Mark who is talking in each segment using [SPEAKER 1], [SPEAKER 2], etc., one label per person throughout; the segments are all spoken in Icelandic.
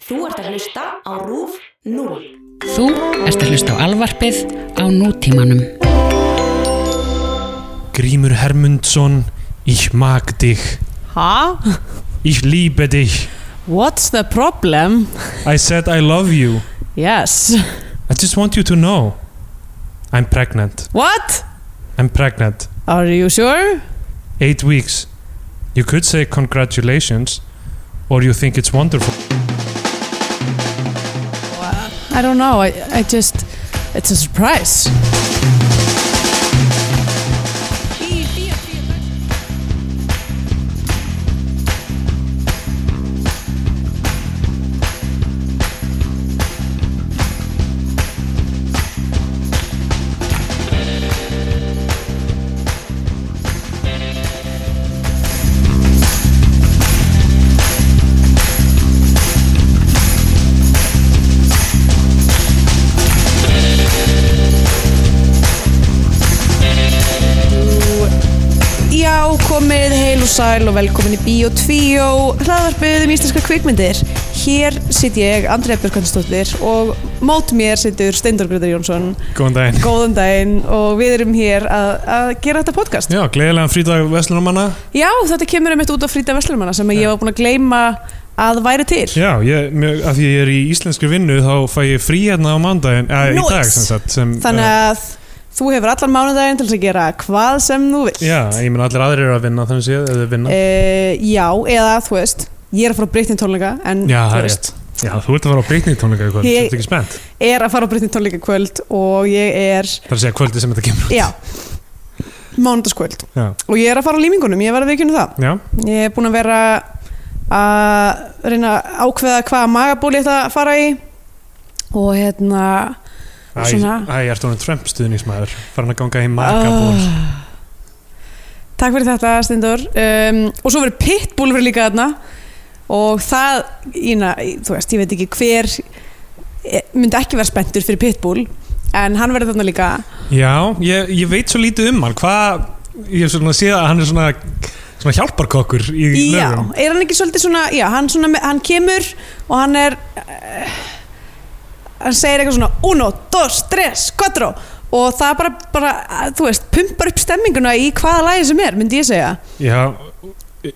[SPEAKER 1] Þú ert að hlusta á RÚF 0.
[SPEAKER 2] Þú ert að hlusta á alvarpið á nútímanum.
[SPEAKER 3] Grímur Hermundsson, ich mag dich,
[SPEAKER 4] Huh?
[SPEAKER 3] ich liebe dich,
[SPEAKER 4] What's the problem?
[SPEAKER 3] I said I love you,
[SPEAKER 4] Yes.
[SPEAKER 3] I just want you to know. I'm pregnant,
[SPEAKER 4] What?
[SPEAKER 3] I'm pregnant,
[SPEAKER 4] Are you sure?
[SPEAKER 3] eight weeks. You could say congratulations, or you think it's wonderful.
[SPEAKER 4] I don't know. I, I just. It's a surprise. Já, komið heil og sæl og velkomin í Bíó 2, hlaðarpið um íslenska kvikmyndir. Hér sitt ég, Andrea Björkvænsdóttir og mót mér sittur Steindor Grétar Jónsson.
[SPEAKER 3] Góðan daginn.
[SPEAKER 4] Góðan daginn og við erum hér að, að gera þetta podcast.
[SPEAKER 3] Já, gleðilegan frídag Veslunumanna.
[SPEAKER 4] Já, þetta kemur einmitt út á frýta verslunumanna sem ég var búin að gleyma að væri til.
[SPEAKER 3] Já, ég, mjög, af því ég er í íslenskri vinnu þá fæ ég frí hérna á mandaginn, eða í
[SPEAKER 4] Nice.
[SPEAKER 3] dag sem sagt. Sem, eh,
[SPEAKER 4] Þannig að þú hefur allan mánudaginn til þess að gera hvað sem þú vilt.
[SPEAKER 3] eh, Já, ég menn allir aðrir eru að vinna þannig séð, eða vinna.
[SPEAKER 4] Eh, já, eða þú veist, ég er að fara á Britney tónleika en
[SPEAKER 3] Já, það
[SPEAKER 4] þú
[SPEAKER 3] er
[SPEAKER 4] veist,
[SPEAKER 3] Já, þú ert að fara á byggni tónleika í kvöld,
[SPEAKER 4] Ég-
[SPEAKER 3] þú ert ekki spennt.
[SPEAKER 4] er að fara á Britney tónleika í kvöld og ég er,
[SPEAKER 3] Það er að segja kvöldi sem þetta kemur.
[SPEAKER 4] já, mánudagskvöld
[SPEAKER 3] Já.
[SPEAKER 4] og ég er að fara á límingunum, ég var að vikinu það.
[SPEAKER 3] Já,
[SPEAKER 4] Ég er búin að vera að reyna að ákveða hvaða magaból ég ætla að fara í og hérna,
[SPEAKER 3] Æ,
[SPEAKER 4] Svona-
[SPEAKER 3] æ, ertu hann Trump stuðningsmæður farin að ganga í magaból
[SPEAKER 4] Ah. Takk fyrir þetta Steindor um, og svo verður Pitbull verið líka þarna og það, ína, þú veist, ég veit ekki hver eh, myndi ekki vera spenntur fyrir Pitbull en hann verður þarna líka
[SPEAKER 3] Já, ég, ég veit svo lítið um hann hvað, ég hef svona séð að hann er svona, svona hjálparkokkur í
[SPEAKER 4] Já,
[SPEAKER 3] lögum
[SPEAKER 4] er hann ekki svolítið svona, já, hann, svona, hann kemur og hann er uh, hann segir eitthvað svona uno, dos, tres, cuatro og það bara, bara, þú veist, pumpar upp stemminguna í hvaða lagi sem er, myndi ég segja
[SPEAKER 3] Já,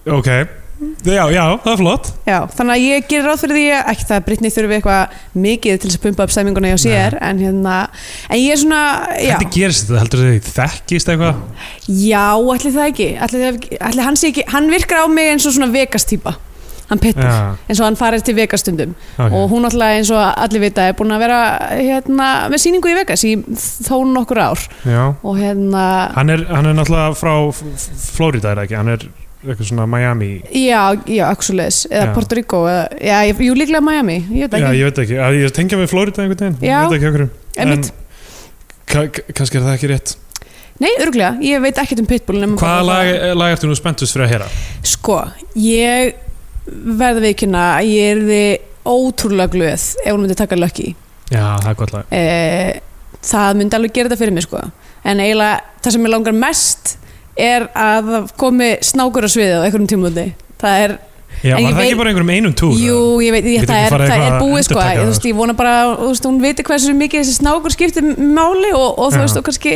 [SPEAKER 3] ok Já, já, það er flott
[SPEAKER 4] Já, þannig að ég gerir ráð fyrir því að ekki það að Britney þurfi eitthvað mikið til þess að pumpa upp stemminguna hjá sér en hérna, en ég er svona já,
[SPEAKER 3] Hvernig gerist þetta, heldur þið þekkist eitthvað?
[SPEAKER 4] já ætli það ekki ætli, það ekki- ætli hann sé ekki, hann virkar á mig eins og svona Vegas típa, hann pittur
[SPEAKER 3] Já,
[SPEAKER 4] eins og hann farir til Vegas stundum
[SPEAKER 3] ok
[SPEAKER 4] og hún alltaf eins og allir vita er búin að vera hérna, með sýningu í Vegas í þó nokkur ár
[SPEAKER 3] Já,
[SPEAKER 4] og hérna
[SPEAKER 3] hann er, hann er náttúrulega frá F- F- Florida er það ekki, hann er eitthvað svona Miami
[SPEAKER 4] Já, já, Axulis, eða
[SPEAKER 3] Já.
[SPEAKER 4] Puerto Rico eða, já, ég- jú, líklega Miami, ég veit
[SPEAKER 3] Já,
[SPEAKER 4] ekki
[SPEAKER 3] ég veit ekki, að ég tengja við Florida einhvern veginn
[SPEAKER 4] Já.
[SPEAKER 3] ég veit ekki okkur
[SPEAKER 4] Einmitt.
[SPEAKER 3] Kannski er það ekki rétt
[SPEAKER 4] Nei, örglega, ég veit ekkert um Pitbull nema bara
[SPEAKER 3] Hvaða
[SPEAKER 4] það-
[SPEAKER 3] lag, lag ertu nú spenntust fyrir að heyra?
[SPEAKER 4] Sko, ég verði veikina að ég erði ótrúlega glöð ef hún myndi taka lökki.
[SPEAKER 3] Já, það er gott lag
[SPEAKER 4] Eh, það myndi alveg gera þetta fyrir mig sko. En eiginlega það sem ég langar mest er að það komi snákur á sviðið á einhverjum tímúti. Það er,
[SPEAKER 3] Já,
[SPEAKER 4] En
[SPEAKER 3] var
[SPEAKER 4] ég
[SPEAKER 3] það
[SPEAKER 4] veit-
[SPEAKER 3] ekki bara einhverjum einum túr?
[SPEAKER 4] jú, ég veit, ég,
[SPEAKER 3] Getur
[SPEAKER 4] það,
[SPEAKER 3] ekki
[SPEAKER 4] er,
[SPEAKER 3] farið
[SPEAKER 4] það er
[SPEAKER 3] eitthvað að
[SPEAKER 4] búið sko.
[SPEAKER 3] endurtaka
[SPEAKER 4] Ég,
[SPEAKER 3] það,
[SPEAKER 4] þú veist, ég vona bara, þú veist, hún viti hversu mikið þessi snákur skiptir máli og, og þú
[SPEAKER 3] Já.
[SPEAKER 4] veist, og kannski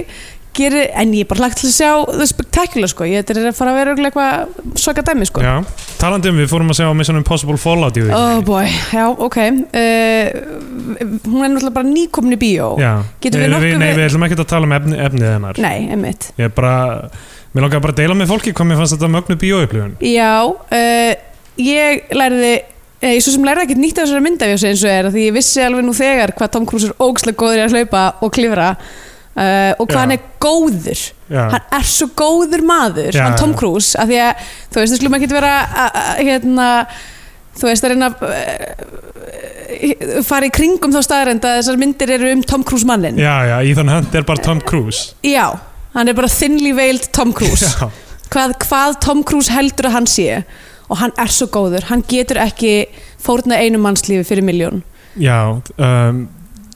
[SPEAKER 4] gerir, en ég er bara lagt til að sjá það spektakulega sko. Ég þetta er að fara að vera örugglega eitthvað svaka dæmi sko.
[SPEAKER 3] Já, talandi um við fórum að segja á Mission Impossible Fallout í því
[SPEAKER 4] Oh boy, já, ok uh, Hún er náttúrulega bara nýkomin í bíó
[SPEAKER 3] Já,
[SPEAKER 4] Getum við
[SPEAKER 3] Eh,
[SPEAKER 4] nokkuð
[SPEAKER 3] Nei,
[SPEAKER 4] við-
[SPEAKER 3] við ætlum ekki að tala um efni, efnið hennar
[SPEAKER 4] Nei, einmitt
[SPEAKER 3] Ég er bara, mér langar bara að deila með fólki hvað mér fannst þetta mögnu bíóupplifun
[SPEAKER 4] Já, uh, ég læriði eh, Ég svo sem læriði ekkert nýtt af þessari myndafjósi eins og er Því ég vissi alveg nú þegar hvað Tom Cruise er ógslega góður í að hlaupa og klifra uh, Og hvað
[SPEAKER 3] Já.
[SPEAKER 4] hann er góður
[SPEAKER 3] Já,
[SPEAKER 4] Hann er svo góður maður,
[SPEAKER 3] Já,
[SPEAKER 4] hann Tom
[SPEAKER 3] já.
[SPEAKER 4] Cruise af Því að, þú veist, þú skulum ekki vera að- að- Hérna Þú veist, það er einn að eh, fara í kringum þá staðarend að þessar myndir eru um Tom Cruise mannin
[SPEAKER 3] já, já Ethan Hunt er bara Tom Cruise
[SPEAKER 4] Já, hann er bara thinly veiled Tom Cruise
[SPEAKER 3] Já,
[SPEAKER 4] hvað, hvað Tom Cruise heldur að hann sé og hann er svo góður, hann getur ekki fórna einu mannslífi fyrir miljón
[SPEAKER 3] já, um,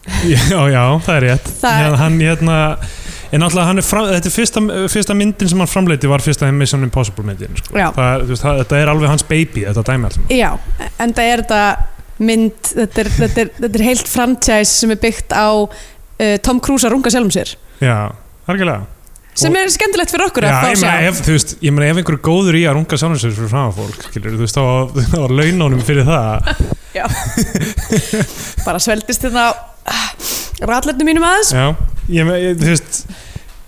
[SPEAKER 3] já, já, það er rétt
[SPEAKER 4] Það-
[SPEAKER 3] Já, Hann, hérna En náttúrulega, hann er fram, þetta er fyrsta, fyrsta myndin sem hann framleiti var fyrsta Mission Impossible myndin sko.
[SPEAKER 4] Já,
[SPEAKER 3] það, er- þú veist, það, Þetta er alveg hans baby, þetta dæmi alltaf
[SPEAKER 4] Já en það er þetta mynd þetta er, þetta, er, þetta er heilt franchise sem er byggt á uh, Tom Cruise að runga sjálfum sér
[SPEAKER 3] já, algjörlega
[SPEAKER 4] sem er skemmtilegt fyrir okkur
[SPEAKER 3] Já,
[SPEAKER 4] að
[SPEAKER 3] ég
[SPEAKER 4] fá
[SPEAKER 3] meina,
[SPEAKER 4] sjá
[SPEAKER 3] ef, þú veist, ég meina ef einhver er góður í að runga sjálfum sér fyrir fram fólk, skilur, þú veist, þá þá var launónum fyrir það
[SPEAKER 4] bara hérna sveldist þetta ratlernu ah, mínum aðeins
[SPEAKER 3] Já, ég meina, ég- þú veist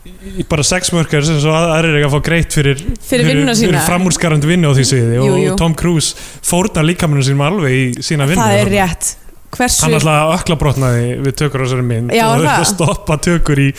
[SPEAKER 3] ég- bara sexmörkar sem svo að- aðrir er að fá greitt fyrir,
[SPEAKER 4] Fyrir vinnuna sína.
[SPEAKER 3] fyrir framúrskarandi vinnu á því sviði
[SPEAKER 4] Jú,
[SPEAKER 3] og
[SPEAKER 4] jú.
[SPEAKER 3] Tom Cruise fórna líkaminu sínum alveg í sína vinnu
[SPEAKER 4] það er rétt hversu,
[SPEAKER 3] hérna. Hann alltaf ökla brotnaði við tökur á þessari mynd
[SPEAKER 4] Já,
[SPEAKER 3] og
[SPEAKER 4] er
[SPEAKER 3] þurfti
[SPEAKER 4] það?
[SPEAKER 3] að stoppa tökur í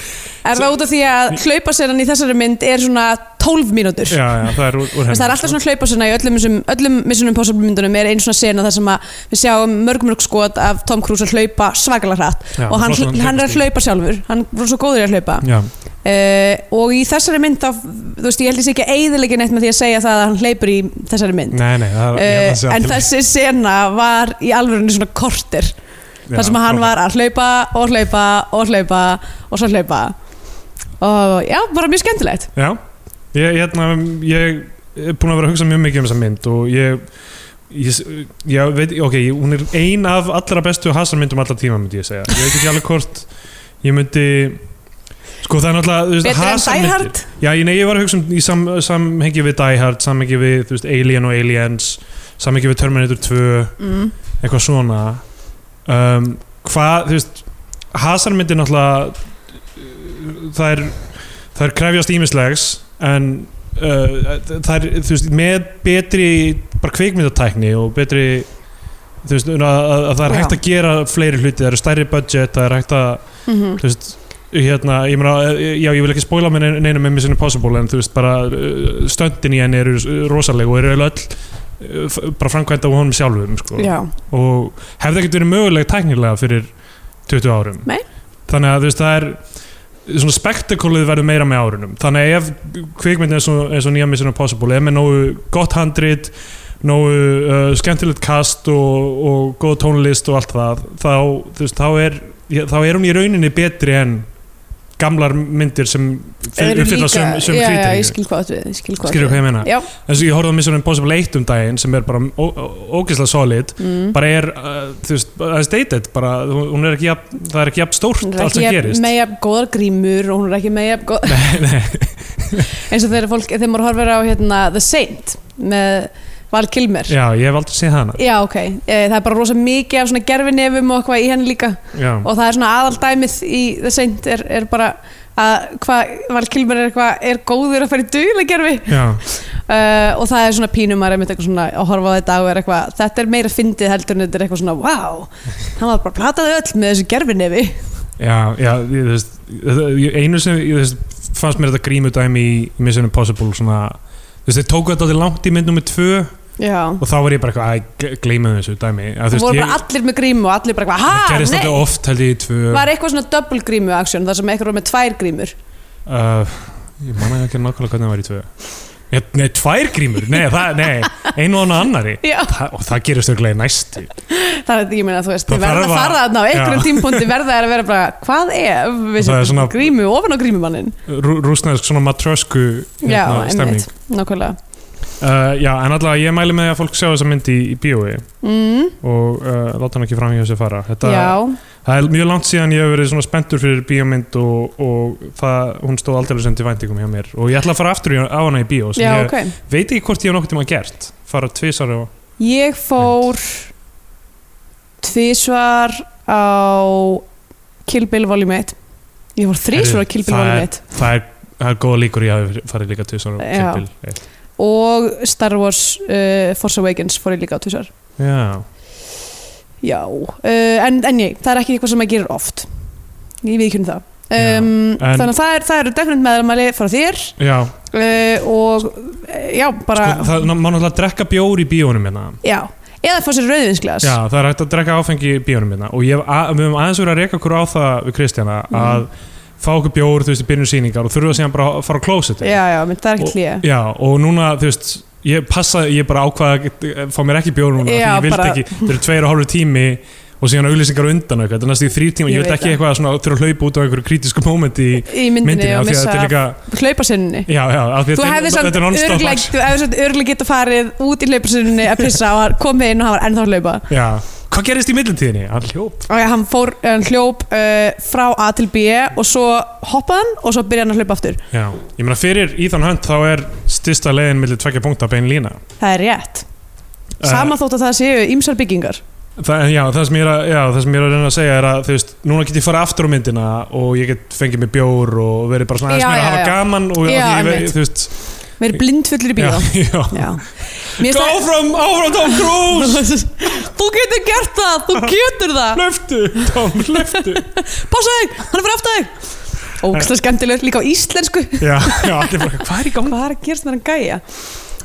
[SPEAKER 4] er það út af því að hlaupasennan í þessari mynd er svona 12 mínútur
[SPEAKER 3] Já, já, það er úr, úr
[SPEAKER 4] Þess,
[SPEAKER 3] henni sko.
[SPEAKER 4] það er alltaf svona hlaupasenna í öllum, þessum- öllum Mission Impossible myndunum er einn svona sena þar sem að við sjáum mörg mörg skot af Tom Cruise að hlaupa svakalega hratt
[SPEAKER 3] Já,
[SPEAKER 4] og hann,
[SPEAKER 3] flottan
[SPEAKER 4] hann er að
[SPEAKER 3] hlaupastíl.
[SPEAKER 4] hlaupa sjálfur hann er svo góður í að hlaupa
[SPEAKER 3] Já,
[SPEAKER 4] uh, og í þessari mynd þá, þú veist, ég held ég sé ekki að eiðilegja neitt með því að segja það að hann hleypur í þessari mynd
[SPEAKER 3] nei, nei það, ég held að
[SPEAKER 4] uh,
[SPEAKER 3] segja
[SPEAKER 4] en
[SPEAKER 3] til-
[SPEAKER 4] þessi sena var í alvörinu svona kortir
[SPEAKER 3] Já,
[SPEAKER 4] þar sem að
[SPEAKER 3] frábært.
[SPEAKER 4] hann var að hlaupa og hlaupa og hlaupa og svo hlaupa og já, bara mjög skemmtilegt
[SPEAKER 3] Já, ég, hérna, ég er búin að vera að hugsa mjög mikið um þessa mynd og ég, ég, ég veit, ok, ég- hún er ein af allra bestu hasarmyndum allra tíma myndi ég segja. Ég veit ekki alveg hvort ég myndi, sko það er náttúrulega, þú
[SPEAKER 4] Betur en Die Hard?
[SPEAKER 3] Já, ég, nei, ég var að hugsa um í sam, samhengi við Die Hard, samhengi við, þú veist, Alien og Aliens, samhengi við Terminator 2,
[SPEAKER 4] mm.
[SPEAKER 3] eitthvað svona um, hvað, þú veist hasarmyndir náttúrulega uh, það er það er krefjast ímislegs en uh, það er, þú veist, með betri bara kvikmyndatækni og betri þú veist, að, að, að það er
[SPEAKER 4] Já.
[SPEAKER 3] hægt að gera fleiri hluti, það eru stærri budget það er hægt að
[SPEAKER 4] Mm
[SPEAKER 3] þú veist hérna, ég meina, já, ég vil ekki spóla með neina- neinum með Mission Impossible, en þú veist bara uh, stöndin í henni eru uh, rosaleg og eru eiginlega öll uh, f- bara framkvæmda á honum sjálfum, sko
[SPEAKER 4] já,
[SPEAKER 3] og hefði ekkert verið möguleg tæknilega fyrir 20 árum
[SPEAKER 4] Nei.
[SPEAKER 3] þannig að þú veist það er svona spektakulið verður meira með árunum þannig að ef kvikmynd eins og, eins og nýja Mission Impossible er með nógu gott handrit nógu uh, skemmtilegt kast og, og góð tónlist og allt það þá, þú veist, þá, er, ég- þá er hún í rauninni betri en gamlar myndir sem
[SPEAKER 4] Eru
[SPEAKER 3] uppfylla
[SPEAKER 4] líka-
[SPEAKER 3] sem, sem
[SPEAKER 4] já, já, ég
[SPEAKER 3] krítir
[SPEAKER 4] skil hvað átt við ég skil hvað átt
[SPEAKER 3] skilur
[SPEAKER 4] við
[SPEAKER 3] hvað ég meina
[SPEAKER 4] já,
[SPEAKER 3] eins og ég horfði á Mission Impossible 1 um daginn sem er bara ó- ó- ógeðslega solid
[SPEAKER 4] mm.
[SPEAKER 3] bara er, uh, þú veist, það er stated bara, hún er ekki jafn, það er ekki jafn stórt
[SPEAKER 4] hún er
[SPEAKER 3] allt sem
[SPEAKER 4] ekki
[SPEAKER 3] gerist
[SPEAKER 4] með jafn góðar grímur og hún er ekki með jafn góð
[SPEAKER 3] Nei, nei,
[SPEAKER 4] eins og þegar fólk, þegar maður horfir á hérna, The Saint með Val Kilmer
[SPEAKER 3] já, ég hef aldrei séð hana
[SPEAKER 4] Já, ok. Eh, Það er bara rosa mikið af svona gerfinefum og eitthvað í henni líka
[SPEAKER 3] já,
[SPEAKER 4] og það er svona aðaldæmið í The Saint er, er bara að hvað Val Kilmer er eitthvað, er góður að fara í duglega gerfi
[SPEAKER 3] já,
[SPEAKER 4] uh, og það er svona pínum að reyna eitthvað svona að horfa á þetta og er eitthvað, þetta er meira fyndið heldur en þetta er eitthvað svona, wow, hann var bara plataði öll með þessu gerfinefi.
[SPEAKER 3] já, já ég, þú veist, ég- einu sem ég, þú veist, fannst mér þetta grímu dæmi í Mission Impossible svona, þú veist, þeir tóku þetta alveg langt í mynd nummið tvö
[SPEAKER 4] Já.
[SPEAKER 3] og þá var ég bara eitthvað, að gleyma þessu dæmi að,
[SPEAKER 4] Það
[SPEAKER 3] þú
[SPEAKER 4] voru
[SPEAKER 3] veist,
[SPEAKER 4] bara
[SPEAKER 3] ég,
[SPEAKER 4] allir með grímu og allir bara eitthvað,
[SPEAKER 3] það
[SPEAKER 4] ha,
[SPEAKER 3] gerist
[SPEAKER 4] nei,
[SPEAKER 3] alltaf oft held ég í tvö
[SPEAKER 4] var eitthvað svona double grímu aksjón þar sem eitthvað voru með tvær grímur.
[SPEAKER 3] uh, ég manna ekki nákvæmlega hvernig það var í tvö Ég- Nei, tvær grímur, nei, það, nei einu og annari
[SPEAKER 4] Já.
[SPEAKER 3] Þa, og það gerist auðvitað í næstu
[SPEAKER 4] Það er ég meina, þú veist,
[SPEAKER 3] Það
[SPEAKER 4] þið verða að
[SPEAKER 3] þarf að-
[SPEAKER 4] fara þarna á einhverjum
[SPEAKER 3] Já.
[SPEAKER 4] tímpúndi verða þær að vera bara, hvað ef við
[SPEAKER 3] Það er
[SPEAKER 4] sem
[SPEAKER 3] svona-
[SPEAKER 4] grímu ofan á grímumannin?
[SPEAKER 3] Rú- rússnesk svona matrösku
[SPEAKER 4] Já,
[SPEAKER 3] hérna, stemning
[SPEAKER 4] einmitt, nákvæmlega.
[SPEAKER 3] uh, Já, en allavega ég mæli með því að fólk sjá þessa mynd í, í bíói
[SPEAKER 4] Mm,
[SPEAKER 3] og uh, láta hann ekki fram hjá sér fara Þetta,
[SPEAKER 4] já,
[SPEAKER 3] Það er mjög langt síðan ég hef verið svona spenntur fyrir bíómynd og, og það, hún stóð aldrei sem til væntingum hjá mér og ég ætla að fara aftur í- á hana í bíó sem
[SPEAKER 4] já,
[SPEAKER 3] ég
[SPEAKER 4] ok.
[SPEAKER 3] veit ekki hvort ég hef nokkuð tíma gert fara tvisar og
[SPEAKER 4] Ég fór tvísvar á Kill Bill Volume 1. Ég fór þrísvar á
[SPEAKER 3] Herri,
[SPEAKER 4] Kill Bill
[SPEAKER 3] það
[SPEAKER 4] Volume
[SPEAKER 3] er-
[SPEAKER 4] 1
[SPEAKER 3] það er, það er góða líkur ég hafi farið líka tvisar og
[SPEAKER 4] Já.
[SPEAKER 3] Kill Bill eitt.
[SPEAKER 4] og Star Wars uh, Force Awakens fór ég líka á tvísvar.
[SPEAKER 3] Já,
[SPEAKER 4] Já, uh, en, en ég, það er ekki eitthvað sem maður gerir oft. Ég viðkjörn það.
[SPEAKER 3] Já,
[SPEAKER 4] Um,
[SPEAKER 3] en-
[SPEAKER 4] þannig að það, er, það eru definit meðalmæli frá þér
[SPEAKER 3] já.
[SPEAKER 4] uh, og uh, já, bara
[SPEAKER 3] Sko, það, má náttúrulega drekka bjór í bíónum hérna
[SPEAKER 4] já, eða fá sér rauðinsglas
[SPEAKER 3] Já, það er hægt að drekka áfengi í bíónum minna og ég, hef a, við höfum aðeins verið að reyka okkur á það við Kristjana
[SPEAKER 4] Mhm.
[SPEAKER 3] að fá okkur bjór, þú veist, í byrjun síningar og þurfa síðan bara að fara á klósetu
[SPEAKER 4] já, já, menn það er ekkert hlýja
[SPEAKER 3] Já, og núna, þú veist, ég passa ég bara ákvaða að get- fá mér ekki bjór núna því
[SPEAKER 4] Já,
[SPEAKER 3] ég vildi
[SPEAKER 4] bara-
[SPEAKER 3] ekki, þau eru tveir og hálfur tími og síðan auglýsingar á undan og eitthvað, þetta er næstu í þrýr tíma,
[SPEAKER 4] Ég
[SPEAKER 3] ég,
[SPEAKER 4] veit
[SPEAKER 3] vil ekki
[SPEAKER 4] það.
[SPEAKER 3] eitthvað svona þurfa að hlaupa út á einhverju krítisku mómenti í
[SPEAKER 4] í myndinni,
[SPEAKER 3] myndinni, af því
[SPEAKER 4] og
[SPEAKER 3] að
[SPEAKER 4] missa
[SPEAKER 3] þetta er líka
[SPEAKER 4] hlaupasinninni
[SPEAKER 3] Já, já, af því að
[SPEAKER 4] Þú
[SPEAKER 3] þetta
[SPEAKER 4] hefði
[SPEAKER 3] er-
[SPEAKER 4] samt
[SPEAKER 3] þetta er non-stop
[SPEAKER 4] örglega
[SPEAKER 3] action.
[SPEAKER 4] Þú hefði samt örglega geta farið út í hlaupasinninni að pissa og komið inn og hann var ennþá að hlaupa
[SPEAKER 3] Já, hvað gerist í millitíðinni? Hann hljóp
[SPEAKER 4] og hann fór, hann hljóp uh, frá A til B og svo hoppaði hann og svo byrjaði hann að hljópa aftur
[SPEAKER 3] Já, ég meina fyrir Ethan Hunt þá er styrsta leiðin millir tvekja punkta bein lína Eh,
[SPEAKER 4] það er rétt sama þótt að það séu ýmsar byggingar
[SPEAKER 3] Það, já, það sem ég er að, já, það sem ég er að reyna að segja er að þú veist, núna get ég fara aftur á myndina og ég get fengið mér bjór og verið bara svona aðeins
[SPEAKER 4] Já,
[SPEAKER 3] meira að
[SPEAKER 4] já,
[SPEAKER 3] hafa
[SPEAKER 4] já.
[SPEAKER 3] gaman og
[SPEAKER 4] Já,
[SPEAKER 3] að ég vei-
[SPEAKER 4] einmitt.
[SPEAKER 3] þú veist
[SPEAKER 4] við erum blindfullir í bíó
[SPEAKER 3] já, já.
[SPEAKER 4] Já.
[SPEAKER 3] Go
[SPEAKER 4] Mér finnst
[SPEAKER 3] from, áfram Tom Cruise
[SPEAKER 4] það- þú getur gert það, þú getur það
[SPEAKER 3] Löftu, Tom, löftu
[SPEAKER 4] passa þig, hann er fyrir aftur þig ógstlega skemmtilegur, líka á íslensku
[SPEAKER 3] Já, já, allir bara, hvað er í gangi?
[SPEAKER 4] hvað er að gerast með hann gæja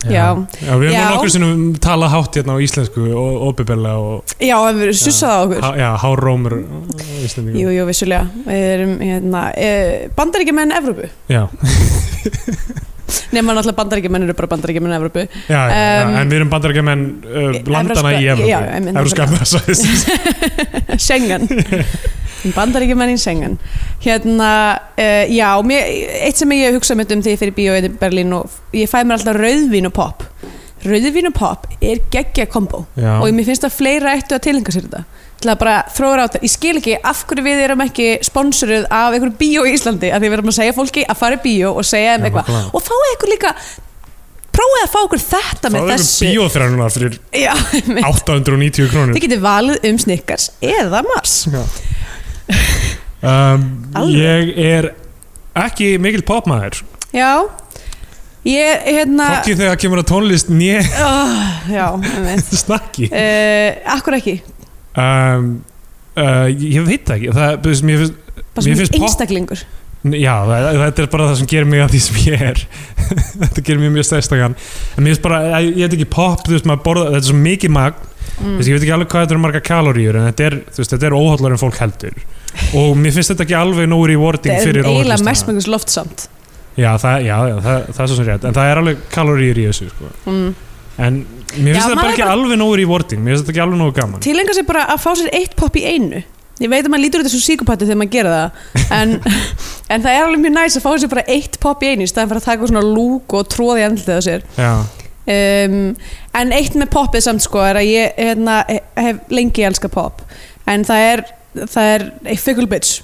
[SPEAKER 3] já,
[SPEAKER 4] Já.
[SPEAKER 3] við erum
[SPEAKER 4] Já.
[SPEAKER 3] nú nokkur sinnum talað hátt hérna á íslensku og opibella og
[SPEAKER 4] já, við erum sussað á okkur Mm.
[SPEAKER 3] há- já, uh, hárómur
[SPEAKER 4] jú,
[SPEAKER 3] íslendingum
[SPEAKER 4] jú, vissulega við erum, hérna, eh, bandaríkjumenn Evrópu
[SPEAKER 3] Já,
[SPEAKER 4] nema náttúrulega bandaríkjumenn eru bara bandaríkjumenn Evrópu
[SPEAKER 3] já, já,
[SPEAKER 4] Um,
[SPEAKER 3] en við erum bandarækjumenn uh,
[SPEAKER 4] Evrópska-
[SPEAKER 3] landana í
[SPEAKER 4] já, einmitt,
[SPEAKER 3] Evrópu Evrópska efnahagsvæðis.
[SPEAKER 4] Schengen bandaríkjumenn í Schengen hérna, uh, já mér, eitt sem ég hugsa mynd um þegar ég fyrir bíóið í Berlín og ég fæ mér alltaf rauðvín og pop rauðvín og pop er geggja kombo
[SPEAKER 3] Já,
[SPEAKER 4] og mér finnst að fleira ættu að tilhenga sér þetta til að bara þróra á þetta, ég skil ekki af hverju við erum ekki sponsoruð af einhverju bíó í Íslandi, af því við erum að segja fólki að fara í bíó og segja þeim
[SPEAKER 3] Já,
[SPEAKER 4] eitthvað
[SPEAKER 3] nákvæmlega.
[SPEAKER 4] og fáið ykkur líka prófið að fá ykkur þetta
[SPEAKER 3] þá
[SPEAKER 4] með
[SPEAKER 3] erum við
[SPEAKER 4] þessu
[SPEAKER 3] bíóþrænunar fyrir
[SPEAKER 4] Já, einmitt.
[SPEAKER 3] 890 krónur
[SPEAKER 4] þið getið valið um Snickers eða Mars
[SPEAKER 3] um,
[SPEAKER 4] Alveg.
[SPEAKER 3] Ég er ekki mikil popmaður
[SPEAKER 4] Já Ég, hérna
[SPEAKER 3] Fokki þegar kemur að tónlist nýja
[SPEAKER 4] oh, Já, einmitt
[SPEAKER 3] snakki
[SPEAKER 4] uh, Akkur ekki
[SPEAKER 3] um, uh, Ég veit það ekki það, þú veist, mér finnst, Mér
[SPEAKER 4] Bara svona
[SPEAKER 3] finnst pop-
[SPEAKER 4] einstaklingur
[SPEAKER 3] Já, það, þetta er bara það sem gerir mig að því sem ég er Þetta gerir mig mjög stærstakann En mér finnst bara, ég, ég veit ekki pop þú veist, maður borða, Þetta er svo mikið magn þú
[SPEAKER 4] mm.
[SPEAKER 3] veist, Ég veit ekki alveg hvað þetta eru marga kaloríur En þetta er, þú veist, þetta er óhóllar en fólk heldur Og mér finnst þetta ekki alveg nóg rewarding
[SPEAKER 4] Það er
[SPEAKER 3] fyrir
[SPEAKER 4] eiginlega
[SPEAKER 3] óhollustuna.
[SPEAKER 4] mestmengus loftsamt
[SPEAKER 3] Já, það, já, já það, það er svo sem rétt En það er alveg kaloríur í þessu sko.
[SPEAKER 4] mm.
[SPEAKER 3] En mér
[SPEAKER 4] Já,
[SPEAKER 3] finnst þetta
[SPEAKER 4] maður
[SPEAKER 3] bara ekki
[SPEAKER 4] bara-
[SPEAKER 3] alveg nógu rewarding Mér finnst þetta ekki alveg nógu gaman
[SPEAKER 4] Tilenga sér bara að fá sér eitt pop í einu Ég veit að maður lítur út þessu síkupatti þegar maður gera það en, en það er alveg mjög næs að fá sér bara eitt pop í einu í staðan fyrir að taka svona lúk og tróði andlið á sér
[SPEAKER 3] Já,
[SPEAKER 4] um, en eitt með popið samt sko er að ég hérna, hef lengi elska pop en það er, það er a fickle bitch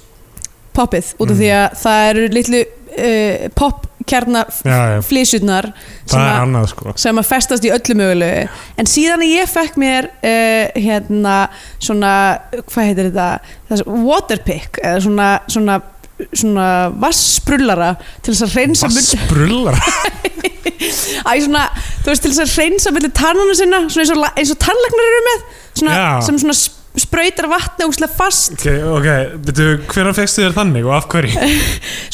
[SPEAKER 4] popið út af
[SPEAKER 3] Mm.
[SPEAKER 4] því að það eru litlu uh, popkjarnar
[SPEAKER 3] já, já,
[SPEAKER 4] flysjurnar sem,
[SPEAKER 3] það er
[SPEAKER 4] að-
[SPEAKER 3] annað sko
[SPEAKER 4] sem að festast í öllu mögulegu en síðan að ég fekk mér uh, hérna svona hvað heitir þetta, Þess, waterpick eða svona, svona svona vassbrullara til þess að reynsa munn-
[SPEAKER 3] Vassbrullar
[SPEAKER 4] Æ, svona, þú veist, til þess að reynsa millir tannana sinna, svona eins og, la- eins og tannlegnar eru með, svona,
[SPEAKER 3] Já.
[SPEAKER 4] sem svona sp- sprautar vatni úslega fast
[SPEAKER 3] Ok, ok, veitu, hvernig fegstu þér þannig og af hverju?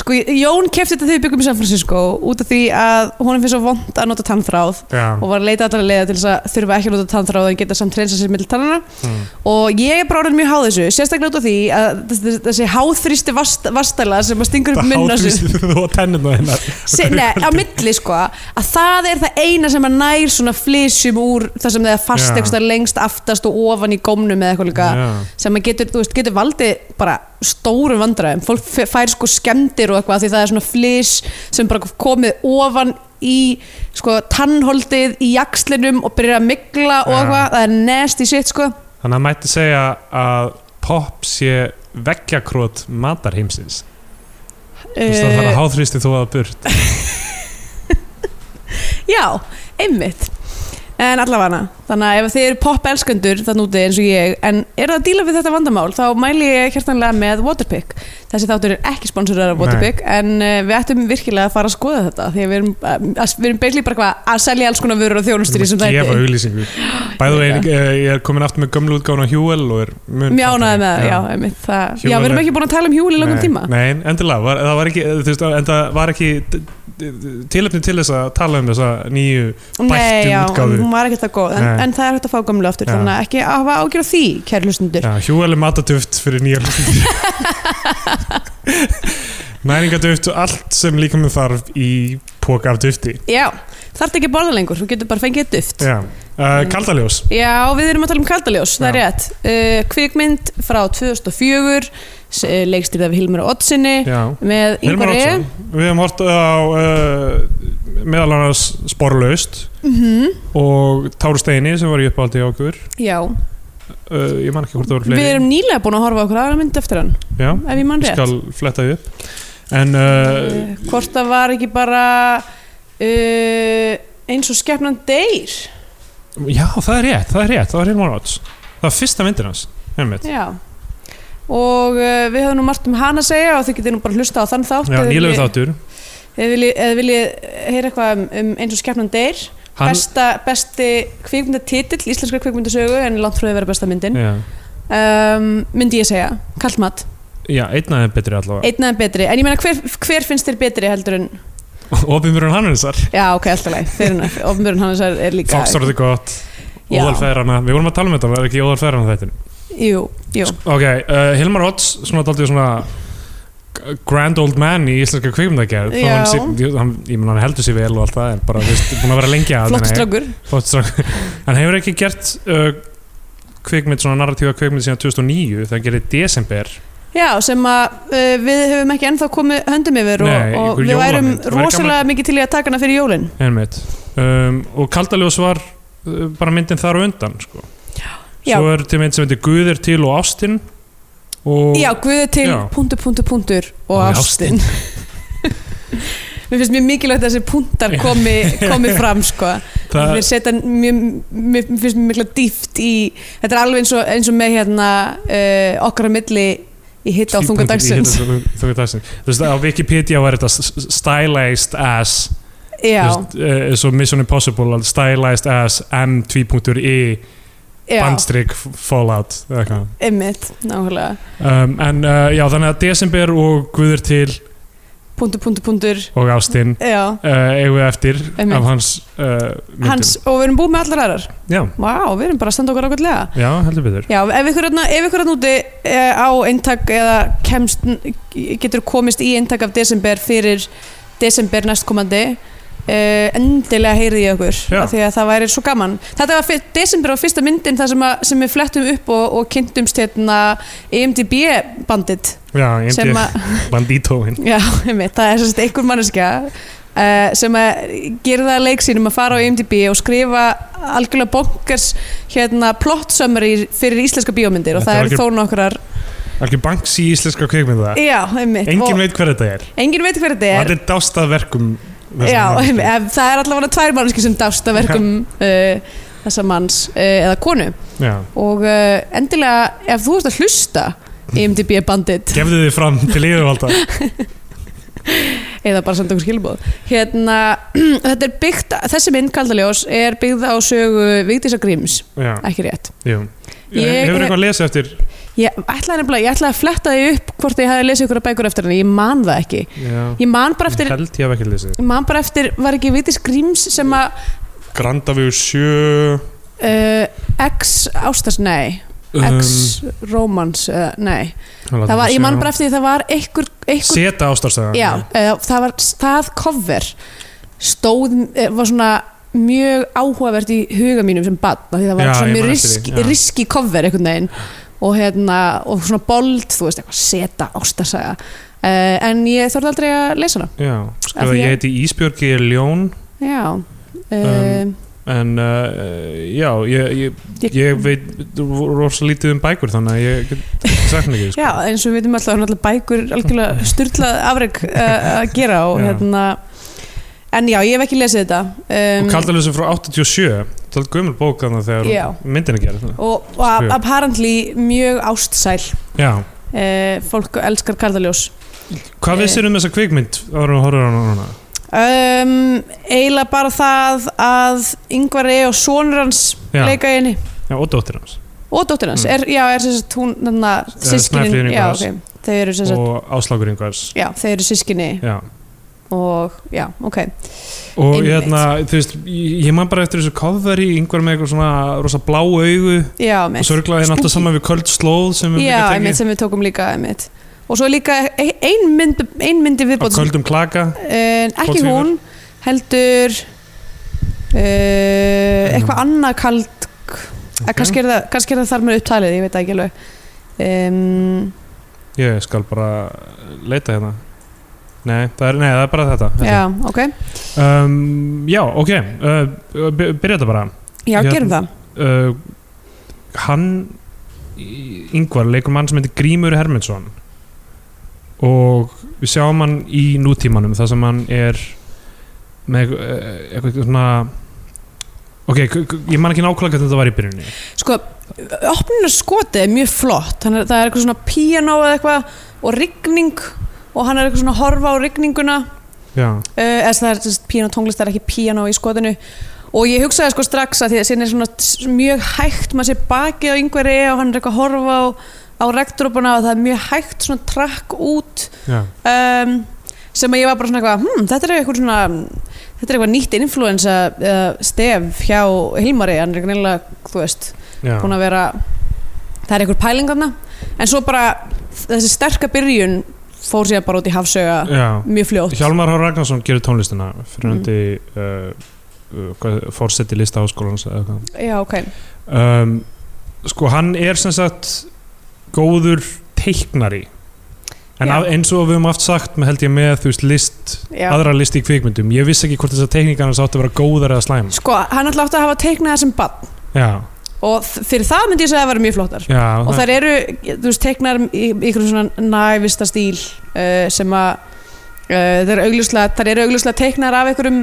[SPEAKER 4] sko, Jón kefti þetta þegar við byggum í San Francisco út af því að honum finnst svo vond að nota tannþráð
[SPEAKER 3] Já,
[SPEAKER 4] og var að leita allra leiða til þess að þurfa ekki að nota tannþráð en geta samt reynsa sér millir tannana
[SPEAKER 3] mm,
[SPEAKER 4] og ég er bara orðin mjög háð þessu, sérstaklega út af því að þessi, þessi háþrýsti vast, vastæla sem að stingur upp
[SPEAKER 3] það
[SPEAKER 4] munna sér
[SPEAKER 3] hátrýstu þú og tenninu hennar
[SPEAKER 4] Se, nei, á milli sko að það er það eina sem að nær svona flysjum úr það sem það er fast
[SPEAKER 3] Já.
[SPEAKER 4] yeah. lengst aftast og ofan í gómnum eða eitthvað líka
[SPEAKER 3] Já,
[SPEAKER 4] sem að getur, þú veist, getur valdið bara stórum vandræðum, fólk f- fær sko skemmdir og eitthvað af því það er svona flys sem bara komið ofan í sko tannholdið í jakslinum og byrjar að migla og
[SPEAKER 3] Já.
[SPEAKER 4] eitthvað, það er nasty shit sko
[SPEAKER 3] Þannig að mætti segja að pop sé veggjakrót matarheimsins Þú veist að það er
[SPEAKER 4] Eh,
[SPEAKER 3] háþrýstu þú að burt
[SPEAKER 4] Já, einmitt En allavega þannig að ef þið eru poppelskendur þannig úti eins og ég, en eru það að díla við þetta vandamál, þá mæli ég hjertanlega með Waterpick. Þessi þáttur er ekki sponsorar af
[SPEAKER 3] Nei.
[SPEAKER 4] Waterpick, en eh, við ættum virkilega að fara að skoða þetta, því að við erum, eh, að, við erum beigli bara hvað, að selja alls konar vörur og þjónustur í þessum
[SPEAKER 3] Gefa
[SPEAKER 4] þætti.
[SPEAKER 3] auglýsingu Bæðu
[SPEAKER 4] ég
[SPEAKER 3] veginn, eh, ég er komin aftur með gömlu útgána Hjúel og er mun
[SPEAKER 4] Mjánaði með það, já, einmitt. Það, já,
[SPEAKER 3] Hjúvel
[SPEAKER 4] við erum
[SPEAKER 3] er-
[SPEAKER 4] ekki búin að tala um hjúli í langan
[SPEAKER 3] Nei,
[SPEAKER 4] tíma.
[SPEAKER 3] Nei, endilega, var, það var ekki, þú veist, en það var ekki d- d- tilefni til þess að tala um þessa nýju bættu
[SPEAKER 4] já,
[SPEAKER 3] útgáfu.
[SPEAKER 4] hún var ekki það góð, en,
[SPEAKER 3] Nei.
[SPEAKER 4] en það er hægt að fá gömlu aftur,
[SPEAKER 3] Já.
[SPEAKER 4] þannig að ekki að hafa ágjör á því, kæri hlustundur.
[SPEAKER 3] Já, hjúveli mataduft fyrir nýja hlutir Næringaduft og allt sem líka með þarf í póka af dufti
[SPEAKER 4] Já, þarf ekki að borða lengur, þú getur bara fengið duft.
[SPEAKER 3] Já, uh, kaldaljós
[SPEAKER 4] Já, við erum að tala um kaldaljós, það er
[SPEAKER 3] Já.
[SPEAKER 4] rétt. Uh, kvikmynd frá 2004, s- eh, leikstýrð af Hilmar Oddsinni
[SPEAKER 3] Já,
[SPEAKER 4] með
[SPEAKER 3] Hilmar
[SPEAKER 4] Ingvar E.
[SPEAKER 3] Oddsson Við hefum hort á uh, meðal annars sporlaust
[SPEAKER 4] Mhm.
[SPEAKER 3] og Társteini sem var í uppáldi á okkur
[SPEAKER 4] Já,
[SPEAKER 3] uh, ég man ekki hvort það voru
[SPEAKER 4] Við
[SPEAKER 3] fleiri
[SPEAKER 4] erum nýlega búin að horfa á okkur aðra mynd eftir hann
[SPEAKER 3] já,
[SPEAKER 4] ef ég mann
[SPEAKER 3] ég
[SPEAKER 4] rétt
[SPEAKER 3] skal fletta því upp en uh,
[SPEAKER 4] uh, Hvort það var ekki bara uh, eins og skefnan deyr
[SPEAKER 3] já, það er rétt, það er rétt, það var Hilmar Odds það var fyrsta myndin hans, einmitt
[SPEAKER 4] Já Og uh, við höfum nú margt um hana að segja og þið getið nú bara hlusta á þann þátt
[SPEAKER 3] já,
[SPEAKER 4] ef þið
[SPEAKER 3] nýlegu
[SPEAKER 4] viljið-
[SPEAKER 3] þáttur
[SPEAKER 4] Ef þið viljið- ef þið viljið heyra eitthvað um, um eins og skefnan deyr
[SPEAKER 3] hann,
[SPEAKER 4] besta, Besti kvikmyndatitill íslenskra kvikmyndasögu en langt frá því að vera besta myndin
[SPEAKER 3] já,
[SPEAKER 4] um, myndi ég segja, kallmatt
[SPEAKER 3] já, einn aðeins betri allavega
[SPEAKER 4] einn aðeins betri, en ég meina hver, hver finnst þér betri heldur en
[SPEAKER 3] opinmjörun Hannesar,
[SPEAKER 4] Já, ok, alltaf leið, fyrir hana Ofnbjörn Hannesar er líka
[SPEAKER 3] Foxtorði gott
[SPEAKER 4] Já.
[SPEAKER 3] Óðalfeðrana, við vorum að tala um þetta, var ekki Óðalfeðrana þetta
[SPEAKER 4] Jú, jú,
[SPEAKER 3] Ok, uh, Hilmar Odds, svona daldið svona grand old man í íslenska kvikmyndagerð þó
[SPEAKER 4] Já.
[SPEAKER 3] hann, sé- jú, hann, ég menn hann heldur sér vel og allt það en bara, þú veist, búin að vera lengi að
[SPEAKER 4] flott strákur
[SPEAKER 3] flott strákur hann hefur ekki gert uh, kvikmynd, svona narratífa kvikmynd síðan 2009 þegar hann gerir desember
[SPEAKER 4] Já, sem að uh, við höfum ekki ennþá komið höndum yfir og,
[SPEAKER 3] Nei,
[SPEAKER 4] og
[SPEAKER 3] einhver
[SPEAKER 4] við værum
[SPEAKER 3] jólamynd. Það væri
[SPEAKER 4] rosalega mikið til í að taka hana fyrir jólin
[SPEAKER 3] einmitt um, og kaldaljós var uh, bara myndin þar á undan sko.
[SPEAKER 4] Já.
[SPEAKER 3] svo er til mynd sem heitir Guðir til og Ástin og
[SPEAKER 4] Já, guðið til
[SPEAKER 3] Já.
[SPEAKER 4] punktur, punktur, punktur og,
[SPEAKER 3] Og
[SPEAKER 4] ástin Mér finnst mjög mikilvægt að þessi punktar komi, komi fram sko.
[SPEAKER 3] það,
[SPEAKER 4] Þeir setja mjög, mér finnst mjög mikla dýft í Þetta er alveg eins og, eins og með hérna, uh, okkar að milli í hitta á þunga dagsins
[SPEAKER 3] þunga dagsins hérna þú veist á Wikipedia var þetta s- s- stylized as eh,
[SPEAKER 4] Já,
[SPEAKER 3] eins og Mission Impossible að stylized as m2.i
[SPEAKER 4] já,
[SPEAKER 3] bandstrik fallout eða eitthvað.
[SPEAKER 4] einmitt, nákvæmlega
[SPEAKER 3] um, en uh, já þannig að desember og Guður til
[SPEAKER 4] Puntur, puntur, puntur
[SPEAKER 3] og Ástin
[SPEAKER 4] Já,
[SPEAKER 3] uh, eigum við eftir
[SPEAKER 4] Einmitt.
[SPEAKER 3] af hans uh, myndum
[SPEAKER 4] hans, og við erum búið með allar aðrar
[SPEAKER 3] já,
[SPEAKER 4] Vá, við erum bara að standa okkur ákveðlega
[SPEAKER 3] já, heldur betur
[SPEAKER 4] Já, ef ykkur hérna- ef ykkur hérna úti eh, á eintak eða kemst, getur komist í eintak af desember fyrir desember næstkomandi Uh, endilega heyrið ég okkur
[SPEAKER 3] Já.
[SPEAKER 4] af því að það væri svo gaman þetta var fyr- desember á fyrsta myndin þar sem, að, sem við flettum upp og, og kynntumst hérna EMDB bandit
[SPEAKER 3] já, ég
[SPEAKER 4] sem
[SPEAKER 3] myndi
[SPEAKER 4] að
[SPEAKER 3] bandítóin
[SPEAKER 4] Já, einmitt, það er sérst einhver manneskja uh, sem að gera það að leik sínum að fara á E IMDb og skrifa algjörlega bonkers hérna, plot summary fyrir íslenska bíómyndir og
[SPEAKER 3] Þetta
[SPEAKER 4] það
[SPEAKER 3] er
[SPEAKER 4] eru þó nokkrar
[SPEAKER 3] algjör banks í íslenska kvikmynda
[SPEAKER 4] Já, einmitt
[SPEAKER 3] engin
[SPEAKER 4] og,
[SPEAKER 3] veit hver þetta er
[SPEAKER 4] engin veit hver
[SPEAKER 3] og
[SPEAKER 4] þetta
[SPEAKER 3] þetta
[SPEAKER 4] er
[SPEAKER 3] er dástað verkum þessara
[SPEAKER 4] Já,
[SPEAKER 3] manneskju.
[SPEAKER 4] einmitt, ef- það er allavega tvær manneskja sem dásta verkum uh, þessa manns uh, eða konu
[SPEAKER 3] já
[SPEAKER 4] og uh, endilega ef þú ert að hlusta E IMDb bandit
[SPEAKER 3] gefðu þið fram til yfirvalda
[SPEAKER 4] eða bara senda okkur skilbóð hérna, þetta er byggt, þessi mynd kaldaljós er byggð á sögu Vigdísa Gríms,
[SPEAKER 3] já,
[SPEAKER 4] ekki rétt
[SPEAKER 3] jú
[SPEAKER 4] Ég-
[SPEAKER 3] hefur eitthvað að lesa eftir
[SPEAKER 4] ég ætlaði nefnilega, ég ætlaði að fletta því upp hvort ég hafi lesið ykkur að bækur eftir hann, ég man það ekki
[SPEAKER 3] já,
[SPEAKER 4] ég man bara eftir,
[SPEAKER 3] held ég hef ekki lesið
[SPEAKER 4] ég man bara eftir var ekki Vigdís Gríms sem að
[SPEAKER 3] Grandavíu 7
[SPEAKER 4] uh, ex ástas, nei
[SPEAKER 3] Um,
[SPEAKER 4] ex romans, uh, nei það var, ég man bara eftir því það var einhver, einhver
[SPEAKER 3] seta ástarstöðan
[SPEAKER 4] Já, uh, það var það cover stóð, eh, var svona mjög áhugavert í huga mínum sem badn, því það var
[SPEAKER 3] Já,
[SPEAKER 4] svona
[SPEAKER 3] ég
[SPEAKER 4] mjög
[SPEAKER 3] man eftir
[SPEAKER 4] riski,
[SPEAKER 3] því, já.
[SPEAKER 4] riski cover einhvern veginn og hérna, og svona bold þú veist, eitthvað seta ástarsaga uh, en ég þorði aldrei að lesa hana
[SPEAKER 3] já
[SPEAKER 4] Af
[SPEAKER 3] skrifa
[SPEAKER 4] því að-
[SPEAKER 3] ég heiti Ísbjörg ég er ljón
[SPEAKER 4] Já uh,
[SPEAKER 3] Um, en uh, já ég, ég,
[SPEAKER 4] ég,
[SPEAKER 3] ég veit rosa lítið um bækur þannig að ég get sagt mikið sko.
[SPEAKER 4] Já, eins og við veitum alltaf, hann alltaf bækur algjörlega styrlað afreg uh, að gera og
[SPEAKER 3] Já.
[SPEAKER 4] hérna en já, ég hef ekki lesið þetta um,
[SPEAKER 3] og Kaldalösa frá 87 það er gömul bók þannig þegar
[SPEAKER 4] Já.
[SPEAKER 3] myndin er gerð
[SPEAKER 4] og, og
[SPEAKER 3] Skrifa.
[SPEAKER 4] apparently mjög ástsæl
[SPEAKER 3] já
[SPEAKER 4] uh, fólk elskar kardaljós
[SPEAKER 3] hvað
[SPEAKER 4] Eh.
[SPEAKER 3] vissir um þessa kvikmynd árum að horfa á hana núna?
[SPEAKER 4] um, eiginlega bara það að Ingvar E. og sonur hans
[SPEAKER 3] Já.
[SPEAKER 4] leika í henni
[SPEAKER 3] já og dóttir hans
[SPEAKER 4] og dóttir hans,
[SPEAKER 3] Mm.
[SPEAKER 4] er, já, er sem sagt hún þarna,
[SPEAKER 3] Snæfríður
[SPEAKER 4] sískinin já,
[SPEAKER 3] Ingvars.
[SPEAKER 4] okay. þau eru sem sagt
[SPEAKER 3] og Áslákur Ingvars
[SPEAKER 4] Já, þau eru sískinni
[SPEAKER 3] já
[SPEAKER 4] og já, ok.
[SPEAKER 3] og
[SPEAKER 4] Einmitt.
[SPEAKER 3] hérna þú veist ég, ég man bara eftir þessu cover í Ingvar með eitthvað svona rosa blá augu
[SPEAKER 4] Já,
[SPEAKER 3] og
[SPEAKER 4] einmitt.
[SPEAKER 3] sorglaði hérna alltaf
[SPEAKER 4] Spooky.
[SPEAKER 3] saman við köld slóð sem við
[SPEAKER 4] Já,
[SPEAKER 3] líka
[SPEAKER 4] einmitt,
[SPEAKER 3] tekið
[SPEAKER 4] sem við tókum líka, einmitt. Og svo líka e- ein, mynd, ein myndi
[SPEAKER 3] á
[SPEAKER 4] viðbótt,
[SPEAKER 3] köldum klaka
[SPEAKER 4] en ekki
[SPEAKER 3] Goldfever.
[SPEAKER 4] hún, heldur uh, eitthvað annað kald okay. kannski, er það, kannski er það þar með upptalið, ég veit það ekki alveg um,
[SPEAKER 3] ég skal bara leita hérna nei það er, nei, það er bara þetta held
[SPEAKER 4] Já,
[SPEAKER 3] ég.
[SPEAKER 4] ok,
[SPEAKER 3] um, já ok uh, by- byrja þetta bara
[SPEAKER 4] já,
[SPEAKER 3] Hérna.
[SPEAKER 4] gerum það
[SPEAKER 3] uh, hann yngvar leikur mann sem heitir Grímur Hermundsson og við sjáum hann í nútímanum þar sem hann er með eh, eitthvað svona ok, k- k- ég man ekki nákvæmlega hvernig þetta var í byrjunni
[SPEAKER 4] sko, opninu skoti er mjög flott þannig að það er eitthvað svona piano eða eitthvað og rigning og hann er eitthvað svona að horfa á rigninguna
[SPEAKER 3] já,
[SPEAKER 4] uh, eða það er þess, piano tónglist, það er ekki piano í skotinu og ég hugsaði sko strax að því að síðan er svona s- mjög hægt maður sé baki á yngveri og hann er eitthvað að horfa á, á regndrópana og það er mjög hægt svona trakk út
[SPEAKER 3] já,
[SPEAKER 4] um, sem að ég var bara svona eitthvað hm, þetta er eitthvað svona þetta er eitthvað nýtt influensa uh, stef hjá Hilmari, hann er greinilega, þú veist
[SPEAKER 3] já.
[SPEAKER 4] búin að vera það er einhver pæling þarna en svo bara þessi sterka byrjun fór síðan bara út í hafsöga
[SPEAKER 3] já.
[SPEAKER 4] mjög fljótt
[SPEAKER 3] Hjálmar Hár Ragnarsson gerir tónlistina fyrir hundi
[SPEAKER 4] Mhm.
[SPEAKER 3] uh, fórseti lista háskólans eða eitthvað
[SPEAKER 4] já ok
[SPEAKER 3] um, sko hann er sem sagt góður teiknari en
[SPEAKER 4] Já.
[SPEAKER 3] af, eins og við höfum aft sagt með held ég með þú veist list
[SPEAKER 4] já.
[SPEAKER 3] aðra list í kvikmyndum, ég vissi ekki hvort þessar teikningar hans áttu að vera góðar eða slæm
[SPEAKER 4] sko hann alltaf átti að hafa teiknað þessum bann
[SPEAKER 3] já,
[SPEAKER 4] og þ- fyrir það myndi ég segja að það vera mjög flottar
[SPEAKER 3] já,
[SPEAKER 4] og þær eru, þú veist, teiknar í í einhverjum svona nævista stíl uh, sem að uh, þær eru augljóslega, þær eru augljóslega teiknar af einhverjum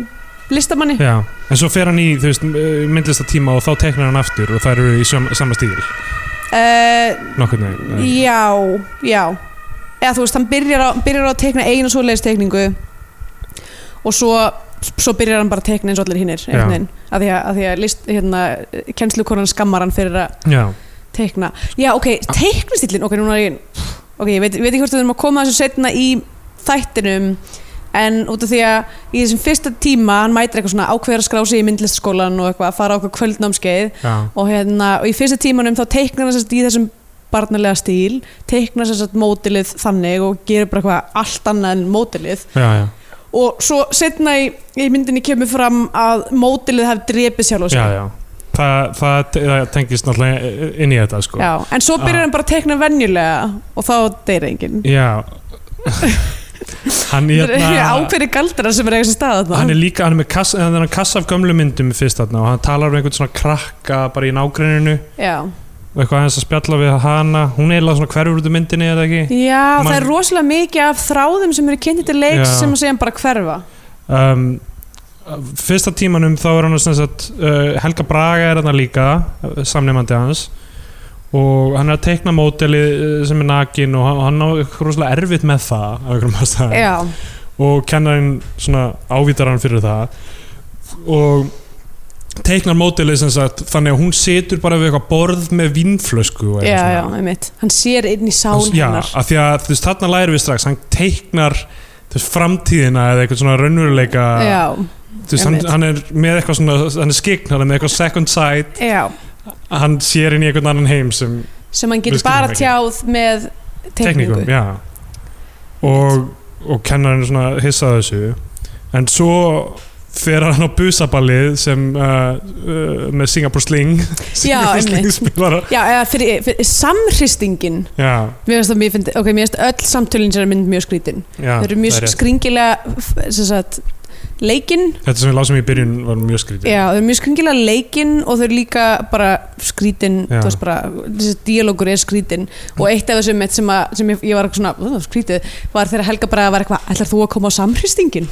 [SPEAKER 4] listamanni
[SPEAKER 3] já, en svo fer hann í þú veist, myndlista tíma og þá teiknar hann aftur og þær eru í sama, sama stíl
[SPEAKER 4] uh,
[SPEAKER 3] nokkurn veginn eh,
[SPEAKER 4] já, já eða þú veist, hann byrjar á, byrjar á að teikna einu svoleiðis teikningu og svo, svo byrjar hann bara að teikna eins og allir hinnir
[SPEAKER 3] Já.
[SPEAKER 4] einhvern veginn, af því að, að, því að list, hérna, kennslukonan skammar hann fyrir að
[SPEAKER 3] já,
[SPEAKER 4] teikna, já ok, teiknistillin ok, núna er ég ok, ég veit, veit ekki hvort við erum að koma þessu setna í þættinum en út af því að í þessum fyrsta tíma hann mætir eitthvað svona ákveður að skrá sig í myndlistaskólan og eitthvað að fara á eitthvað kvöldnámskeið
[SPEAKER 3] já,
[SPEAKER 4] og, hérna, og í fyrsta tímanum þá teiknar hann sérst í þessum barnalega stíl teiknar sérst mótilið þannig og gerir bara eitthvað allt annað en mótilið
[SPEAKER 3] já, já,
[SPEAKER 4] og svo setna í, í myndinni kemur fram að mótilið hafi drepið sjálf og
[SPEAKER 3] já,
[SPEAKER 4] sér
[SPEAKER 3] já. Þa, það, það tengist náttúrulega inn í þetta sko.
[SPEAKER 4] Já, en svo byrjar
[SPEAKER 3] Ah.
[SPEAKER 4] hann bara að teikna venjulega og þá deyr enginn
[SPEAKER 3] já. hann
[SPEAKER 4] Þetta er
[SPEAKER 3] hérna
[SPEAKER 4] ákveðri galdra sem er eiginlega stað þarna.
[SPEAKER 3] hann er líka, hann er með kassa, hann er með kassa af gömlu myndum fyrst þarna og hann talar um einhvern svona krakka bara í nágrenninu
[SPEAKER 4] Já,
[SPEAKER 3] og eitthvað aðeins að spjalla við hana hún er eiginlega svona hverfur út af myndinni eða ekki
[SPEAKER 4] já það
[SPEAKER 3] Man-
[SPEAKER 4] er rosalega mikið af þráðum sem eru kynnti til leiks
[SPEAKER 3] Já.
[SPEAKER 4] sem að segja bara hverfa
[SPEAKER 3] um, fyrsta tímanum þá er hann sem sagt, uh, Helga Braga er hann líka uh, samnefandi hans og hann er að teikna móteli sem er nakin og hann- hann á eitthvað rosalega erfitt með það af einhverjum ástæðum.
[SPEAKER 4] Já,
[SPEAKER 3] og kennarinn svona ávítar hann fyrir það og teiknar mótilið sem sagt þannig að hún situr bara við eitthvað borð með vinnflösku og
[SPEAKER 4] já,
[SPEAKER 3] eitthvað
[SPEAKER 4] já, einmitt Hann sér inn í sál
[SPEAKER 3] já,
[SPEAKER 4] hennar
[SPEAKER 3] af því að þú veist þarna lærum við strax hann teiknar þú veist, framtíðina eða eitthvað svona raunveruleika
[SPEAKER 4] Já,
[SPEAKER 3] þú veist, hann,
[SPEAKER 4] einmitt.
[SPEAKER 3] hann er með eitthvað svona hann er skikn, hann er með eitthvað second sight
[SPEAKER 4] já
[SPEAKER 3] hann sér inn í einhvern annan heim sem
[SPEAKER 4] sem hann
[SPEAKER 3] Við
[SPEAKER 4] getur
[SPEAKER 3] skiljum
[SPEAKER 4] bara
[SPEAKER 3] ekki.
[SPEAKER 4] tjáð með tekningu
[SPEAKER 3] teknikum já. og, og kennarinn svona hissaði þessu en svo fer hann á busaballið sem uh, uh, með Singapore Sling Singapore Sling
[SPEAKER 4] einmitt.
[SPEAKER 3] spilara
[SPEAKER 4] Já, eða fyrir, fyrir samhristingin
[SPEAKER 3] já,
[SPEAKER 4] mér finnst það mjög fyndið, ok, mér finnst öll samtölin sem er mynd mjög skrítin
[SPEAKER 3] já,
[SPEAKER 4] þau eru mjög
[SPEAKER 3] það er rétt.
[SPEAKER 4] skringilega f- sem sagt, leikin
[SPEAKER 3] þetta sem við lásum í byrjun var mjög skrítið
[SPEAKER 4] Já, þau eru mjög skringilega leikin og þau eru líka bara skrítin
[SPEAKER 3] Já.
[SPEAKER 4] þú veist bara, þessi dialogur er skrítin og eitt af þessum eitt sem, að, sem ég, ég var eitthvað svona, "Ú, það var skrítið, var þegar Helga bara var eitthvað, ætlar þú að koma á samhristingin?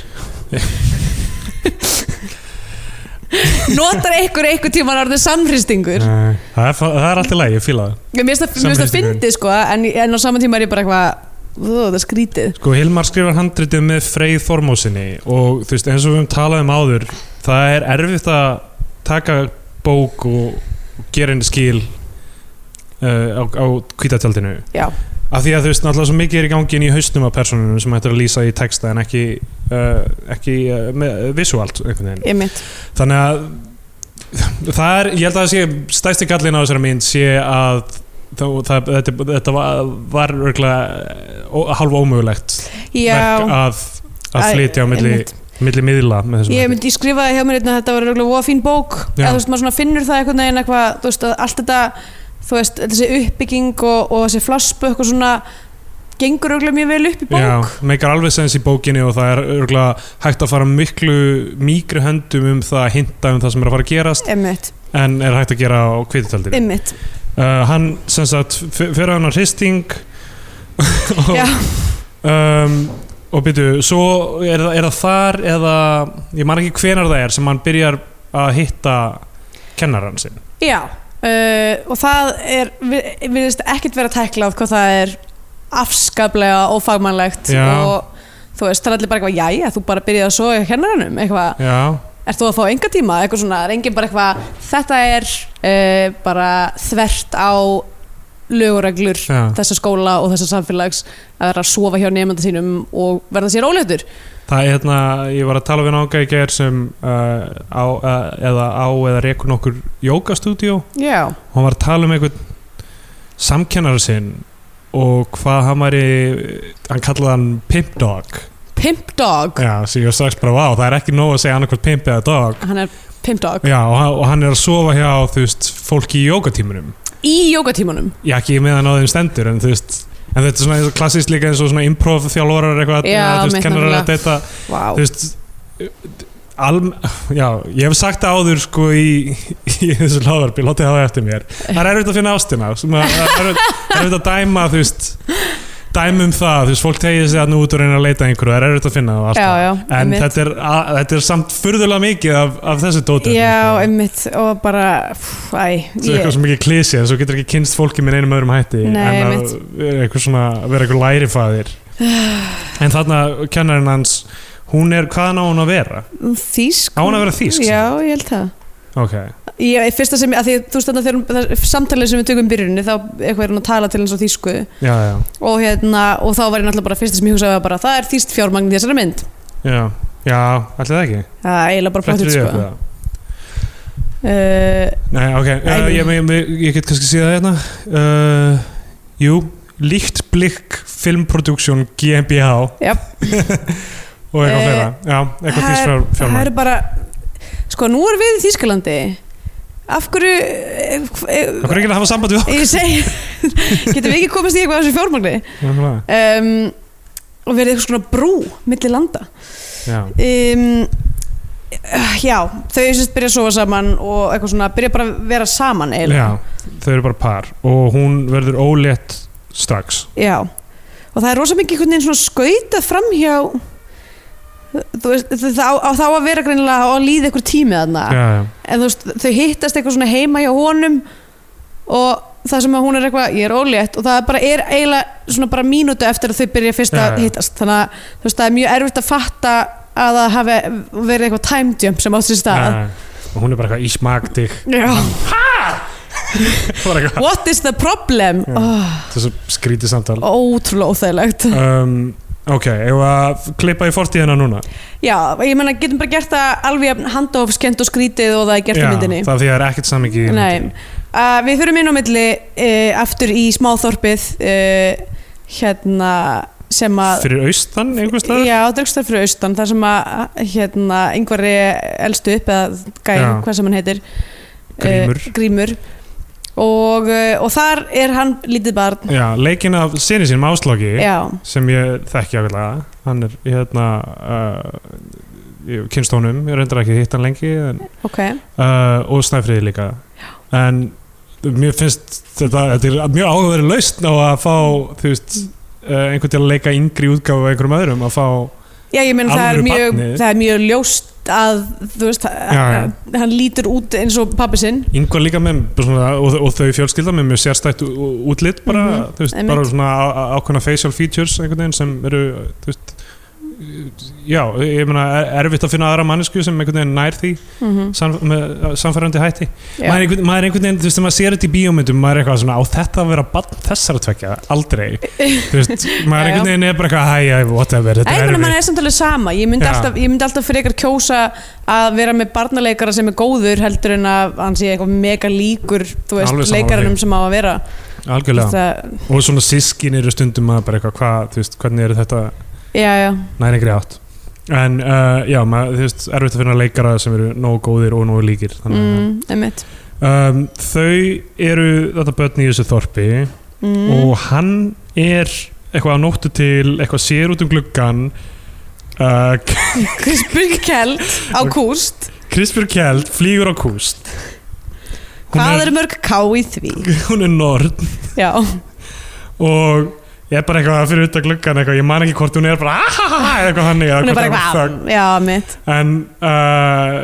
[SPEAKER 4] Notar einhver einhver tíma orðið samhristingur?
[SPEAKER 3] Nei, Eh, það er, fa- það er alltaf læg, ég fíla það
[SPEAKER 4] Ég mér finnst það- mér finnst það
[SPEAKER 3] Samhristingurinn.
[SPEAKER 4] fyndið sko en, en á saman tíma er ég bara eitthvað "Ú, Það er skrítið
[SPEAKER 3] Sko, Hilmar skrifar handritið með Freyð Þormósinni og þú veist, eins og við höfum talað um áður það er erfitt að taka bók og og gera henni skil uh, á, á kvítatjaldinu
[SPEAKER 4] Já,
[SPEAKER 3] af því að þú veist, náttúrulega svo mikið er í gangi inn í haustum af personunum sem hættur að lýsa í texta en ekki, uh, ekki uh, með, visuált einhvern veginn
[SPEAKER 4] ég mitt
[SPEAKER 3] þannig að það er, ég held að það sé stæsti gallin á þessari mynd sé að það, það, þetta, þetta var, var örgulega hálf ómögulegt
[SPEAKER 4] Já,
[SPEAKER 3] verk að, að
[SPEAKER 4] Æ,
[SPEAKER 3] flytja á milli,
[SPEAKER 4] einmitt.
[SPEAKER 3] milli miðla með þessum
[SPEAKER 4] Ég,
[SPEAKER 3] hætti.
[SPEAKER 4] mynd, ég skrifaði hjá mér einna að þetta var röglega voða fín bók
[SPEAKER 3] Já.
[SPEAKER 4] eða þú veist maður svona finnur það einhvern veginn eitthvað þú veist að allt þetta þú veist þessi uppbygging og, og þessi flashback og svona gengur röglega mjög vel upp í bók
[SPEAKER 3] Já, meikar alveg sens í bókinni og það er örgulega hægt að fara miklu mýkri höndum um það að hinta um það sem er að fara að gerast
[SPEAKER 4] Einmitt,
[SPEAKER 3] en er hægt að gera á kviðutöldinu
[SPEAKER 4] einmitt
[SPEAKER 3] uh, hann sem sagt f- fer á hann á hristing og,
[SPEAKER 4] Já.
[SPEAKER 3] um, og byrju svo er, það- er það þar eða ég man ekki hvenar það er sem hann byrjar að hitta kennaran sinn
[SPEAKER 4] Já, uh, og það er við virðist ekkert vera tæklað hvað það er afskaplega ófagmannlegt
[SPEAKER 3] Já.
[SPEAKER 4] og þú veist, það er allir bara eitthvað jæja, þú bara byrjaði að soga hjá kennaranum eitthvað,
[SPEAKER 3] já,
[SPEAKER 4] ert þú að fá enga tíma eitthvað svona, er engin bara eitthvað þetta er uh, bara þvert á lögureglur
[SPEAKER 3] já.
[SPEAKER 4] þessa skóla og þessa samfélags að vera að sofa hjá nefnda sínum og verða sér óléttur
[SPEAKER 3] það er hérna, ég var að tala við nága í ger sem uh, á, uh, eða á eða rekur nokkur jókastúdíó
[SPEAKER 4] Já,
[SPEAKER 3] og hann var að tala um einhvern samkennara sinn og hvað hann væri hann kallaði hann pimp dog
[SPEAKER 4] pimp dog
[SPEAKER 3] já, sem ég var strax bara, vá, það er ekki nóg að segja annarkvæmt pimp eða dog
[SPEAKER 4] hann er pimp dog
[SPEAKER 3] já, og, hann- og hann er að sofa hjá, þú veist, fólki í jókatímunum
[SPEAKER 4] í jókatímanum
[SPEAKER 3] já, ekki meðan á þeim stendur, en þú veist en þetta er svona klassist líka eins og svona improv þjálfórar eitthvað,
[SPEAKER 4] Já,
[SPEAKER 3] eða, þú
[SPEAKER 4] mitt
[SPEAKER 3] veist, kennarar
[SPEAKER 4] nefnilega.
[SPEAKER 3] að deyta
[SPEAKER 4] Vá,
[SPEAKER 3] þú veist alm, já, ég hef sagt það áður sko í, í þessu láðarbi látið það á eftir mér, það er erfitt að finna ástina sem að- það er erfitt- það er erfitt að dæma þú veist, dæmum það þú veist, fólk tegir sig þarna út og reyna að leita að einhverju það er erfitt að finna það
[SPEAKER 4] já,
[SPEAKER 3] alltaf
[SPEAKER 4] já,
[SPEAKER 3] en
[SPEAKER 4] einmitt.
[SPEAKER 3] þetta er, að, þetta er samt furðulega mikið af, af þessu dótið
[SPEAKER 4] Já,
[SPEAKER 3] sko.
[SPEAKER 4] einmitt og bara, pff, æ
[SPEAKER 3] Þetta er
[SPEAKER 4] ég,
[SPEAKER 3] eitthvað sem ekki klísi en svo getur ekki kynst fólki með einum öðrum hætti
[SPEAKER 4] Nei,
[SPEAKER 3] en að vera eitthvað svona, vera eitthvað lærifaðir en þarna kennarinn hans hún er, hvaðan á hún að vera?
[SPEAKER 4] Þýsk
[SPEAKER 3] Á hún að vera þýsk?
[SPEAKER 4] Já, ég held það
[SPEAKER 3] Ok,
[SPEAKER 4] Ég, fyrsta sem, að því þú stannar þegar hún- það- samtalið sem við tökum í byrjunni þá eitthvað er hann að tala til eins og þýsku
[SPEAKER 3] já, já,
[SPEAKER 4] og, hérna, og þá var ég náttúrulega bara fyrsta sem ég hugsaði var bara, það er þýst fjármagn í þessari mynd
[SPEAKER 3] já, já, allir það ekki?
[SPEAKER 4] Það er eiginlega bara
[SPEAKER 3] Flettir
[SPEAKER 4] plottir
[SPEAKER 3] þið
[SPEAKER 4] sko.
[SPEAKER 3] það?
[SPEAKER 4] uh,
[SPEAKER 3] Nei, ok, uh, ég,
[SPEAKER 4] Æ,
[SPEAKER 3] ég, ég, ég get kannski síða það hérna. Uh, jú, Líkt Blikk Filmproduction GmbH
[SPEAKER 4] Já.
[SPEAKER 3] Og eitthvað
[SPEAKER 4] Eh,
[SPEAKER 3] fleira, já, eitthvað
[SPEAKER 4] það
[SPEAKER 3] þýst
[SPEAKER 4] er-
[SPEAKER 3] frá
[SPEAKER 4] Það
[SPEAKER 3] fjármæg
[SPEAKER 4] er bara Sko, nú erum við í Þýskalandi Af hverju eh, hv- eh,
[SPEAKER 3] Það er ekki að hafa samband við
[SPEAKER 4] Ég segi Getum við ekki komast í eitthvað af þessu fjármagni
[SPEAKER 3] okkur
[SPEAKER 4] um, Og verið eitthvað svona brú Milli landa
[SPEAKER 3] Já,
[SPEAKER 4] um, eh, Já, þau sérst byrja að sofa saman Og eitthvað svona, byrja bara að vera saman
[SPEAKER 3] já,
[SPEAKER 4] eiginlega.
[SPEAKER 3] þau eru bara par Og hún verður ólétt strax
[SPEAKER 4] Já Og það er rosa mikið einhvern veginn svona skautað framhjá Þú veist, það á, á- þá að vera greinilega á að líða eitthvað tími þarna
[SPEAKER 3] Já, já,
[SPEAKER 4] en þú veist, þau hittast eitthvað svona heima hjá honum og það sem að hún er eitthvað, ég er ólétt og það bara er eiginlega svona bara mínútu eftir að þau byrja fyrst
[SPEAKER 3] Já,
[SPEAKER 4] að
[SPEAKER 3] já.
[SPEAKER 4] hittast þannig að þú veist, það er mjög erfitt að fatta að það hafi verið eitthvað time jump sem átt sér
[SPEAKER 3] já,
[SPEAKER 4] stað
[SPEAKER 3] já. Eh, Og hún er bara eitthvað í smaktig
[SPEAKER 4] Já.
[SPEAKER 3] Það er eitthvað
[SPEAKER 4] What is the problem?
[SPEAKER 3] Já.
[SPEAKER 4] Oh,
[SPEAKER 3] Þessu skrítið samtal
[SPEAKER 4] ótrúlega óþægilegt
[SPEAKER 3] um, Ok, eigum við að klippa í fortíðina núna
[SPEAKER 4] Já, ég meina, getum bara gert það alveg jafn handofskend og skrítið og það er gert í myndinni
[SPEAKER 3] það er því að það er ekkert samhengi í
[SPEAKER 4] Nei, uh, við þurfum inn á milli uh, aftur í smáþorpið uh, hérna sem að
[SPEAKER 3] Fyrir austan einhvers staðar?
[SPEAKER 4] Já, draugstar fyrir austan þar sem að hérna, yngvari elstu upp eða gæl,
[SPEAKER 3] Já.
[SPEAKER 4] hvað sem hann heitir
[SPEAKER 3] Grímur.
[SPEAKER 4] Eh, Grímur og, eh, og þar er hann lítið barn
[SPEAKER 3] Já, leikinn af sinni sínum ásláki
[SPEAKER 4] Já,
[SPEAKER 3] sem ég þekki ákveðlega hann er hérna uh, ég- kynnst honum, ég reyndar ekki hitt hann lengi en,
[SPEAKER 4] ok
[SPEAKER 3] uh, og Snæfriði líka en mér finnst þetta, þetta er mjög áhugaverið lausn á að fá þú veist Uh, einhvern til að leika yngri útgáfu af einhverjum öðrum að fá,
[SPEAKER 4] Já, ég meina það er
[SPEAKER 3] Alvöru
[SPEAKER 4] mjög
[SPEAKER 3] barnið.
[SPEAKER 4] það er mjög ljóst að þú veist,
[SPEAKER 3] já.
[SPEAKER 4] hann lítur út eins og pappi sinn
[SPEAKER 3] yngvar líka með bara svona, og, og þau fjölskylda með mjög sérstætt ú- ú- útlit bara,
[SPEAKER 4] Mhm,
[SPEAKER 3] þú veist,
[SPEAKER 4] einmitt.
[SPEAKER 3] bara svona á- á- ákveðna facial features einhvern veginn sem eru þú veist, já, ég meina er- erfitt að finna aðra mannesku sem einhvern veginn nær því
[SPEAKER 4] mm -hmm.
[SPEAKER 3] sam, með samfærandi hætti
[SPEAKER 4] Já,
[SPEAKER 3] maður er, einhvern, maður er einhvern veginn, þú veist, þegar maður sér þetta í bíómyndum maður er eitthvað svona á þetta að vera bann þessara tvekja, aldrei þú veist, maður er
[SPEAKER 4] Já, já.
[SPEAKER 3] einhvern veginn er bara eitthvað, hæ, hæ, whatever, þetta
[SPEAKER 4] Æ,
[SPEAKER 3] er
[SPEAKER 4] menn, mann
[SPEAKER 3] erfitt
[SPEAKER 4] er samt alveg sama ég myndi,
[SPEAKER 3] Já.
[SPEAKER 4] alltaf, ég myndi alltaf frekar kjósa að vera með barnaleikara sem er góður heldur en að hann sé eitthvað mega líkur þú
[SPEAKER 3] Alveg
[SPEAKER 4] veist,
[SPEAKER 3] sammála
[SPEAKER 4] leikaranum
[SPEAKER 3] því.
[SPEAKER 4] sem á að vera
[SPEAKER 3] algjörlega,
[SPEAKER 4] það,
[SPEAKER 3] og svona sískin eru stundum maður bara eitthvað, hvað, þú veist, hvernig eru þetta
[SPEAKER 4] já, já,
[SPEAKER 3] nærengri átt en uh, já, maður, þú veist, erfitt að finna leikara sem eru nógu góðir og nógu líkir þannig, að-
[SPEAKER 4] mm, einmitt
[SPEAKER 3] um, þau eru þetta börn í þessu þorpi
[SPEAKER 4] mm,
[SPEAKER 3] og hann er eitthvað á nóttu til, eitthvað sér út um gluggan uh,
[SPEAKER 4] Chris Burkeld á kúst
[SPEAKER 3] Krispur Kjeld flýgur á kúst Hún
[SPEAKER 4] Hvað
[SPEAKER 3] er-
[SPEAKER 4] eru mörg ká í því?
[SPEAKER 3] hún er nord
[SPEAKER 4] Já,
[SPEAKER 3] og ég er bara eitthvað fyrir utan gluggan eitthvað, ég man ekki hvort hún er bara ahahaha eða eitthvað hannig
[SPEAKER 4] hún er bara eitthvað Já, mitt
[SPEAKER 3] en uh,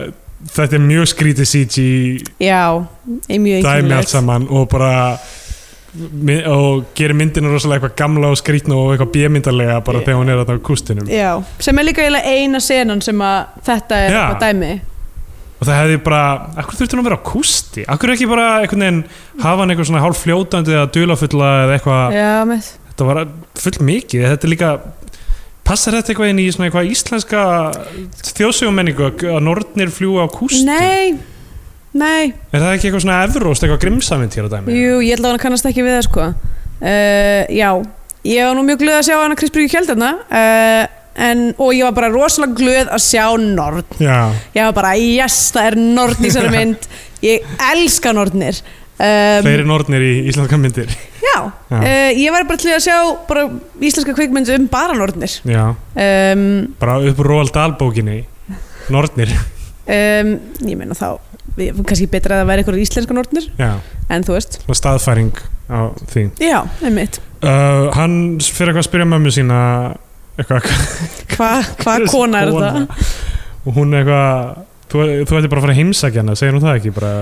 [SPEAKER 3] þetta er mjög skrítið CG
[SPEAKER 4] Já, ég er mjög
[SPEAKER 3] dæmi allt
[SPEAKER 4] einkennilegt.
[SPEAKER 3] saman og bara mi- og gerir myndina rosalega eitthvað gamla og skrítna og eitthvað bjömyndarlega bara
[SPEAKER 4] Já.
[SPEAKER 3] þegar hún er þetta á kústinum
[SPEAKER 4] Já, sem er líka eiginlega eina senan sem að þetta er
[SPEAKER 3] Já.
[SPEAKER 4] eitthvað dæmi
[SPEAKER 3] og það hefði bara, akkur þurfti hún að vera á kústi akkur ekki bara einhvern veginn hafa hann eitthvað svona hálf fljótandi eða dulafulla eða eitthvað,
[SPEAKER 4] Já, mitt
[SPEAKER 3] þetta var full mikið þetta er líka, passar þetta eitthvað inn í svona eitthvað íslenska þjóðsögumenningu að nornir fljúa á kústi
[SPEAKER 4] Nei, nei,
[SPEAKER 3] er það ekki eitthvað svona evróst, eitthvað grimsamint hér á dæmi
[SPEAKER 4] jú, ég held að hann kannast ekki við það sko uh, Já, ég var nú mjög glöð að sjá hann að Krisbyrgi kjöldarna uh, en, og ég var bara rosalega glöð að sjá Nord
[SPEAKER 3] Já,
[SPEAKER 4] Ég var bara, yes, það er Nord í þessari mynd Ég elska Nordnir um,
[SPEAKER 3] fleiri nornir í íslenska myndir
[SPEAKER 4] Já,
[SPEAKER 3] Já.
[SPEAKER 4] Uh, ég var bara til í að sjá bara íslenska kvikmynd um bara Nordnir
[SPEAKER 3] Já,
[SPEAKER 4] um,
[SPEAKER 3] bara upp Róald Dahlbókinni nornir,
[SPEAKER 4] um, ég meina þá ég- kannski betra að það væri eitthvað íslenska nortnir
[SPEAKER 3] já,
[SPEAKER 4] en þú veist,
[SPEAKER 3] svona staðfæring á því
[SPEAKER 4] já, einmitt
[SPEAKER 3] uh, Hann fyrir eitthvað að spyrja mömmu sína eitthvað
[SPEAKER 4] hvað hva kona er þetta?
[SPEAKER 3] og hún er eitthvað þú, þú ætti bara að fara að heimsækja hana, segir hún það ekki bara,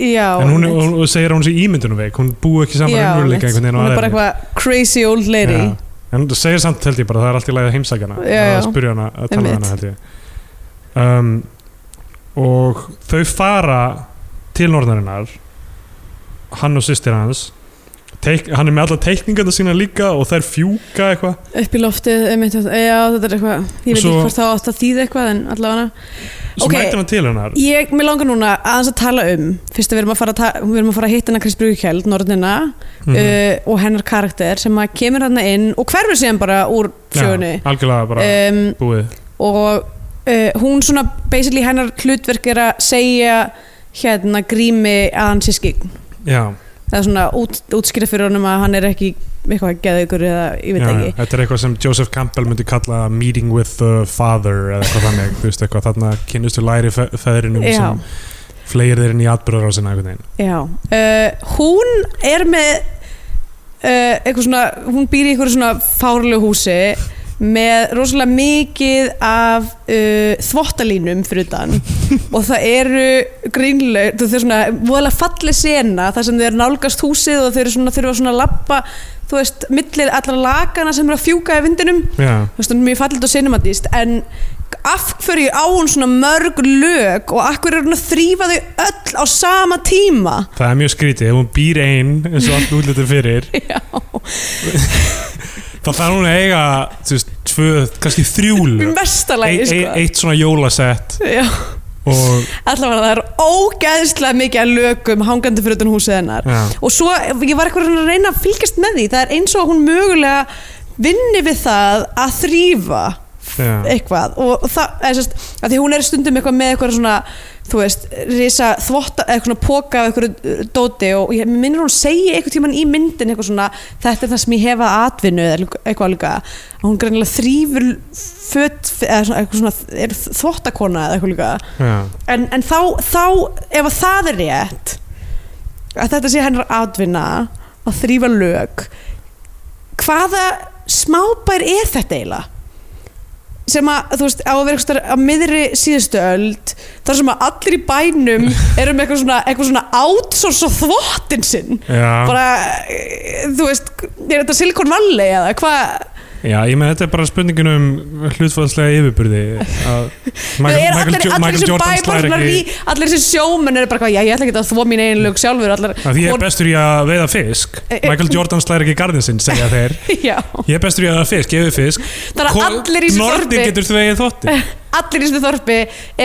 [SPEAKER 4] Já,
[SPEAKER 3] en hún, er-
[SPEAKER 4] einmitt.
[SPEAKER 3] hún, hún segir að hún sé ímyndunum veik, hún búi ekki saman
[SPEAKER 4] Já,
[SPEAKER 3] raunveruleika
[SPEAKER 4] einmitt.
[SPEAKER 3] einhvern veginn á
[SPEAKER 4] hún er bara
[SPEAKER 3] ævinni.
[SPEAKER 4] eitthvað crazy old lady
[SPEAKER 3] Já. en hún segir samt held ég bara, það er allt í lagi að heimsækja hana
[SPEAKER 4] Já,
[SPEAKER 3] að
[SPEAKER 4] já.
[SPEAKER 3] spyrja hana, að tala við
[SPEAKER 4] Einmitt.
[SPEAKER 3] hana held ég um, og þau fara til norðarinnar hann og systir hans Teik, hann er með alla teikningarna sína líka og þær fjúka eitthvað
[SPEAKER 4] upp í loftið, einmitt, já, þetta er eitthvað ég veit
[SPEAKER 3] Svo-
[SPEAKER 4] ekki hvort það átt að þýða eitthvað en allavega
[SPEAKER 3] svo
[SPEAKER 4] Ok.
[SPEAKER 3] mætir hann til hennar
[SPEAKER 4] Ég, mér langar núna aðeins að tala um fyrst að við erum að fara að, ta- við erum að, fara að hitta hana Chris Brugkjeld, norðnina
[SPEAKER 3] Mhm.
[SPEAKER 4] uh, og hennar karakter sem að kemur hana inn og hverfur síðan bara úr sjögunni
[SPEAKER 3] Já, algjörlega bara
[SPEAKER 4] um,
[SPEAKER 3] búið
[SPEAKER 4] og uh, hún svona basically hennar hlutverk er að segja hérna grími að hann sé skign
[SPEAKER 3] Já,
[SPEAKER 4] það er svona út, útskýra fyrir honum að hann er ekki eitthvað geðugur eða ég veit
[SPEAKER 3] já,
[SPEAKER 4] ekki
[SPEAKER 3] þetta er eitthvað sem Joseph Campbell myndi kalla meeting with the father eða eitthvað þannig, þú veist eitthvað þarna kynnustu læri fe- feðrinum
[SPEAKER 4] Já.
[SPEAKER 3] sem fleir þeir inn í atbyrðarásina einhvern veginn
[SPEAKER 4] já, uh, hún er með uh, eitthvað svona hún býr í eitthvað svona fárlegu húsi með rosalega mikið af uh, þvottalínum fyrir utan og það eru grínlega, það er svona voðalega falli sena þar sem þau eru nálgast húsið og þau eru svona, þurfa svona að lappa þú veist, millir allra lakana sem eru að fjúka í vindinum
[SPEAKER 3] Já,
[SPEAKER 4] þú veist, hún er mjög fallit og cinematist en af hverju á hún svona mörg lög og af hverju er hún að þrýfa þau öll á sama tíma
[SPEAKER 3] það er mjög skrítið, ef hún býr ein eins og allt útlutur fyrir
[SPEAKER 4] Já.
[SPEAKER 3] þá þarf hún að eiga þú veist, tvö, kannski þrjúlu
[SPEAKER 4] í mestalagi,
[SPEAKER 3] e,
[SPEAKER 4] sko
[SPEAKER 3] eitt svona jólasett
[SPEAKER 4] Já,
[SPEAKER 3] og
[SPEAKER 4] allavega það er ógeðslega mikið að lögum hangandi fyrir utan húsið hennar
[SPEAKER 3] já,
[SPEAKER 4] og svo, ég var eitthvað að reyna að fylgjast með því það er eins og hún mögulega vinni við það að þrýfa
[SPEAKER 3] já,
[SPEAKER 4] eitthvað og það, eða sérst, að því hún er stundum eitthvað með eitthvað svona þú veist, risa þvotta eitthvað svona póka af eitthvað dóti og ég mér minnir hún segi eitthvað tíman í myndin eitthvað svona, þetta er það sem ég hef að atvinnu eða eitthvað líka, að hún greinilega þrýfur fött, eða svona, eitthvað svona er þvottakona eða eitthvað líka
[SPEAKER 3] já.
[SPEAKER 4] en, en þá, þá, ef að það er rétt að þetta sé hennar atvinna að þrýfa lög hvaða smábær er þetta eiginlega sem að, þú veist, á að vera eitthvað á miðri síðustu öld þar sem að allir í bænum eru með eitthvað svona, eitthvað svona outsource á þvottin sinn
[SPEAKER 3] já.
[SPEAKER 4] bara, eh, þú veist, er þetta Silicon Valley eða hvað
[SPEAKER 3] Já, ég meina þetta er bara spurningin um hlutfalslega yfirburði að
[SPEAKER 4] Michael, er
[SPEAKER 3] Michael Jo-
[SPEAKER 4] allir, allir
[SPEAKER 3] Michael
[SPEAKER 4] sem
[SPEAKER 3] Jordan slær
[SPEAKER 4] bæbar
[SPEAKER 3] ekki
[SPEAKER 4] allir sem sjómenn eru bara eitthvað, já ég ætla ekki að þvó mín einu lög sjálfur allar,
[SPEAKER 3] að því ég er
[SPEAKER 4] kon-
[SPEAKER 3] bestur í að veiða fisk
[SPEAKER 4] E- e-
[SPEAKER 3] Michael Jordan slæðir ekki garðin sinn segja þeir,
[SPEAKER 4] já,
[SPEAKER 3] ég er bestur í að veiða fisk gefið fisk,
[SPEAKER 4] það er allir í þessu
[SPEAKER 3] norðir
[SPEAKER 4] þorpi
[SPEAKER 3] getur þú vegið þótti
[SPEAKER 4] allir í þessu þorpi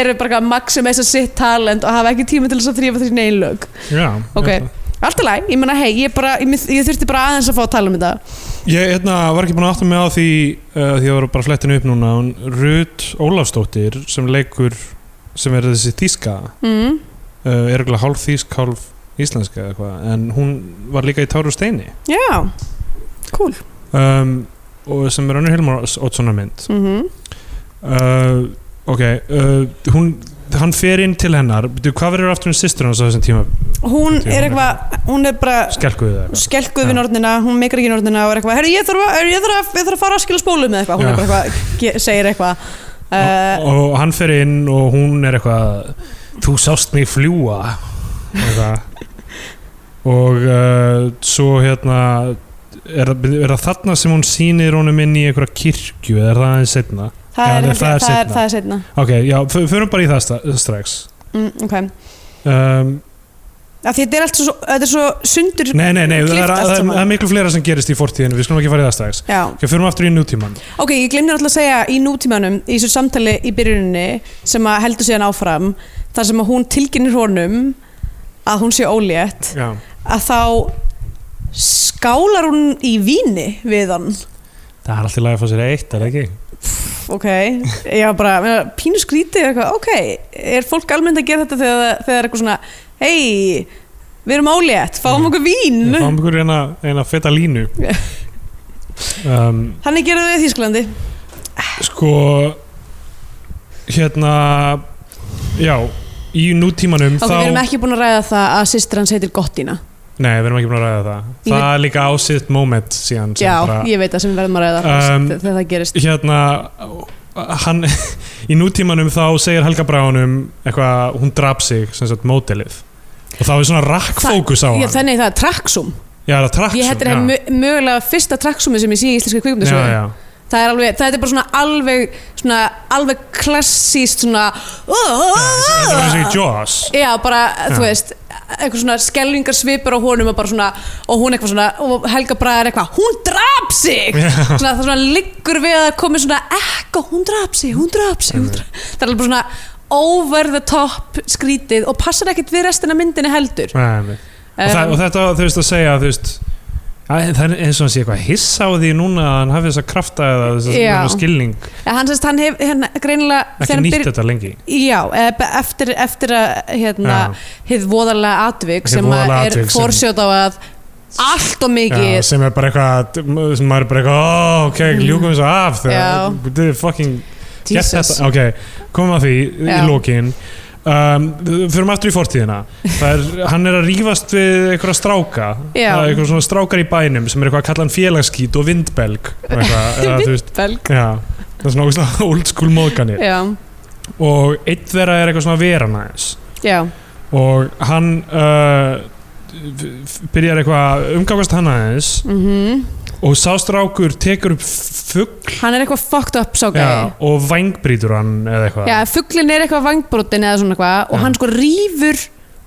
[SPEAKER 4] eru bara að maximæsa sitt talent og hafa ekki tíma til þess að þrýfa þessi einu lög
[SPEAKER 3] Já,
[SPEAKER 4] ok,
[SPEAKER 3] ég-
[SPEAKER 4] allt í læg, ég menna hei ég, bara, ég, ég þurfti bara aðeins að fá að tala um þetta
[SPEAKER 3] Ég hérna, var ekki búin að átta mig á því uh, því að voru bara flettinu upp núna hún Rut Ólafsdóttir sem leikur sem er þessi þýska uh,
[SPEAKER 4] mm.
[SPEAKER 3] er ekki hálf þýsk, hálf íslenska eða eitthvað, en hún var líka í Táru Steini
[SPEAKER 4] já, cool
[SPEAKER 3] um, og sem
[SPEAKER 4] Mhm.
[SPEAKER 3] er önnur Hilmar Oddssonar mynd
[SPEAKER 4] mm
[SPEAKER 3] uh, ok uh, hún hann fer inn til hennar Bíddu, hvað verður aftur um sýstur hans á þessum tíma
[SPEAKER 4] hún er eitthvað, hún er bara
[SPEAKER 3] skelkuðu það eitthvað
[SPEAKER 4] skelkuð við
[SPEAKER 3] Já.
[SPEAKER 4] nornina, hún meikar ekki nornina og er eitthvað, herru ég þarf að, ég þarf að, ég þarf að fara að skila spólu með eitthvað, hún
[SPEAKER 3] Já.
[SPEAKER 4] er bara eitthvað ge- segir eitthvað uh,
[SPEAKER 3] og, og hann fer inn og hún er eitthvað þú sást mig fljúa eitthvað og uh, svo hérna er, það- er það þarna sem hún sýnir honum inn í einhverja kirkju eða er það aðeins setna
[SPEAKER 4] það,
[SPEAKER 3] Já,
[SPEAKER 4] er,
[SPEAKER 3] nei,
[SPEAKER 4] það,
[SPEAKER 3] það er
[SPEAKER 4] það, er,
[SPEAKER 3] seinna.
[SPEAKER 4] það er setna
[SPEAKER 3] ok, já, f- förum bara í það sta- strax
[SPEAKER 4] mm, ok,
[SPEAKER 3] um,
[SPEAKER 4] af því þetta er allt svo, þetta er svo sundur
[SPEAKER 3] nei, nei, nei, það
[SPEAKER 4] klippt
[SPEAKER 3] er,
[SPEAKER 4] allt
[SPEAKER 3] það, er,
[SPEAKER 4] saman.
[SPEAKER 3] það er miklu fleira sem gerist í fortíðinu við skulum ekki fara í það strax
[SPEAKER 4] já,
[SPEAKER 3] ok, förum aftur í nútíman
[SPEAKER 4] ok, ég glemdi alltaf að segja í nútímanum, í þessu samtali í byrjuninni sem að heldur síðan áfram þar sem að hún tilginir honum að hún sé ólétt
[SPEAKER 3] já,
[SPEAKER 4] að þá skálar hún í víni við hann
[SPEAKER 3] það er alltaf lagi að fá sér eitt, er það ekki?
[SPEAKER 4] ok, ég var bara meina, pínu skrítið eitthvað, ok er fólk almennt að gera þetta þegar það- þegar það er eitthvað svona hei, við erum álétt fáum
[SPEAKER 3] Mm.
[SPEAKER 4] okkur vín
[SPEAKER 3] Við fáum ykkur eina, eina feta línu um,
[SPEAKER 4] hann er gerðið í Þísklandi
[SPEAKER 3] Sko Hérna Já, í nútímanum
[SPEAKER 4] ok, við erum ekki búin að ræða það að sýstir hans heitir Gottina
[SPEAKER 3] Nei, við erum ekki búin að ræða það
[SPEAKER 4] Ég
[SPEAKER 3] Það er líka ásitt moment síðan sem
[SPEAKER 4] já,
[SPEAKER 3] bara-
[SPEAKER 4] ég veit það sem við verðum að ræða það
[SPEAKER 3] Um,
[SPEAKER 4] um, þegar það gerist
[SPEAKER 3] Hérna hann, Í nútímanum þá segir Helga Bráunum eitthvað, hún draf sig sem sagt mótilið og þá er svona rakkfókus á hann
[SPEAKER 4] já, þannig það er Traxum
[SPEAKER 3] Já, það er traksum
[SPEAKER 4] ég hættir það mö- mögulega fyrsta Traxumi sem ég sé í íslenska
[SPEAKER 3] Já,
[SPEAKER 4] kvikmyndasögu
[SPEAKER 3] já,
[SPEAKER 4] það er alveg, það er bara svona alveg svona alveg klassíst svona Ah!
[SPEAKER 3] það er eins og í Jaws
[SPEAKER 4] Já, bara,
[SPEAKER 3] Já.
[SPEAKER 4] þú veist eitthvað svona skellingar svipur á honum og bara svona, og hún eitthvað svona og Helga Braga er eitthvað, hún draf sig svona, það svona liggur við að komi svona ekka, hún draf sig, hún draf sig hún draf. það er alveg bara svona over the top skrítið og passar ekkert við restina af myndinni heldur Um,
[SPEAKER 3] Nei, nei. og, það, og þetta þú veist að segja þú veist að, það er eins og hann sé eitthvað hissa á því núna að hann hafi þessa krafta eða þessa
[SPEAKER 4] Já.
[SPEAKER 3] þennan skilning
[SPEAKER 4] En hann sérst, hann hef hérna, greinilega þegar
[SPEAKER 3] ekki
[SPEAKER 4] hann
[SPEAKER 3] nýtt
[SPEAKER 4] byrj-
[SPEAKER 3] þetta lengi
[SPEAKER 4] Já, eh, be- eftir, eftir að hérna, hið voðalega atvik
[SPEAKER 3] Hið
[SPEAKER 4] sem að
[SPEAKER 3] voðalega
[SPEAKER 4] er
[SPEAKER 3] atvik sem-
[SPEAKER 4] fórsjóð á að allt
[SPEAKER 3] Já,
[SPEAKER 4] og mikið
[SPEAKER 3] sem er bara eitthvað sem maður er bara eitthvað, oh, ok, ljúkum þessu af
[SPEAKER 4] Mm. Já.
[SPEAKER 3] þegar, þið fucking get
[SPEAKER 4] Jesus.
[SPEAKER 3] þetta, ok, komum að því í
[SPEAKER 4] Já.
[SPEAKER 3] lókin um, fyrir aftur í fortíðina það er, hann er að rífast við einhverja stráka
[SPEAKER 4] Já.
[SPEAKER 3] Það er einhverja svona strákar í bænum sem er eitthvað að kalla hann félagskít og vindbelg og eitthvað, eða, þú veist,
[SPEAKER 4] Belg
[SPEAKER 3] já, það er svona ógeðslega old school móðganir
[SPEAKER 4] Já,
[SPEAKER 3] og einn þeirra er eitthvað svona veran aðeins
[SPEAKER 4] já,
[SPEAKER 3] og hann uh, f- f- byrjar eitthvað að umgangast hann aðeins
[SPEAKER 4] mhm
[SPEAKER 3] og sástrákur tekur upp fugg
[SPEAKER 4] Hann er eitthvað fucked up sá
[SPEAKER 3] já,
[SPEAKER 4] gæði
[SPEAKER 3] og vængbrýtur hann eða eitthvað
[SPEAKER 4] Já, fugglin er eitthvað vangbrotin eða svona eitthvað og
[SPEAKER 3] Já.
[SPEAKER 4] hann sko rýfur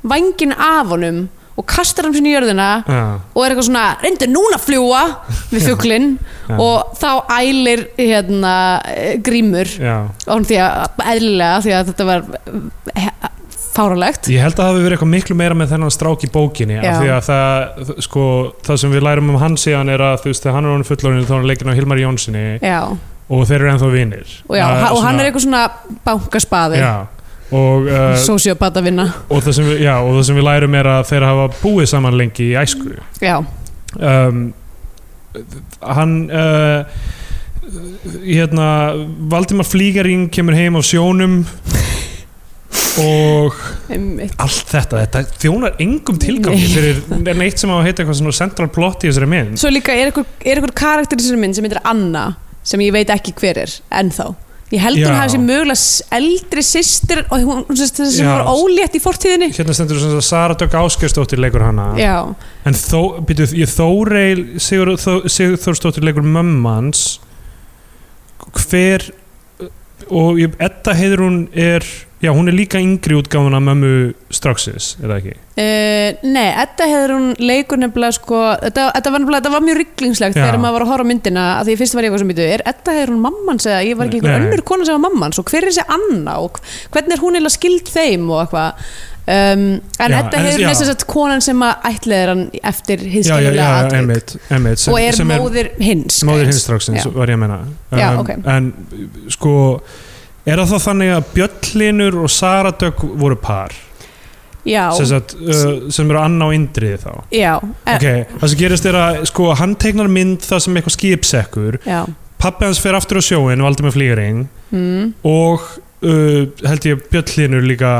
[SPEAKER 4] vangin af honum og kastar hann sinni í jörðina
[SPEAKER 3] Já,
[SPEAKER 4] og er eitthvað svona, reyndu núna að fljúa við fugglin
[SPEAKER 3] Já.
[SPEAKER 4] og þá ælir hérna eh, grímur
[SPEAKER 3] já.
[SPEAKER 4] og hann því að eðlilega því að þetta var eh, he- fáralegt
[SPEAKER 3] Ég held að það hafi verið eitthvað miklu meira með þennan strák í bókinni af
[SPEAKER 4] Já.
[SPEAKER 3] því að það, sko, það sem við lærum um hann síðan er að þú veist, þegar hann er honum fullorinn þá er hann leikinn á Hilmar Jónssoni
[SPEAKER 4] Já,
[SPEAKER 3] og þeir eru ennþá vinir
[SPEAKER 4] og, já,
[SPEAKER 3] Það
[SPEAKER 4] ha- og hann
[SPEAKER 3] svona-
[SPEAKER 4] er eitthvað svona bankaspaði
[SPEAKER 3] Já, og uh,
[SPEAKER 4] sociopata vinna
[SPEAKER 3] og það sem við, já, og það sem við lærum er að þeir hafa búið saman lengi í æsku
[SPEAKER 4] Já,
[SPEAKER 3] um, hann uh, hérna Valdimar Flígaring kemur heim á sjónum og
[SPEAKER 4] einmitt
[SPEAKER 3] allt þetta, þetta þjónar engum tilgangi
[SPEAKER 4] Nei.
[SPEAKER 3] fyrir er neitt sem á að heita eitthvað svona central plot í þessari mynd
[SPEAKER 4] Svo líka er eitthvað, er eitthvað karakter í þessari mynd sem heitir Anna sem ég veit ekki hver er ennþá Ég held
[SPEAKER 3] Já.
[SPEAKER 4] hún hafi sér mögulega s- eldri systir og hún, hún sérst þessi sem
[SPEAKER 3] Já.
[SPEAKER 4] var ólétt í fortíðinni
[SPEAKER 3] hérna stendur þess að Sara Dögg Áskjörsdóttir leikur hana
[SPEAKER 4] Já,
[SPEAKER 3] en þó, býtu, ég þóreil Sigur, Þó- Sigurþórsdóttir leikur mömmans hver og ég, Edda Heiðrún er já, hún er líka yngri útgáfun af mömmu straxis, er það ekki?
[SPEAKER 4] uh, nei, þetta hefur hún leikur nefnilega sko, þetta, þetta, var, nefnilega, þetta var mjög rygglingslegt
[SPEAKER 3] Já.
[SPEAKER 4] þegar maður var að horfa á myndina að því fyrst var ég eitthvað sem býtu, er þetta hefur hún mammans eða ég var ekki
[SPEAKER 3] Nei.
[SPEAKER 4] einhver önnur kona sem var mammans og hver er þessi Anna og hvernig er hún eiginlega skild þeim og eitthvað Um, en
[SPEAKER 3] Já,
[SPEAKER 4] þetta
[SPEAKER 3] en-
[SPEAKER 4] hefur
[SPEAKER 3] já.
[SPEAKER 4] þess að konan sem að ætlaðir hann eftir
[SPEAKER 3] já, já, já,
[SPEAKER 4] hinskennilega atvik
[SPEAKER 3] emitt, emitt sem,
[SPEAKER 4] og er
[SPEAKER 3] sem
[SPEAKER 4] móðir hins
[SPEAKER 3] móðir hins straxins,
[SPEAKER 4] Já.
[SPEAKER 3] var ég að menna
[SPEAKER 4] Já, ok.
[SPEAKER 3] en sko er það þá þannig að Bjöllinur og Sara Dögg voru par
[SPEAKER 4] já,
[SPEAKER 3] sem, sagt, uh, sem eru Anna og Indriði þá
[SPEAKER 4] já, e,
[SPEAKER 3] ok, það sem gerist er að sko, hann teiknar mynd það sem eitthvað skipsekkur
[SPEAKER 4] já.
[SPEAKER 3] pappi hans fer aftur á sjóin Valdimir Flýring
[SPEAKER 4] Mm.
[SPEAKER 3] og uh, held ég Björn Hlynur líka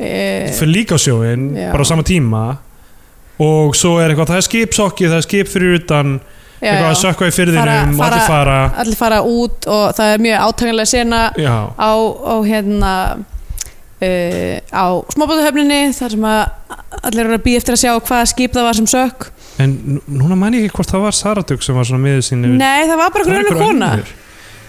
[SPEAKER 4] Eh,
[SPEAKER 3] fyrir líka á sjóin
[SPEAKER 4] Já.
[SPEAKER 3] bara á sama tíma og svo er eitthvað, það er skipsokki, það er skip fyrir utan
[SPEAKER 4] já,
[SPEAKER 3] eitthvað að
[SPEAKER 4] já.
[SPEAKER 3] sökka í fyrðinum og
[SPEAKER 4] Fara-
[SPEAKER 3] allir fara
[SPEAKER 4] allir fara út og það er mjög átakanlega sena
[SPEAKER 3] já,
[SPEAKER 4] á, á hérna uh, á smábátahöfninni þar sem að allir eru að býja eftir að sjá hvaða skip það var sem sökk
[SPEAKER 3] en nú- núna man ég ekki hvort það var Saradug sem var svona miður sín yfir-
[SPEAKER 4] Nei, það var bara
[SPEAKER 3] Það var
[SPEAKER 4] grunna
[SPEAKER 3] einhver
[SPEAKER 4] kona
[SPEAKER 3] önnur.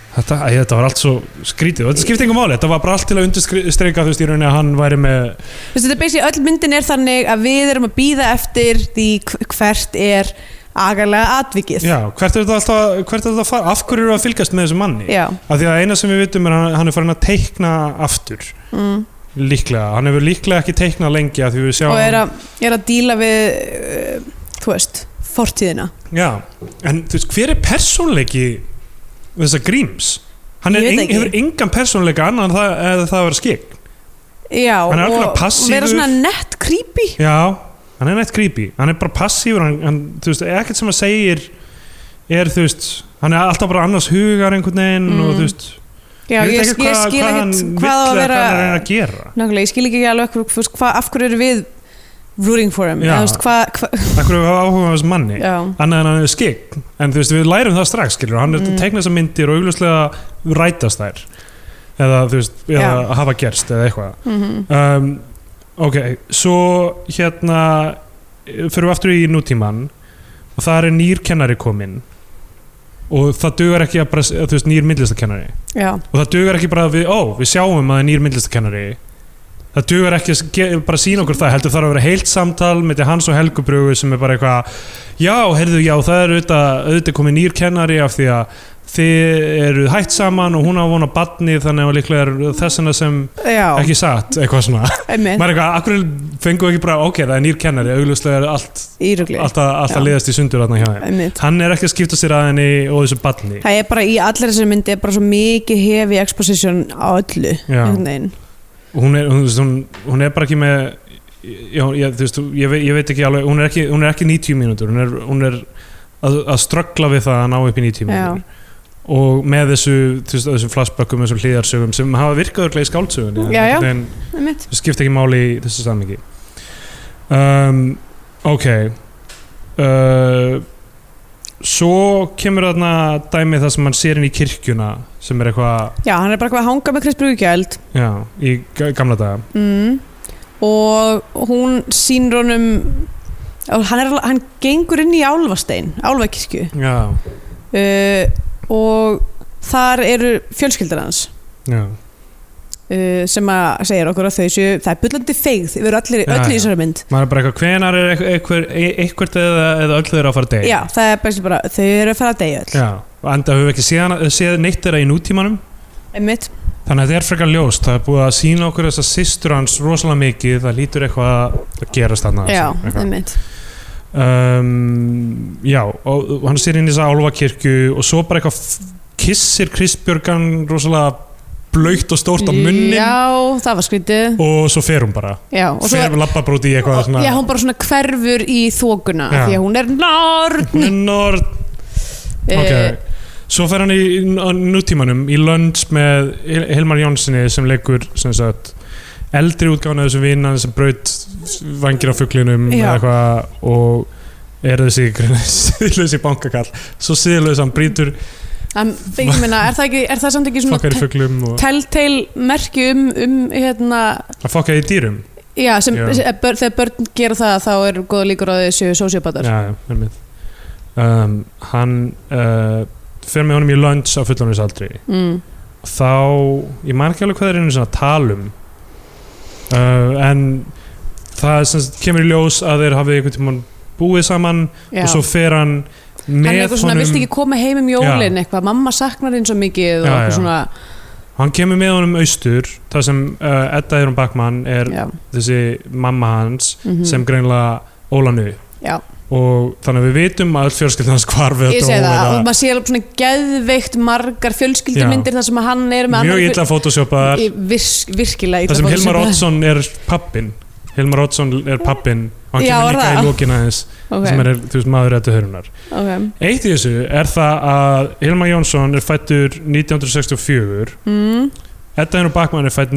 [SPEAKER 3] Þetta, æ, þetta var allt svo skrítið og þetta skipti engum máli, þetta var bara allt til að undirstreika þú veist í rauninni að hann væri með
[SPEAKER 4] Þessi, þetta er basically öll myndin er þannig að við erum að býða eftir því hv- hvert er agalega atvikið
[SPEAKER 3] já, hvert er þetta alltaf, hvert er þetta að fara af hverju eru að fylgjast með þessum manni
[SPEAKER 4] Já.
[SPEAKER 3] af því að eina sem við vitum er að hann- hann er farin að teikna aftur,
[SPEAKER 4] Mm.
[SPEAKER 3] líklega hann hefur líklega ekki teiknað lengi af því við sjáum
[SPEAKER 4] og er að, er að díla við uh, þú veist, fortíðina
[SPEAKER 3] já, en þú veist, hver er persónleiki þessa gríms hann er
[SPEAKER 4] Ég veit
[SPEAKER 3] en,
[SPEAKER 4] ekki.
[SPEAKER 3] hefur engan persónleika annan en það, eða það að vera skik
[SPEAKER 4] Já,
[SPEAKER 3] Hann er
[SPEAKER 4] og
[SPEAKER 3] algjörlega
[SPEAKER 4] og vera
[SPEAKER 3] passífur.
[SPEAKER 4] svona nett creepy
[SPEAKER 3] já, hann er nætt creepy hann er bara passífur, hann, hann, þú veist, ekkert sem að segir er, þú veist hann er alltaf bara annars hugar einhvern veginn
[SPEAKER 4] Mm.
[SPEAKER 3] og þú veist,
[SPEAKER 4] Já, ég, ég,
[SPEAKER 3] veit ekki
[SPEAKER 4] skil
[SPEAKER 3] hvað, hvað hann
[SPEAKER 4] ekkert
[SPEAKER 3] vill
[SPEAKER 4] hvað á að
[SPEAKER 3] eða
[SPEAKER 4] vera
[SPEAKER 3] hvað hann er að reyna að gera
[SPEAKER 4] Nákvæmlega, ég skil ekki alveg hvað, þú veist, hvað, af hverju eru við rooting for him
[SPEAKER 3] Já.
[SPEAKER 4] eða, þú veist, hvað, hvað,
[SPEAKER 3] Akkur hefur áhuga á þessu manni
[SPEAKER 4] já.
[SPEAKER 3] annað en hann er skikk en þú veist við lærum það strax skilur hann er að tekna þessar myndir og augljóslega rætast þær eða þú veist eða
[SPEAKER 4] Já.
[SPEAKER 3] hafa gerst eða eitthvað
[SPEAKER 4] Mm
[SPEAKER 3] um, ok, svo hérna eh, förum við aftur í nútíman og það er nýr kennari kominn og það dugar ekki að bara, s- þú veist, nýr myndlistakennari
[SPEAKER 4] já,
[SPEAKER 3] og það dugar ekki bara að við, ó, við sjáum að það er nýr myndlistakennari það dugar ekki að ge- bara sína okkur það heldur þarf að vera heilt samtal með hans og Helgu Bruggu sem er bara eitthvað já, heyrðu, já, það er auðvitað, auðvitað komið nýr kennari af því að þið eru hætt saman og hún á vona batni þannig að líklega er þessina sem
[SPEAKER 4] já,
[SPEAKER 3] ekki satt, eitthvað svona
[SPEAKER 4] einmitt
[SPEAKER 3] maður er eitthvað, akkur fengu ekki bara, ok, það er nýr kennari augljóslega er allt,
[SPEAKER 4] írugli,
[SPEAKER 3] allt, að, allt
[SPEAKER 4] Já.
[SPEAKER 3] að liðast í sundur þarna hjá þeim
[SPEAKER 4] einmitt
[SPEAKER 3] hann er ekki að skipta sér að henni og þessu batni
[SPEAKER 4] Það er bara í allir þessari myndi er bara svo mikið hefi exposition á öllu
[SPEAKER 3] Já.
[SPEAKER 4] einhvern veginn.
[SPEAKER 3] hún er, hún, þú veist, hún, hún er bara ekki með já, ég, þú veist, ég, veit, ég veit ekki alveg hún er ekki, hún er ekki 90 mínútur hún er, hún er að, að ströggla við það að ná upp í 90
[SPEAKER 4] Já.
[SPEAKER 3] mínútur og með þessu, þú veist, þessum flashbackum þessum hlýðarsögum sem hafa virkaðurlega í skáldsögunni
[SPEAKER 4] Já, já.
[SPEAKER 3] en
[SPEAKER 4] Einmitt.
[SPEAKER 3] það skipta ekki máli í þessu samhengi um, ok uh, svo kemur þarna dæmi það sem hann sér inn í kirkjuna sem er eitthvað,
[SPEAKER 4] Já, hann er bara hvað að hanga með Chris Bruggjald
[SPEAKER 3] já, í ga- gamla daga
[SPEAKER 4] mm. og hún sýnir honum og hann, er, al- hann gengur inn í Álfastein Álfakirkju
[SPEAKER 3] já,
[SPEAKER 4] uh, og þar eru fjölskyldur hans
[SPEAKER 3] já
[SPEAKER 4] uh, sem að segja okkur að þau séu það er bullandi feigð yfir allir,
[SPEAKER 3] Já,
[SPEAKER 4] öllu í
[SPEAKER 3] já.
[SPEAKER 4] þessari mynd
[SPEAKER 3] maður er bara eitthvað, hvenar er eitthvað, eitthvað, eitthvað eða, eða öll þeirra að fara að deyja
[SPEAKER 4] Já, það er basically bara, þau eru að fara að deyja öll
[SPEAKER 3] Já, og enda höfum við ekki séð, hana- séð neitt þeirra í nútímanum
[SPEAKER 4] Einmitt,
[SPEAKER 3] þannig að þetta er frekar ljóst, það er búið að sína okkur þess að systur hans rosalega mikið það lítur eitthvað að gerast þarna
[SPEAKER 4] já,
[SPEAKER 3] eitthvað.
[SPEAKER 4] einmitt
[SPEAKER 3] um, já, og og hann sér inn í þessa álfakirkju og svo bara eitthvað f- kissir Kristbjörgan rosalega blöytt og stórt á munnin
[SPEAKER 4] Já, það var skrítið
[SPEAKER 3] og svo fer hún bara,
[SPEAKER 4] Já, og svo
[SPEAKER 3] fer labbabróti í eitthvað svona
[SPEAKER 4] Já, hún bara svona hverfur í þókuna
[SPEAKER 3] Já.
[SPEAKER 4] því að hún er nörd
[SPEAKER 3] Nord
[SPEAKER 4] Eh,
[SPEAKER 3] Ok, svo fer hann í í- á nútímanum í lunch með Hil- Hilmar Jónssoni sem leikur sem sagt, eldri útgána þessu vinnan sem braut vangir á fuglinum
[SPEAKER 4] Já.
[SPEAKER 3] eða eitthvað og er þessi síðlaus í bankakall svo síðlaus hann brýtur
[SPEAKER 4] en ég meina, er það, ekki, er það samt ekki
[SPEAKER 3] fokkar í
[SPEAKER 4] svona
[SPEAKER 3] fuglum og
[SPEAKER 4] telltale merki um, um hérna,
[SPEAKER 3] að fokka í dýrum
[SPEAKER 4] já, sem,
[SPEAKER 3] Já.
[SPEAKER 4] sem- bör, þegar börn gera það þá er góða líkur á því séu sósíopatar
[SPEAKER 3] Já, já, einmitt. um, hann uh, fer með honum í lunch á fullónusaldri
[SPEAKER 4] mm.
[SPEAKER 3] þá ég man ekki alveg hvað er einu svona talum um. uh, en það sem sagt kemur í ljós að þeir hafi einhvern tímann búið saman
[SPEAKER 4] Já.
[SPEAKER 3] og svo fer hann
[SPEAKER 4] hann er
[SPEAKER 3] með
[SPEAKER 4] eitthvað svona,
[SPEAKER 3] honum
[SPEAKER 4] vilst ekki koma heim um jólin eitthvað, mamma saknar þín svo mikið
[SPEAKER 3] Já,
[SPEAKER 4] og eitthvað
[SPEAKER 3] já.
[SPEAKER 4] svona,
[SPEAKER 3] hann kemur með honum austur það sem uh, Edda Heirum Bakman er
[SPEAKER 4] já,
[SPEAKER 3] þessi mamma hans
[SPEAKER 4] mhm.
[SPEAKER 3] sem greinlega ólanu
[SPEAKER 4] Já.
[SPEAKER 3] og þannig að við vitum að öll fjörskild hans hvarf
[SPEAKER 4] ég segi það, og maður sé alveg svona geðveikt margar fjölskyldumyndir þar sem að hann er með
[SPEAKER 3] mjög
[SPEAKER 4] annar-
[SPEAKER 3] illa fótosjópaðar
[SPEAKER 4] Í- virk, virkilega illa
[SPEAKER 3] það sem
[SPEAKER 4] fór
[SPEAKER 3] Hilmar
[SPEAKER 4] þessu.
[SPEAKER 3] Oddsson er pappin Hilmar Oddsson er pappin og hann
[SPEAKER 4] Já,
[SPEAKER 3] kemur
[SPEAKER 4] er
[SPEAKER 3] líka
[SPEAKER 4] það?
[SPEAKER 3] í lókin aðeins
[SPEAKER 4] Ok,
[SPEAKER 3] sem er, þú veist, maður réttu hörunar
[SPEAKER 4] ok.
[SPEAKER 3] Eitt í þessu er það að Hilmar Jónsson er fættur 1964
[SPEAKER 4] Mm.
[SPEAKER 3] Edda Henry Bachmann er fætt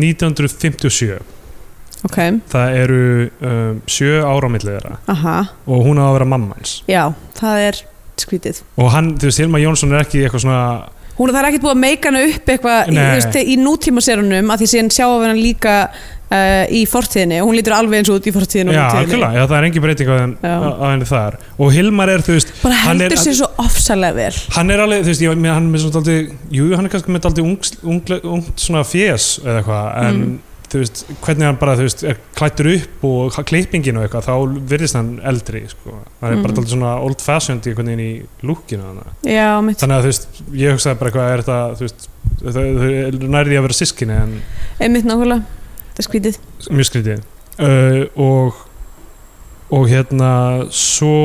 [SPEAKER 3] 1957
[SPEAKER 4] ok,
[SPEAKER 3] það eru um, sjö ára á millið þeirra
[SPEAKER 4] aha,
[SPEAKER 3] og hún á að vera mamma hans
[SPEAKER 4] já, það er skrítið
[SPEAKER 3] og hann, þú veist, Hilma Jónsson er ekki eitthvað svona
[SPEAKER 4] Hún það er ekkert búið að meika hana upp eitthvað í,
[SPEAKER 3] Nei.
[SPEAKER 4] þú veist, í nútíma serunum að því síðan sjáum við hana líka uh, í fortíðinni og hún lítur alveg eins út í fortíðinni og
[SPEAKER 3] já,
[SPEAKER 4] nútíðinni.
[SPEAKER 3] algjörlega, já, það er engin breyting á henn-
[SPEAKER 4] Já.
[SPEAKER 3] á- á henni þar og Hilmar er, þú veist,
[SPEAKER 4] Bara
[SPEAKER 3] Hann er-
[SPEAKER 4] heldur sér svo ofsalega vel
[SPEAKER 3] hann er alveg, þú veist, ég, mér- hann er með svona daldi, jú, hann er kannski með daldi ungt ung, ung, svona fjes eða eitthvað, en þú veist, hvernig hann bara, þú veist, er klættur upp og ha- klippingin og eitthvað, þá virðist hann eldri, sko, hann er bara
[SPEAKER 4] Mhm.
[SPEAKER 3] daldi svona old fashioned í einhvern veginn í lúkinu hann
[SPEAKER 4] Já, mitt
[SPEAKER 3] þannig að, þú veist, ég hugsaði bara eitthvað, er þetta, þú veist, þau nærði að vera sískinni en
[SPEAKER 4] Einmitt nákvæmlega Það er skrítið
[SPEAKER 3] mjög skrítið uh, og og hérna svo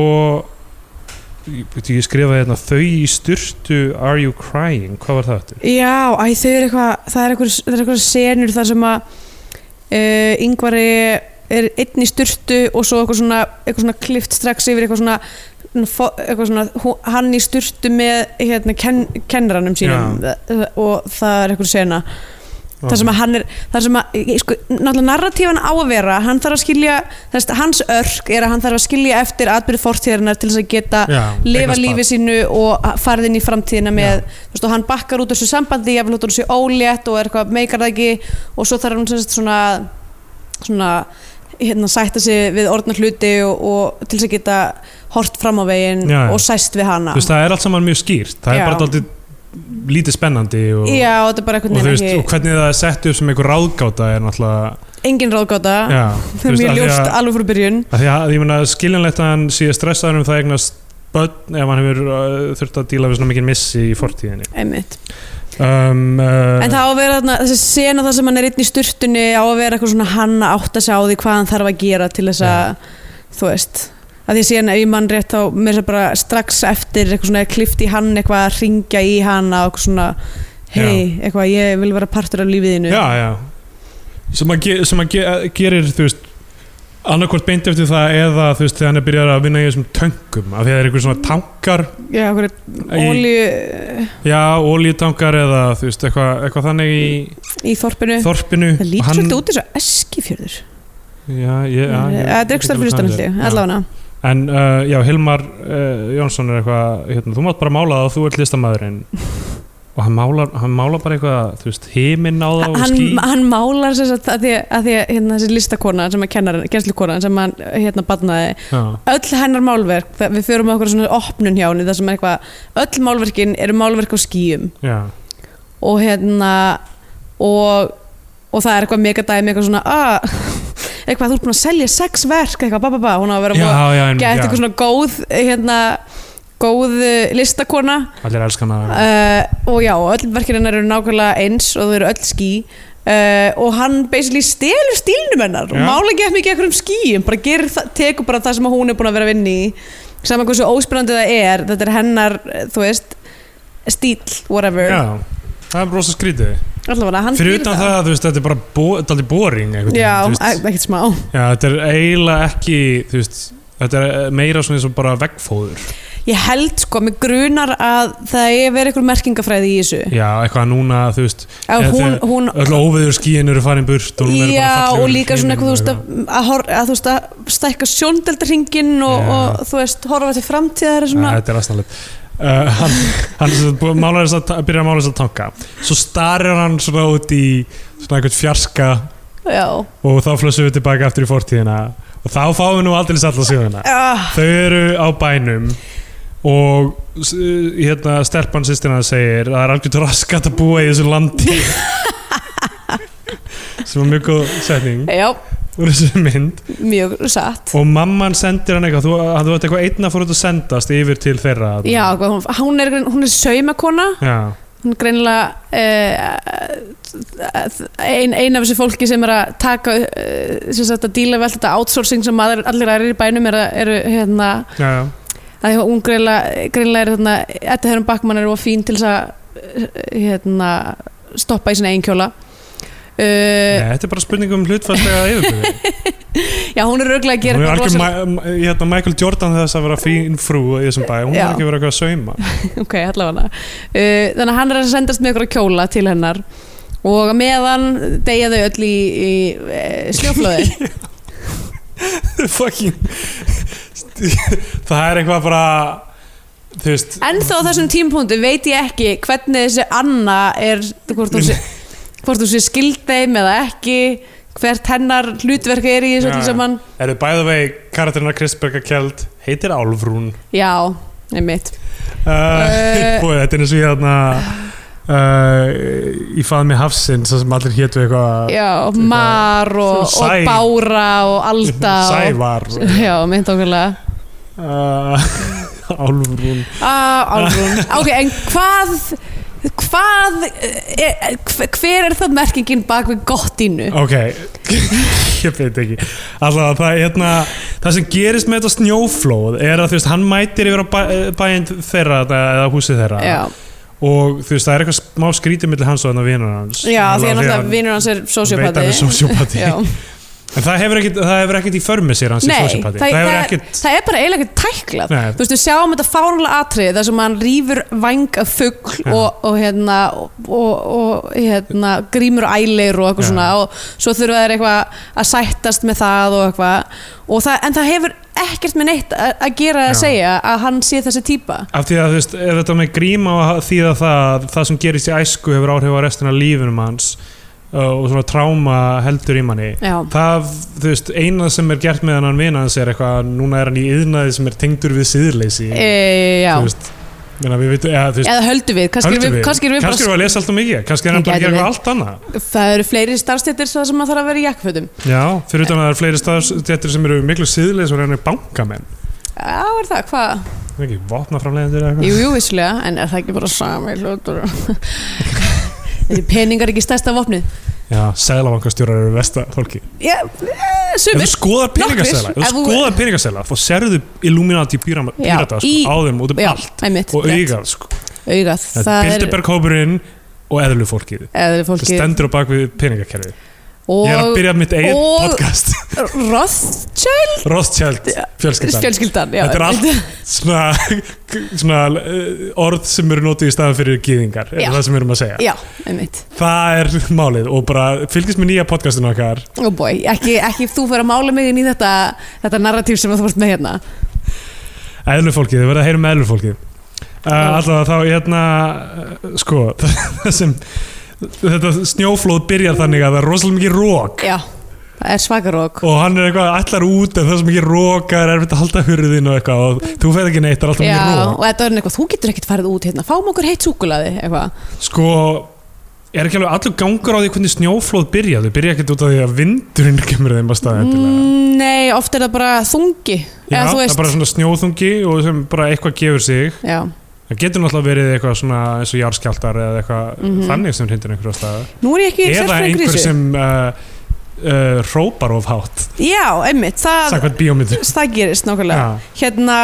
[SPEAKER 3] ég, veit, ég skrifaði hérna þau í styrtu Are You Crying, hvað var það eftir?
[SPEAKER 4] Já, æ, þau eru eitthvað Það er eitthvað, það er eitthvað senur þar sem að uh, yngvari er einn í styrtu og svo eitthvað svona, eitthvað svona klift strax yfir eitthvað svona svona fo- eitthvað svona, hú- hann í styrtu með hérna, ken, kennaranum sínum Eh, og það er eitthvað sena þar sem að hann er þar sem að, ég- sko, náttúrulega narratífan á að vera hann þarf að skilja, þess, hans örk er að hann þarf að skilja eftir atbyrð fortíðarinnar til þess að geta
[SPEAKER 3] Já,
[SPEAKER 4] lifa
[SPEAKER 3] eignast
[SPEAKER 4] lífi
[SPEAKER 3] barn.
[SPEAKER 4] sínu og farið inn í framtíðina með, þú veist, og hann bakkar út úr þessu sambandi, ég vil út úr þessu ólétt og er eitthvað, meikar það ekki og svo þarf hann sem sagt svona svona, hérna, sætta sig við orðna hluti og, og til þess að geta hort fram á veginn
[SPEAKER 3] Já, já.
[SPEAKER 4] og sæst við hana
[SPEAKER 3] þú veist, það er allt saman mjög skýrt það er
[SPEAKER 4] Já.
[SPEAKER 3] bara alltaf lítið spennandi og,
[SPEAKER 4] já, og þetta er bara
[SPEAKER 3] og,
[SPEAKER 4] einhvern
[SPEAKER 3] þú veist,
[SPEAKER 4] veginn
[SPEAKER 3] og hvernig það er sett upp sem einhver ráðgáta er náttúrulega
[SPEAKER 4] ekki engin ráðgáta,
[SPEAKER 3] já,
[SPEAKER 4] það er mjög ljóst
[SPEAKER 3] að,
[SPEAKER 4] alveg frá byrjun
[SPEAKER 3] að því að ég meina skiljanlegt að hann sé stressaður um það eignast börn ef hann hefur uh, þurft að díla við svona mikið missi í fortíðinni
[SPEAKER 4] einmitt
[SPEAKER 3] um, uh,
[SPEAKER 4] En það á að vera þarna, þessi sena þar sem hann er einn í sturtunni á að vera eitthvað svona hann að átta sig á því hvað hann þarf að gera til þess að, þú veist að því síðan ef ég mann rétt þá mér sér bara strax eftir eitthvað svona klift í hann eitthvað að ringja í hann og eitthvað svona hei, eitthvað ég vil vera partur af lífiðinu
[SPEAKER 3] já, já. sem að, ge sem að ge gerir þú veist annarkvort beint eftir það eða þú veist þegar hann er byrjað að vinna í þessum töngum af því að það er einhver svona tankar
[SPEAKER 4] já okkur
[SPEAKER 3] í,
[SPEAKER 4] ólíu
[SPEAKER 3] já, ólítankar eða þú veist eitthvað eitthva þannig í
[SPEAKER 4] í þorpinu
[SPEAKER 3] þorpinu
[SPEAKER 4] Eh, það lítur
[SPEAKER 3] Hann-
[SPEAKER 4] svolítið út eins og eskifjörður
[SPEAKER 3] já, ég, já, ég,
[SPEAKER 4] það er ekki starf fyrir stanaldi,
[SPEAKER 3] Já.
[SPEAKER 4] allavega
[SPEAKER 3] en uh, já, Hilmar uh, Jónsson er eitthvað hérna, þú mátt bara mála það og þú ert listamaðurinn og hann málar, hann málar bara eitthvað þú veist, himinn á það og
[SPEAKER 4] hann,
[SPEAKER 3] ský
[SPEAKER 4] hann málar sem sagt að því að, því að hérna, þessi listakona sem að kennar, kennslukona sem hann hérna badnaði
[SPEAKER 3] já,
[SPEAKER 4] öll hennar málverk, það- við förum okkur svona opnun hjá henni, það sem er eitthvað öll málverkin eru málverk á skýjum
[SPEAKER 3] já,
[SPEAKER 4] og hérna og, og það er eitthvað megadæmi eitthvað svona ah, eitthvað þú ert búin að selja sex verk eitthvað ba ba ba, hún á að vera
[SPEAKER 3] já,
[SPEAKER 4] búin að
[SPEAKER 3] já, en,
[SPEAKER 4] geta eitthvað
[SPEAKER 3] já.
[SPEAKER 4] svona góð hérna góð eh, listakona
[SPEAKER 3] allir elskan að
[SPEAKER 4] uh, og já, öll verkin hennar eru nákvæmlega eins og þau eru öll ský Uh, og hann basically stelur stílnum hennar og
[SPEAKER 3] Já.
[SPEAKER 4] mála ekki eftir mikið ekkur um skýjum bara gerir, það- tekur bara það sem hún er búin að vera að vinna í saman hversu óspennandi það er þetta er hennar, eh, þú veist stíl, whatever
[SPEAKER 3] Já, það er rosa skrítið
[SPEAKER 4] allavega hann
[SPEAKER 3] Fyrir
[SPEAKER 4] gerir
[SPEAKER 3] utan það, þú veist, þetta er bara bo, þetta er aldrei boring einhvern veginn,
[SPEAKER 4] já,
[SPEAKER 3] þú
[SPEAKER 4] e-
[SPEAKER 3] veist.
[SPEAKER 4] ekkert smá
[SPEAKER 3] já, þetta er eiginlega ekki þú veist, þetta er eh, meira svona eins og bara veggfóður
[SPEAKER 4] ég held sko, mig grunar að það er verið eitthvað merkingafræði í þessu
[SPEAKER 3] Já, eitthvað núna, þú veist,
[SPEAKER 4] að
[SPEAKER 3] Eða
[SPEAKER 4] hún, hún
[SPEAKER 3] öll óveður skíin eru farin burt og hún er bara
[SPEAKER 4] Já,
[SPEAKER 3] fallegur
[SPEAKER 4] og líka svona
[SPEAKER 3] himinn
[SPEAKER 4] eitthvað, þú
[SPEAKER 3] og
[SPEAKER 4] veist, að, að, hor- að, þú veist, að stækka sjóndeldarhingin og,
[SPEAKER 3] Já.
[SPEAKER 4] og þú veist, horfa til framtíðar er
[SPEAKER 3] Nei,
[SPEAKER 4] svona,
[SPEAKER 3] Þetta er aðstæðanlegt Uh, hann hann sem sagt búið að mála þess að ta- byrja að mála þess að tanka svo starir hann svona út í svona einhvern fjarska
[SPEAKER 4] já
[SPEAKER 3] og þá flössum við tilbaka aftur í fortíðina og þá fáum við nú aldrei allar síðuna
[SPEAKER 4] ah,
[SPEAKER 3] þau eru á bænum og s- hérna stelpan sýstina segir að það er algjört raskat að búa í þessu landi sem var mjög góð setning
[SPEAKER 4] Já,
[SPEAKER 3] úr þessu mynd
[SPEAKER 4] mjög satt
[SPEAKER 3] og mamman sendir hann eitthvað þú, hann, þú veit eitthvað einna fór út að sendast yfir til þeirra þarna.
[SPEAKER 4] Já, hvað hún, hún er, grein- hún er saumakona
[SPEAKER 3] já,
[SPEAKER 4] hún er greinilega uh, ein, ein af þessu fólki sem er að taka uh, sem sagt að díla við allt þetta outsourcing sem maður, allir aðrir í bænum eru, eru hérna,
[SPEAKER 3] já, já.
[SPEAKER 4] að því að hún greinlega, greinlega er þarna, Edda Herrum Backmann er of fín til þess að eh, hérna, stoppa í sinna eigin kjóla uh,
[SPEAKER 3] Nei, þetta er bara spurning um hlutfallega yfirbyrði
[SPEAKER 4] já, hún er rauglega að
[SPEAKER 3] hún
[SPEAKER 4] gera
[SPEAKER 3] er algjör
[SPEAKER 4] rosalega-
[SPEAKER 3] ma- ma- hérna, Michael Jordan þess að vera fín frú í þessum bæ, hún er
[SPEAKER 4] Já.
[SPEAKER 3] ekki verið eitthvað að sauma
[SPEAKER 4] ok, allavega uh, þannig að hann er að sendast með ykkur kjóla til hennar og á meðan deyja þau öll í, í e, sljóflöði
[SPEAKER 3] fucking það er eitthvað bara þú veist
[SPEAKER 4] en þó á þessum tímpúntu veit ég ekki hvernig þessi Anna er hvort hún sé, hvort hún sé skild þeim eða ekki hvert hennar hlutverk er í þessu
[SPEAKER 3] Já,
[SPEAKER 4] öllu
[SPEAKER 3] já.
[SPEAKER 4] saman
[SPEAKER 3] eru bæða vegi karakterina Kristberga kjeld heitir Álfrún
[SPEAKER 4] já, einmitt
[SPEAKER 3] uh,
[SPEAKER 4] Eh.
[SPEAKER 3] búið, þetta er eins og ég þarna uh, í faðmi hafsins þar sem allir hétu eitthvað
[SPEAKER 4] já, Mar og,
[SPEAKER 3] Sæ.
[SPEAKER 4] og Bára og Alda og,
[SPEAKER 3] Sævar
[SPEAKER 4] já, mynd okkurlega
[SPEAKER 3] uh, Álfrún
[SPEAKER 4] Ah, Álfrún Ok, en hvað hvað er, hver er það merkingin bak við gottínu?
[SPEAKER 3] Ok, ég veit ekki Allá, það, hérna, það sem gerist með þetta snjóflóð er að þú veist, hann mætir yfir á bæ, bæinn þeirra þetta, eða húsið þeirra
[SPEAKER 4] Já,
[SPEAKER 3] og þú veist, það er eitthvað smá skrítið millir hans og þannig að vinur hans
[SPEAKER 4] já því að
[SPEAKER 3] Allavega
[SPEAKER 4] náttúrulega vinnur hans er
[SPEAKER 3] veit
[SPEAKER 4] sociopati
[SPEAKER 3] hann er sociopati
[SPEAKER 4] Já.
[SPEAKER 3] En það hefur ekkit, það hefur ekkit í förmi sér hans í
[SPEAKER 4] Nei,
[SPEAKER 3] sociopati
[SPEAKER 4] það,
[SPEAKER 3] hefur
[SPEAKER 4] það,
[SPEAKER 3] ekkit
[SPEAKER 4] það er bara eiginlega ekkert tæklað
[SPEAKER 3] Nei.
[SPEAKER 4] Þú veist, við sjáum þetta fárlega atrið þar sem hann rýfur væng af fugl
[SPEAKER 3] Já.
[SPEAKER 4] og, og, hérna, og, og hérna grímur ælir og eitthvað
[SPEAKER 3] Já.
[SPEAKER 4] svona og svo þurfa þeir eitthvað að sættast með það og eitthvað og það, en það hefur ekkert með neitt að að gera að
[SPEAKER 3] Já.
[SPEAKER 4] segja að hann sé þessi típa
[SPEAKER 3] Af því að þú veist, ef þetta með gríma og því að það, það sem gerist í æsku hefur áhrif á restina af lífinum hans uh, og svona tráma heldur í manni
[SPEAKER 4] Já,
[SPEAKER 3] það, þú veist, eina sem er gert með hann vina hans er eitthvað, núna er hann í yðnaði sem er tengdur við síðleysi
[SPEAKER 4] e, já.
[SPEAKER 3] þú veist, meina við veitum eða, þú veist,
[SPEAKER 4] eða höldum við, kannski,
[SPEAKER 3] höldum
[SPEAKER 4] höldum við, kannski erum við
[SPEAKER 3] kannski erum við að lesa alltaf mikið kannski er hann
[SPEAKER 4] Það
[SPEAKER 3] bara að
[SPEAKER 4] gæti
[SPEAKER 3] gera eitthvað allt annað
[SPEAKER 4] bara það eru fleiri starfstættir þar sem maður þarf að vera í jakkfötum
[SPEAKER 3] já, fyrir utan að það eru fleiri staðstættir sem eru miklu síðleys og reynir bankamenn
[SPEAKER 4] Já, er það, hvað?
[SPEAKER 3] Það er ekki vopnaframleiðendur eða
[SPEAKER 4] Jú,
[SPEAKER 3] eitthvað
[SPEAKER 4] jú, visslega, en er það ekki bara sami hlutur? Þessi peningar ekki stærsta vopnið?
[SPEAKER 3] já, seglabankastjórar eru versta fólki
[SPEAKER 4] Já, eh,
[SPEAKER 3] ef
[SPEAKER 4] sumir.
[SPEAKER 3] þú skoðar peningasela
[SPEAKER 4] Nokkrir.
[SPEAKER 3] ef
[SPEAKER 4] Ef
[SPEAKER 3] þú
[SPEAKER 4] þú-
[SPEAKER 3] skoðar peningasela þá serðu Illuminati pírama-
[SPEAKER 4] Já,
[SPEAKER 3] pírata sko,
[SPEAKER 4] í-
[SPEAKER 3] á þeim út um
[SPEAKER 4] Já,
[SPEAKER 3] allt
[SPEAKER 4] einmitt.
[SPEAKER 3] og
[SPEAKER 4] rétt.
[SPEAKER 3] augað sko.
[SPEAKER 4] Augað, það er
[SPEAKER 3] Bilderberg-hópurinn og eðlufólkið
[SPEAKER 4] eða
[SPEAKER 3] Það
[SPEAKER 4] fólki.
[SPEAKER 3] stendur á bak við peningakerfi Ég er að
[SPEAKER 4] Og
[SPEAKER 3] byrja mitt eigin
[SPEAKER 4] og-
[SPEAKER 3] podcast
[SPEAKER 4] Rothschild
[SPEAKER 3] Rothschild fjölskyldan
[SPEAKER 4] fjölskyldan. já,
[SPEAKER 3] Þetta er allt
[SPEAKER 4] einmitt.
[SPEAKER 3] svona, svona uh, orð sem eru notið í staðan fyrir gýðingar er
[SPEAKER 4] Já.
[SPEAKER 3] það sem við erum að segja
[SPEAKER 4] Já, einmitt.
[SPEAKER 3] Það er málið og bara fylgist með nýja podcastinu okkar
[SPEAKER 4] Ó boi, Oh ekki, ekki þú fyrir að mála mig inn í þetta, þetta narratíf sem þú vorst með hérna.
[SPEAKER 3] eðlufólkið, þið verða að heyra með eðlufólkið uh,
[SPEAKER 4] Já.
[SPEAKER 3] Alltaf þá hérna uh, sko það sem þetta snjóflóð byrjar þannig að það er rosalega mikið rók
[SPEAKER 4] Já, það er svakarók.
[SPEAKER 3] og hann er eitthvað allar út en það er svo mikið rók það er erfitt að halda hurðin og eitthvað og þú fæð ekki neitt, það er alltaf
[SPEAKER 4] Já,
[SPEAKER 3] mikið rók
[SPEAKER 4] og þetta er eitthvað, þú getur ekkert farið út hérna, fáum okkur heitt súkulaði, eitthvað.
[SPEAKER 3] Sko, er ekki alveg allur gangur á því hvernig snjóflóð byrja? Þau byrja ekkert út af því að vindurinn kemur þeim að staða endilega.
[SPEAKER 4] Mm, Nei, oft er það bara þungi.
[SPEAKER 3] Já,
[SPEAKER 4] eða, þú
[SPEAKER 3] það
[SPEAKER 4] veist,
[SPEAKER 3] er bara svona snjóþungi og sem bara eitthvað gefur sig.
[SPEAKER 4] Já,
[SPEAKER 3] Það getur náttúrulega verið eitthvað svona eins og jarðskjaldar eða eitthvað þannig sem hrindir einhverja staða.
[SPEAKER 4] nú er Mhm. ég ekki
[SPEAKER 3] Eða
[SPEAKER 4] sérfræðingur í
[SPEAKER 3] einhver
[SPEAKER 4] þessu.
[SPEAKER 3] sem uh, uh, rópar of hátt,
[SPEAKER 4] Já, einmitt, það,
[SPEAKER 3] sagðvægt bíómyndur.
[SPEAKER 4] það gerist nákvæmlega.
[SPEAKER 3] Já,
[SPEAKER 4] Hérna,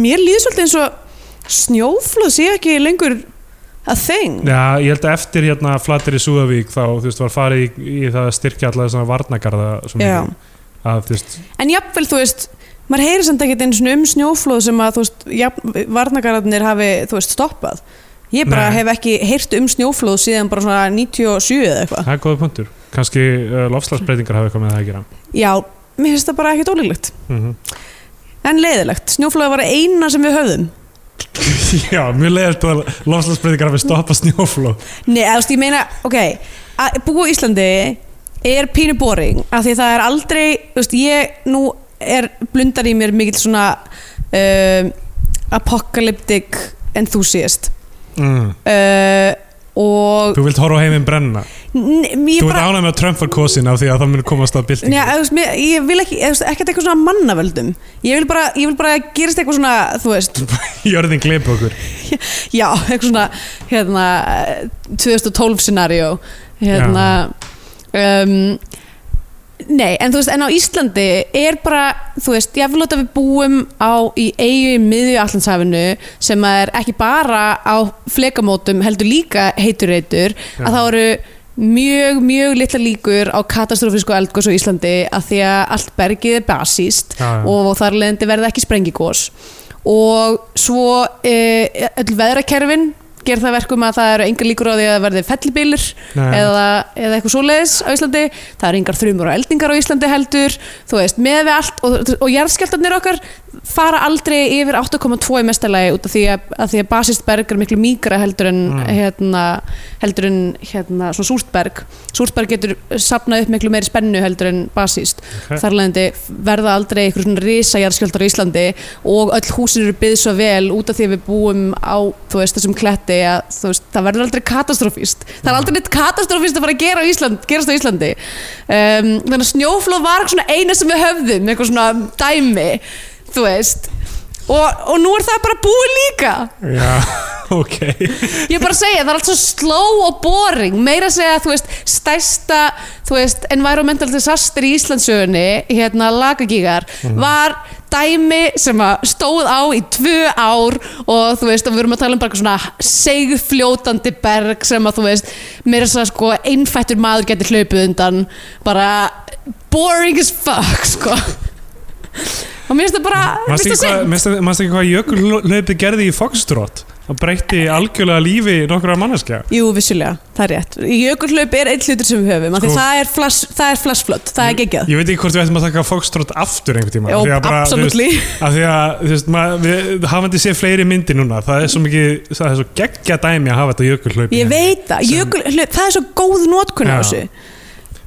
[SPEAKER 4] mér líður svolítið eins og snjóflóð sé ekki lengur að þeng.
[SPEAKER 3] Já, ég held að eftir hérna flatir í Súðavík þá, þú veist, var farið í, í það að styrkja alla þessana varnagarða svo
[SPEAKER 4] Já.
[SPEAKER 3] mikið. Að, þú veist,
[SPEAKER 4] En jafnvel, þú veist, maður heyrir samt ekkert einu svona um snjóflóð sem að, þú veist, jafn, varnagararnir hafi, þú veist, stoppað. Ég bara
[SPEAKER 3] Nei.
[SPEAKER 4] hef ekki heyrt um snjóflóð síðan bara svona 97 eða eitthvað.
[SPEAKER 3] það er góða punktur. Kanski uh, lofslagsbreytingar hafa eitthvað með það að gera.
[SPEAKER 4] Já, mér finnst það bara ekkert ólíklegt.
[SPEAKER 3] Mm
[SPEAKER 4] En leiðilegt, snjóflóð var eina sem við höfðum.
[SPEAKER 3] Já, mjög leiðilegt að lofslagsbreytingar hafi stoppað snjóflóð
[SPEAKER 4] Nei, eða, þú veist, ég meina, ok að búa í Íslandi er pínu boring af því það er aldrei, þú veist, ég nú er blundar í mér mikill svona um, apocalyptic enthusiast
[SPEAKER 3] mm.
[SPEAKER 4] uh, og
[SPEAKER 3] Þú vilt horfa á heiminn brenna
[SPEAKER 4] n- ég
[SPEAKER 3] Þú ert ánægð með að Trump var kosin af því að það mun komast að byltingu
[SPEAKER 4] Nei, eða, þú veist, mér- ég vil ekki, eða, þú veist, ekkert eitthvað svona mannavöldum ég vil bara, ég vil bara að gerist eitthvað svona þú veist,
[SPEAKER 3] Jörðin gleipi okkur
[SPEAKER 4] já, eitthvað svona hérna, 2012 scenario hérna um, nei, en þú veist, en á Íslandi er bara, þú veist, ég vil láta við búum á, í eigu í miðju allansafinu sem að er ekki bara á flekamótum heldur líka heiturreitur,
[SPEAKER 3] Já.
[SPEAKER 4] að þá eru mjög, mjög litla líkur á katastrofísku eldgós á Íslandi af því að allt bergið er basíst
[SPEAKER 3] Já, já.
[SPEAKER 4] og þar leðandi verða ekki sprengigós og svo e, öll veðrakerfin ger það verkum að það eru engar líkur á því að það verði fellibýlir
[SPEAKER 3] Nei.
[SPEAKER 4] eða, eða eitthvað svoleiðis á Íslandi það eru engar þrumur og eldingar á Íslandi heldur þú veist, með við allt og, og jarðskjáltarnir okkar fara aldrei yfir 8,2 í mestalagi út af því að, að því að basistberg er miklu mýkra heldur en
[SPEAKER 3] Mm.
[SPEAKER 4] hérna, heldur en hérna, svona súrtberg súrtberg getur sapnað upp miklu meiri spennu heldur en basist
[SPEAKER 3] Ok.
[SPEAKER 4] þar leðandi verða aldrei einhver svona risajarðskjöldar á Íslandi og öll húsin eru byggð svo vel út af því að við búum á þú veist, þessum kletti að þú veist, það verður aldrei katastrófist það er aldrei neitt katastrófist að fara að gera á Ísland, gerast á Íslandi um, þannig að snjóflóð var eitthvað svona eina sem við höfðum eitthvað svona dæmi þú veist og, og nú er það bara búið líka
[SPEAKER 3] Já, ok
[SPEAKER 4] ég er bara að segja, það er allt svo slow og boring meira að segja, þú veist, stærsta þú veist, environmental disaster í Íslandsögunni, hérna lagagígar
[SPEAKER 3] Mhm.
[SPEAKER 4] var dæmi sem að stóð á í tvö ár og þú veist, og við erum að tala um bara eitthvað svona segfljótandi berg sem að þú veist, meira að segja sko einfættur maður getur hlaupið undan bara boring as fuck sko og mér finnst það bara mér
[SPEAKER 3] Manstu
[SPEAKER 4] finnst
[SPEAKER 3] ekki
[SPEAKER 4] það
[SPEAKER 3] hvað-
[SPEAKER 4] synd.
[SPEAKER 3] manstu- manstu ekki hvað jökullaupi gerði í Foxtrot? Það breytti algjörlega lífi nokkra manneskja
[SPEAKER 4] Jú, vissulega, það er rétt. Jökulhlaup er einn hlutur sem við höfum, af því
[SPEAKER 3] Sko-
[SPEAKER 4] það er, flash, það er flashflott, það er geggjað.
[SPEAKER 3] Ég veit ekki hvort við ættum að taka Foxtrot aftur einhvern tíma
[SPEAKER 4] Jó, absolutely.
[SPEAKER 3] Af því að, þú veist, maður- við hafandi sé fleiri myndi núna Það er svo mikið, það er svo geggja dæmi að hafa þetta hérna. jökullaupi
[SPEAKER 4] Ég veit það, jökulhlaup, það er svo góð nótkunn
[SPEAKER 3] Já.
[SPEAKER 4] á þessu.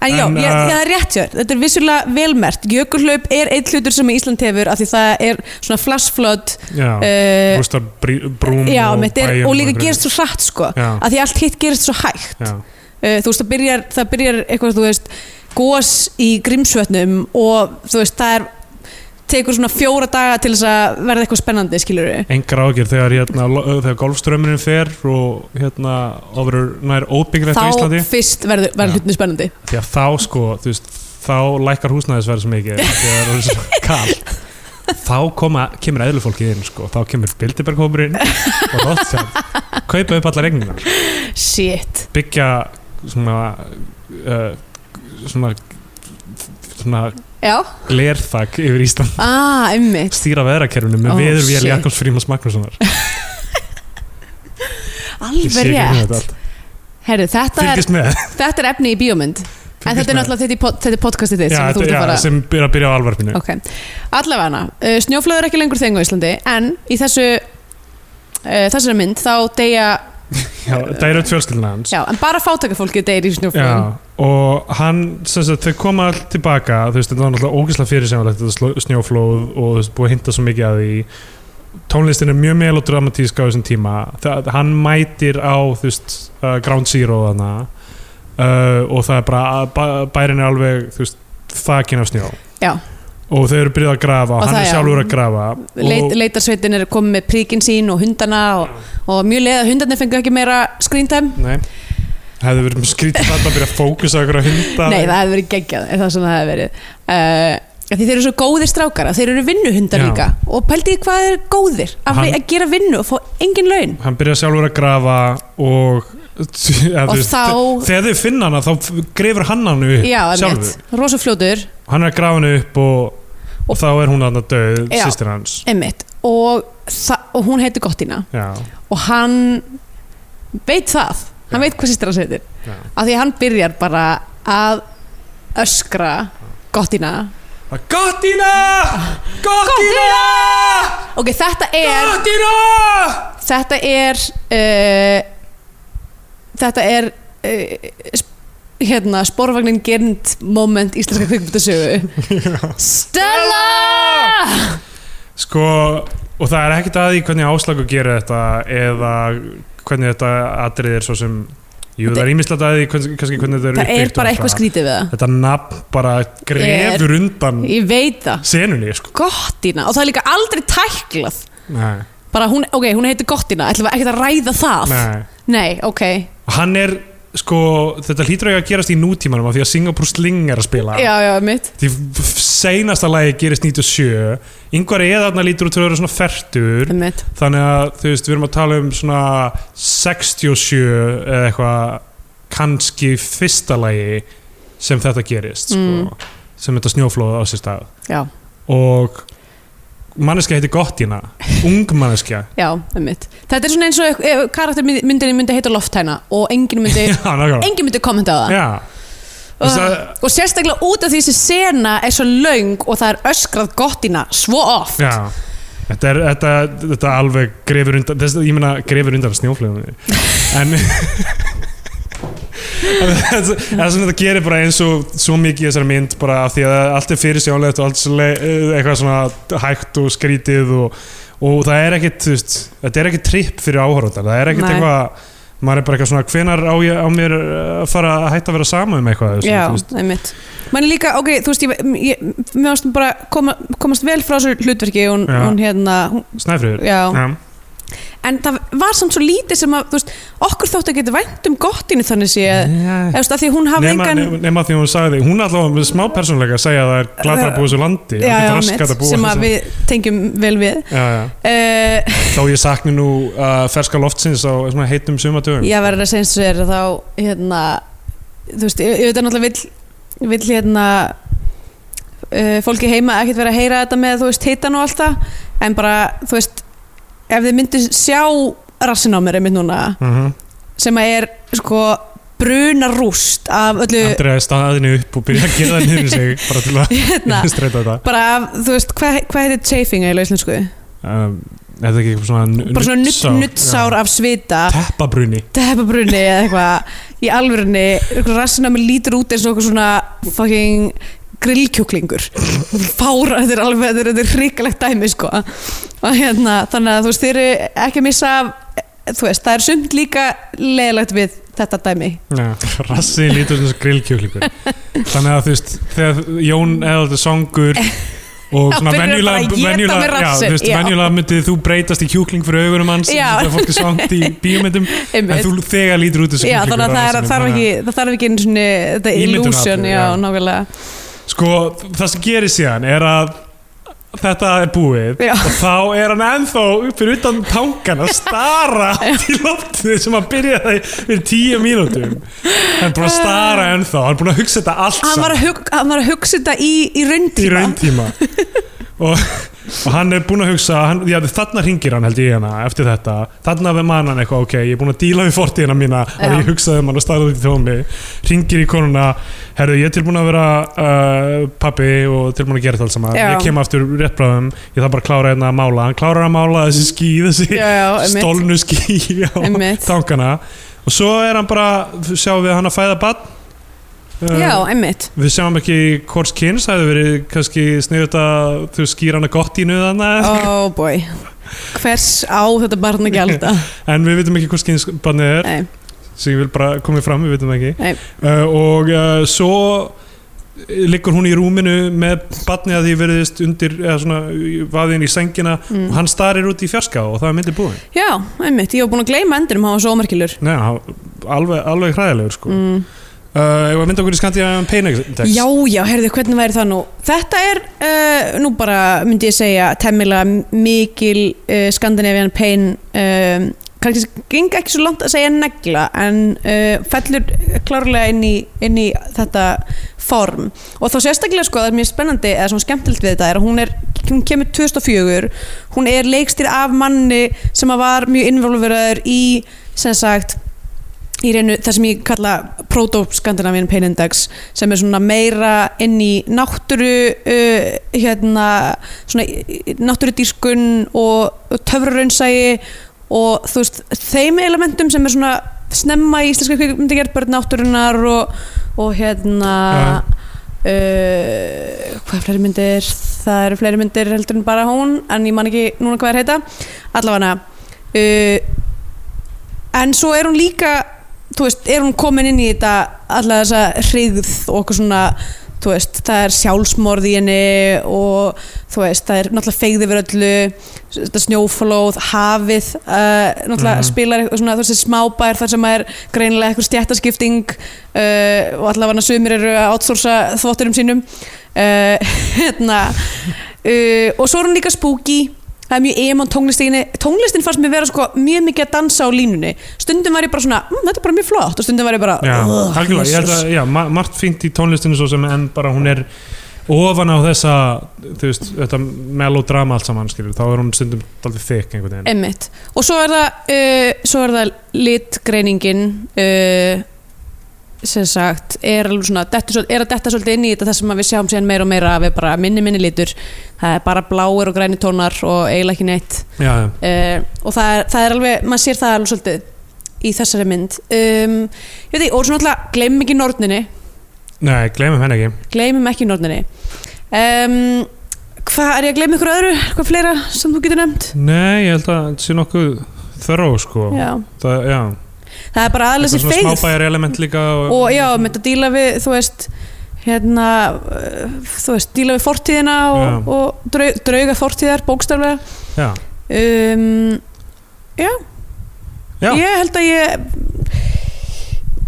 [SPEAKER 4] En já,
[SPEAKER 3] En,
[SPEAKER 4] ég,
[SPEAKER 3] uh,
[SPEAKER 4] það er rétt hjá, þér. þetta er vissulega velmert. Jökulhlaup er einn hlutur sem Ísland hefur, af því það er svona flashflott,
[SPEAKER 3] Já,
[SPEAKER 4] uh,
[SPEAKER 3] rústa brí- brúm
[SPEAKER 4] já,
[SPEAKER 3] Mm, og
[SPEAKER 4] mitt er,
[SPEAKER 3] bæjum
[SPEAKER 4] og líka
[SPEAKER 3] einhverju.
[SPEAKER 4] gerist svo hratt, sko,
[SPEAKER 3] Já.
[SPEAKER 4] af því allt hitt gerist svo hægt.
[SPEAKER 3] Já,
[SPEAKER 4] uh, þú veist það byrjar, það byrjar eitthvað þú veist gós í grímsvötnum og þú veist það er tekur svona fjóra daga til þess að verða eitthvað spennandi skilur við
[SPEAKER 3] engar ágjör þegar, hérna, lo- þegar golfströmmurinn fer og hérna, og verður nær óbyggrið
[SPEAKER 4] þá
[SPEAKER 3] á Íslandi
[SPEAKER 4] fyrst verður
[SPEAKER 3] Já.
[SPEAKER 4] verð hlutinu spennandi
[SPEAKER 3] því að þá sko þú veist, þá lækkar húsnæðisverð sem ekki þegar það er svo kall þá koma, kemur eðlufólkið inn sko. þá kemur Bilderberghópurinn og Rothschild, kaupa upp allar regningar
[SPEAKER 4] shit,
[SPEAKER 3] byggja svona uh, svona svona
[SPEAKER 4] já
[SPEAKER 3] glerþak yfir Ísland
[SPEAKER 4] ah, einmitt,
[SPEAKER 3] stýra veðrakerfinu með
[SPEAKER 4] Oh,
[SPEAKER 3] oh, veðurvél
[SPEAKER 4] shit.
[SPEAKER 3] Jakobs Frímans Magnússonar Ég sé
[SPEAKER 4] alveg
[SPEAKER 3] ekki hvernig þetta
[SPEAKER 4] rétt
[SPEAKER 3] allt.
[SPEAKER 4] herru, þetta er,
[SPEAKER 3] fylgist með
[SPEAKER 4] þetta er efni í bíómynd en
[SPEAKER 3] fylgist
[SPEAKER 4] þetta er
[SPEAKER 3] með.
[SPEAKER 4] náttúrulega þetta, í pod- þetta er podcastið þitt
[SPEAKER 3] Já,
[SPEAKER 4] sem þú ert
[SPEAKER 3] þetta-
[SPEAKER 4] að
[SPEAKER 3] já,
[SPEAKER 4] fara
[SPEAKER 3] sem er að byrja á alvarpinu
[SPEAKER 4] Ok, allavega hana Snjóflöður er ekki lengur þeng á Íslandi en í þessu uh, þessari mynd þá deyja
[SPEAKER 3] Já, það er öll fjölskyldina hans
[SPEAKER 4] já, en bara fátakafólkið deyr í snjóflöðum
[SPEAKER 3] Já, og hann, sem sagt, þau koma all tilbaka, þú veist, þetta var náttúrulega ógeðslega fyrir sem þetta sló- snjóflóð og þú veist, búið að hinta svo mikið að því tónlistin er mjög melodramatísk á þessum tíma það, hann mætir á, þú veist, uh, Ground Zero þarna uh, og það er bara, bæ, bærin er alveg, þú veist, þakin af snjó
[SPEAKER 4] Já.
[SPEAKER 3] og þau eru byrjuð að grafa og
[SPEAKER 4] Og
[SPEAKER 3] hann
[SPEAKER 4] það,
[SPEAKER 3] er
[SPEAKER 4] já.
[SPEAKER 3] sjálfur að grafa
[SPEAKER 4] Leit,
[SPEAKER 3] og,
[SPEAKER 4] Leitarsveitin er komið með príkin sín og hundana og, og mjög leið að hundarnir fengu ekki meira screen time
[SPEAKER 3] nei, hefði verið skrítið þarna að byrja að fókusa okkur að hinta
[SPEAKER 4] Nei, það hefði verið geggjað ef það sem það hefði verið uh, af Því þeir eru svo góðir strákar að þeir eru vinnuhundar
[SPEAKER 3] Já.
[SPEAKER 4] líka og pældi því hvað þeir eru góðir að,
[SPEAKER 3] Hann-
[SPEAKER 4] að gera vinnu og fá engin laun
[SPEAKER 3] hann byrjar sjálfur að grafa og, eða,
[SPEAKER 4] Og
[SPEAKER 3] þú veist,
[SPEAKER 4] þá-
[SPEAKER 3] þegar þau finna hana þá grefur hann hann upp
[SPEAKER 4] Já,
[SPEAKER 3] sjálfur
[SPEAKER 4] einmitt, rosafljótur
[SPEAKER 3] hann er að grafa hann upp og, og,
[SPEAKER 4] Og-
[SPEAKER 3] þá er hún hann að döð,
[SPEAKER 4] Já.
[SPEAKER 3] sýstir hans
[SPEAKER 4] einmitt, og, það- og hún heitir Gottina
[SPEAKER 3] já,
[SPEAKER 4] og hann veit það, hann
[SPEAKER 3] Já.
[SPEAKER 4] veit hvað sýstir hans heitir
[SPEAKER 3] já.
[SPEAKER 4] af því að hann byrjar bara að öskra Gottina
[SPEAKER 3] Gottina! Gottina!
[SPEAKER 4] Ok, þetta er
[SPEAKER 3] Gottina!
[SPEAKER 4] þetta er uh, þetta er uh, sp- hérna spórvagnin gernd moment íslenska kvikmyndasögu Stella
[SPEAKER 3] sko, og það er ekkert að því hvernig áslagu gerir þetta eða hvernig þetta atrið er svo sem jú,
[SPEAKER 4] Þetta-
[SPEAKER 3] það er ímislega að því hvernig- kannski hvernig þetta er
[SPEAKER 4] það er
[SPEAKER 3] uppbyggt og
[SPEAKER 4] bara
[SPEAKER 3] allt
[SPEAKER 4] eitthvað
[SPEAKER 3] það.
[SPEAKER 4] skrítið við það
[SPEAKER 3] þetta nafn bara grefur undan
[SPEAKER 4] ég veit það,
[SPEAKER 3] senunni sko.
[SPEAKER 4] Gottina og það er líka aldrei tæklað
[SPEAKER 3] Nei,
[SPEAKER 4] bara hún, ok, hún heitir Gottina, ætlum við ekkert að ræða það
[SPEAKER 3] nei.
[SPEAKER 4] Nei, ok,
[SPEAKER 3] Hann er sko, þetta hlýtur að gerast í nútímanum af því að Singapore Sling er að spila
[SPEAKER 4] já, já, mitt
[SPEAKER 3] því f- seinasta lagi gerist 97 yngvar eða þarna lítur út til að vera svona fertur
[SPEAKER 4] Einmitt.
[SPEAKER 3] þannig að þú veist, við erum að tala um svona 67 eða eitthvað kannski fyrsta lagi sem þetta gerist sko, sem þetta snjóflóð á sér stað
[SPEAKER 4] Já.
[SPEAKER 3] og manneskja heiti Gottina ung manneskja
[SPEAKER 4] já, einmitt. þetta er svona eins og ef karaktermyndinni myndi heita Lofthæna og enginn myndi,
[SPEAKER 3] Já, nákvæmlega
[SPEAKER 4] enginn myndi kommenta á það
[SPEAKER 3] Já, þú veist
[SPEAKER 4] og,
[SPEAKER 3] að-
[SPEAKER 4] Ah. og sérstaklega út af því þessi sena er svo laung og það er öskrað gottina svo oft
[SPEAKER 3] já Þetta er, þetta, þetta alveg grefur undan þess, ég meina grefur undan snjóflöðum en en það það er svona þetta gerir bara eins og svo mikið í þessari mynd bara af því að allt er fyrir sjánlegt og allt svo le- eitthvað svona hægt og skrítið og, og það er ekkit þú veist, þetta er ekkit tripp fyrir áhorfandan það er ekkit
[SPEAKER 4] Nei.
[SPEAKER 3] eitthvað maður er bara eitthvað svona hvenar á, ég, á mér að fara að hætta að vera sama um eitthvað
[SPEAKER 4] Já,
[SPEAKER 3] þú veist.
[SPEAKER 4] einmitt Man er líka, ok, þú veist, ég, ég mér varst bara koma, komast vel frá þessu hlutverki hún,
[SPEAKER 3] Já.
[SPEAKER 4] hún hérna, hún,
[SPEAKER 3] Snæfriður
[SPEAKER 4] já,
[SPEAKER 3] Já.
[SPEAKER 4] en það var samt svo lítið sem að, þú veist, okkur þótt að geta vænt um gottinu þannig sé eða, þú veist, að því hún hafði
[SPEAKER 3] nema,
[SPEAKER 4] engan
[SPEAKER 3] nema, nema því hún sagði hún er allavega með smá persónleika að segja að það er glata að búa þessu landi
[SPEAKER 4] Já, já,
[SPEAKER 3] alveg raskat
[SPEAKER 4] einmitt,
[SPEAKER 3] að búa
[SPEAKER 4] sem
[SPEAKER 3] þessu-
[SPEAKER 4] að við tengjum vel við
[SPEAKER 3] já, já.
[SPEAKER 4] uh,
[SPEAKER 3] þó ég sakni nú uh, ferska loftsins á svona heitum sumatöfum
[SPEAKER 4] Ég verður að segja eins og þér að þá hérna, þú veist, ég, ég veit að náttúrulega vill, vill hérna uh, fólki heima ekkert vera að heyra þetta með, þú veist, heitan og allt það en bara, þú veist ef þið myndir sjá rassin á mér einmitt núna,
[SPEAKER 3] uh -huh.
[SPEAKER 4] sem að er sko bruna rúst af öllu
[SPEAKER 3] Andrið staðinu upp og byrja að gera það niður í sig bara til að
[SPEAKER 4] hérna,
[SPEAKER 3] streyta þetta
[SPEAKER 4] bara af, þú veist, hvað hva heitir chafing eiginlega í íslensku?
[SPEAKER 3] um, er þetta ekki eitthvað svona
[SPEAKER 4] Bara svona nudd- nuddsár af svita
[SPEAKER 3] teppabrunni
[SPEAKER 4] teppabrunni eða eitthvað í alvörunni, eitthvað rassina mér lítur út eins og eitthvað svona fucking grillkjúklingur fára, þetta er alveg, þetta er, þetta er hrikalegt dæmi sko og hérna, þannig að þú veist, þeir eru ekki að missa af, þú veist, það er sumt líka leðilegt við þetta dæmi
[SPEAKER 3] Já, rassi lítur svona grillkjúklingur þannig að þú veist þegar Jón eða þetta songur og
[SPEAKER 4] Já,
[SPEAKER 3] svona
[SPEAKER 4] byrjar bara
[SPEAKER 3] venjulega
[SPEAKER 4] að éta með
[SPEAKER 3] venjulega, já,
[SPEAKER 4] rassinn,
[SPEAKER 3] þú veist,
[SPEAKER 4] já.
[SPEAKER 3] venjulega myndið þú breytast í kjúkling fyrir augunum hans
[SPEAKER 4] Já.
[SPEAKER 3] þegar fólk er svangt í bíómyndum en
[SPEAKER 4] einmitt,
[SPEAKER 3] þú þegar lítur út þessu
[SPEAKER 4] já,
[SPEAKER 3] kjúklingur
[SPEAKER 4] þannig
[SPEAKER 3] á
[SPEAKER 4] að það, er,
[SPEAKER 3] rassinum,
[SPEAKER 4] þarf
[SPEAKER 3] þannig
[SPEAKER 4] ekki, það þarf ekki einu svona, þetta er
[SPEAKER 3] Ímyndunaraflið,
[SPEAKER 4] illusion já,
[SPEAKER 3] já.
[SPEAKER 4] nákvæmlega
[SPEAKER 3] að- sko það sem gerir síðan er að þetta er búið
[SPEAKER 4] Já.
[SPEAKER 3] og þá er hann ennþá upp fyrir utan tangan að stara í loftið sem að byrja það fyrir tíu mínútum hann er búin að stara ennþá hann er búin að hugsa þetta allt
[SPEAKER 4] hann
[SPEAKER 3] saman
[SPEAKER 4] var, að hug, hann var að hugsa þetta í, í
[SPEAKER 3] í
[SPEAKER 4] rauntíma
[SPEAKER 3] rauntíma og, og hann er búinn að hugsa hann, já, þarna ringir hann held ég hana eftir þetta þarna við mann hann eitthvað ok ég er búinn að díla við fortíðina mína að
[SPEAKER 4] Já.
[SPEAKER 3] ég hugsaði um hann og staðið til tómi ringir í konuna herru ég er tilbúinn að vera uh, pappi og tilbúinn að gera þetta alls saman
[SPEAKER 4] Já.
[SPEAKER 3] ég kem aftur rétt bráðum ég þarf bara að klára hérna að mála hann klárar að mála þessi ský þessi
[SPEAKER 4] já, já, einmitt,
[SPEAKER 3] stolnu ský á
[SPEAKER 4] einmitt.
[SPEAKER 3] tankana og svo er hann bara sjáum við hann að fæða Uh, badn
[SPEAKER 4] já, einmitt
[SPEAKER 3] Við sjáum ekki hvort kyns, það hefði verið kannski sniðut að þú skýr hana gott í nöðana
[SPEAKER 4] Oh boy Hvers á þetta barn að gælda
[SPEAKER 3] en við vitum ekki hvort kyns bannið er
[SPEAKER 4] Nei,
[SPEAKER 3] sem ég vil bara komið fram, við vitum það ekki
[SPEAKER 4] Nei.
[SPEAKER 3] uh, og uh, svo liggur hún í rúminu með bannið að því verðist undir eða svona vaðin í sengina og
[SPEAKER 4] mm.
[SPEAKER 3] hann starir út í fjarska og það er myndið búin
[SPEAKER 4] Já, einmitt, ég var búin að gleyma endurum hann var svo ómerkilur
[SPEAKER 3] Nei, hann- alveg, alveg hræðilegur sko mm.
[SPEAKER 4] mm.
[SPEAKER 3] uh, og mynda okkur í skandi að peinex
[SPEAKER 4] Já, já, heyrðu, hvernig væri það nú Þetta er, uh, nú bara myndi ég segja temmilega mikil uh, Scandinavian pain um, kannski geng ekki svo langt að segja negla en uh, fellur klárlega inn í, inn í þetta form og þá sérstaklega sko það er mjög spennandi eða svona skemmtilegt við þetta er að hún er hún kemur 2004 hún er leikstýr af manni sem að var mjög involveraður í sem sagt í reynu það sem ég kalla proto-skandinavín peinindex sem er svona meira inn í náttúru uh, hérna svona náttúrudískun og töfruraunsæi og þú veist þeim elementum sem er svona snemma í íslenska kvikmyndagerð börn náttúrunar og, og hérna uh, hvað er fleiri myndir það eru fleiri myndir heldur en bara hún en ég man ekki núna hvað er heita allavega uh, en svo er hún líka þú veist, er hún komin inn í þetta alla þessa hrigð og okkur svona þú veist, það er sjálfsmorð í henni og þú veist, það er náttúrulega feigð yfir öllu, þetta snjóflóð hafið, uh, náttúrulega
[SPEAKER 3] Mhm.
[SPEAKER 4] spilar eitthvað svona þessi smábær þar sem er greinilega eitthvað stjættaskipting uh, og allavega sumir eru að outsourca þvotturum sínum uh, hérna uh, og svo er hún líka spooky það er mjög emo tónlistinni tónlistin fannst mér vera sko mjög mikið að dansa á línunni stundum var ég bara svona, mmm, þetta er bara mjög flott og stundum var ég bara,
[SPEAKER 3] Já,
[SPEAKER 4] "Ugh,
[SPEAKER 3] algjörlega, ég held
[SPEAKER 4] Jesus."
[SPEAKER 3] að, já, ma- margt fínt í tónlistinu svo sem en bara hún er ofan á þessa þú veist, þetta melodrama allt saman skilur, þá er hún stundum daldið þykk einhvern veginn
[SPEAKER 4] Einmitt. Og svo er það, uh, svo er það litgreiningin uh, sem sagt er, alveg svona, dettur, svol- er að detta svolítið inn í þetta þar sem að við sjáum síðan meira og meira að við bara minni minni litur það er bara bláir og græni tónar og eiginlega ekki neitt
[SPEAKER 3] já, já.
[SPEAKER 4] uh, og það er, það er alveg, maður sér það alveg svolítið í þessari mynd um, ég veit ekki, og svona alltaf gleymum ekki norninni
[SPEAKER 3] nei, glemum henni ekki
[SPEAKER 4] gleymum ekki norninni um, hvað er ég að gleyma ykkur öðru hvað fleira sem þú getur nefnt
[SPEAKER 3] nei, ég held að þetta sé nokkuð þöró sko
[SPEAKER 4] já.
[SPEAKER 3] það, já,
[SPEAKER 4] það er bara aðlega
[SPEAKER 3] eitthvað
[SPEAKER 4] sér
[SPEAKER 3] svona
[SPEAKER 4] feigð
[SPEAKER 3] smábæjar element líka og,
[SPEAKER 4] og já, með að díla við þú veist hérna, uh, þú veist, díla við fortíðina og,
[SPEAKER 3] Já.
[SPEAKER 4] og draug, drauga fortíðar bókstaflega
[SPEAKER 3] já,
[SPEAKER 4] um, já.
[SPEAKER 3] Já.
[SPEAKER 4] ég held að ég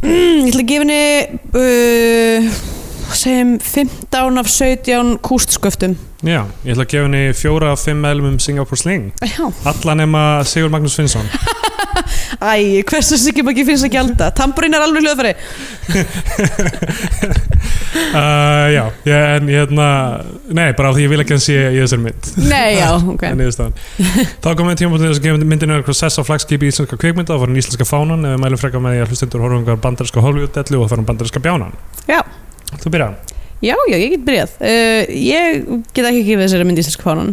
[SPEAKER 4] mm, ég ætla að gefa henni uh, segjum 15 af 17 kústsköftum
[SPEAKER 3] já, ég ætla að gefa henni fjóra af fimm meðlum um Singapore Sling
[SPEAKER 4] já,
[SPEAKER 3] alla nema Sigur Magnús Finnsson
[SPEAKER 4] æ, hversu sikið maður ekki finnst að gjalda tamburinn er alveg hljóðfæri
[SPEAKER 3] uh, já, ég, en ég hérna nei, bara af því ég vil ekki hann sé í þessari mynd
[SPEAKER 4] nei, já, ok
[SPEAKER 3] en niðurstaðan þá komum við tímabótið þess að gefa myndinu eitthvað sess á flagskipi íslenska kvikmynda og farum íslenska fánan ef við mælum frekar með því að hlustendur horfum hvað bandarinska Hollywood-dellu og farum bandarinska bjánan
[SPEAKER 4] Já.
[SPEAKER 3] þú byrja
[SPEAKER 4] Já, já, ég get byrjað. Uh, ég get ekki gefið þessari mynd íslenska fánan.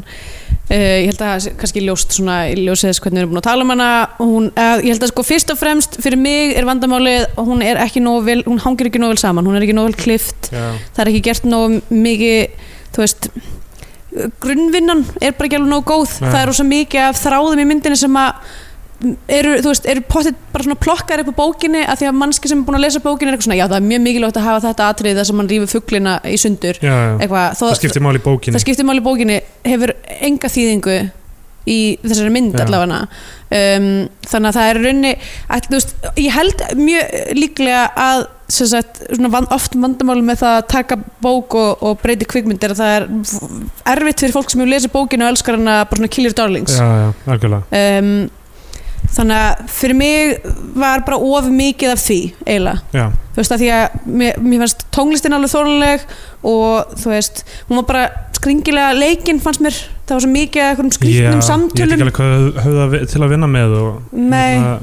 [SPEAKER 4] Uh, ég held að það sé kannski ljóst svona, ég ljósið þess hvernig við erum búin að tala um hana. Hún, uh, ég held að sko fyrst og fremst fyrir mig er vandamálið að hún er ekki nógu vel, hún hangir ekki nógu vel saman, hún er ekki nógu vel klift,
[SPEAKER 3] já,
[SPEAKER 4] það er ekki gert nógu mikið, þú veist, uh, grunnvinnan er bara ekki alveg nógu góð.
[SPEAKER 3] Nei.
[SPEAKER 4] Það er rosa mikið af þráðum í myndinni sem að eru, þú veist, eru pottitt bara svona plokkar upp á bókinni að því að mannski sem er búin að lesa bókinni er eitthvað svona, já það er mjög mikilvægt að hafa þetta atrið þar sem mann rýfur fugglina í sundur
[SPEAKER 3] já, já.
[SPEAKER 4] eitthvað, þó,
[SPEAKER 3] það skiptir máli í bókinni
[SPEAKER 4] það skiptir máli í bókinni hefur enga þýðingu í þessari mynd
[SPEAKER 3] Já.
[SPEAKER 4] allavega um, þannig að það er í raunni að, þú veist, ég held mjög líklega að sem sagt, svona, van, oft vandamáli með það að taka bók og, og breyti kvikmyndir að það er erfitt fyrir fólk sem hefur lesið bókinu og elskar hana bara svona killir darlings
[SPEAKER 3] já, já, algjörlega
[SPEAKER 4] um, þannig að fyrir mig var bara of mikið af því eiginlega
[SPEAKER 3] já,
[SPEAKER 4] þú veist að því að mér, mér fannst tónlistin alveg þornuleg og þú veist, hún var bara skringilega leikinn fannst mér, það var svo mikið af einhverjum
[SPEAKER 3] já,
[SPEAKER 4] skrýtnum
[SPEAKER 3] ég veit
[SPEAKER 4] samtölum
[SPEAKER 3] ekki alveg hvað þau höfðu að vi- til að vinna með og,
[SPEAKER 4] Nei.
[SPEAKER 3] Hérna,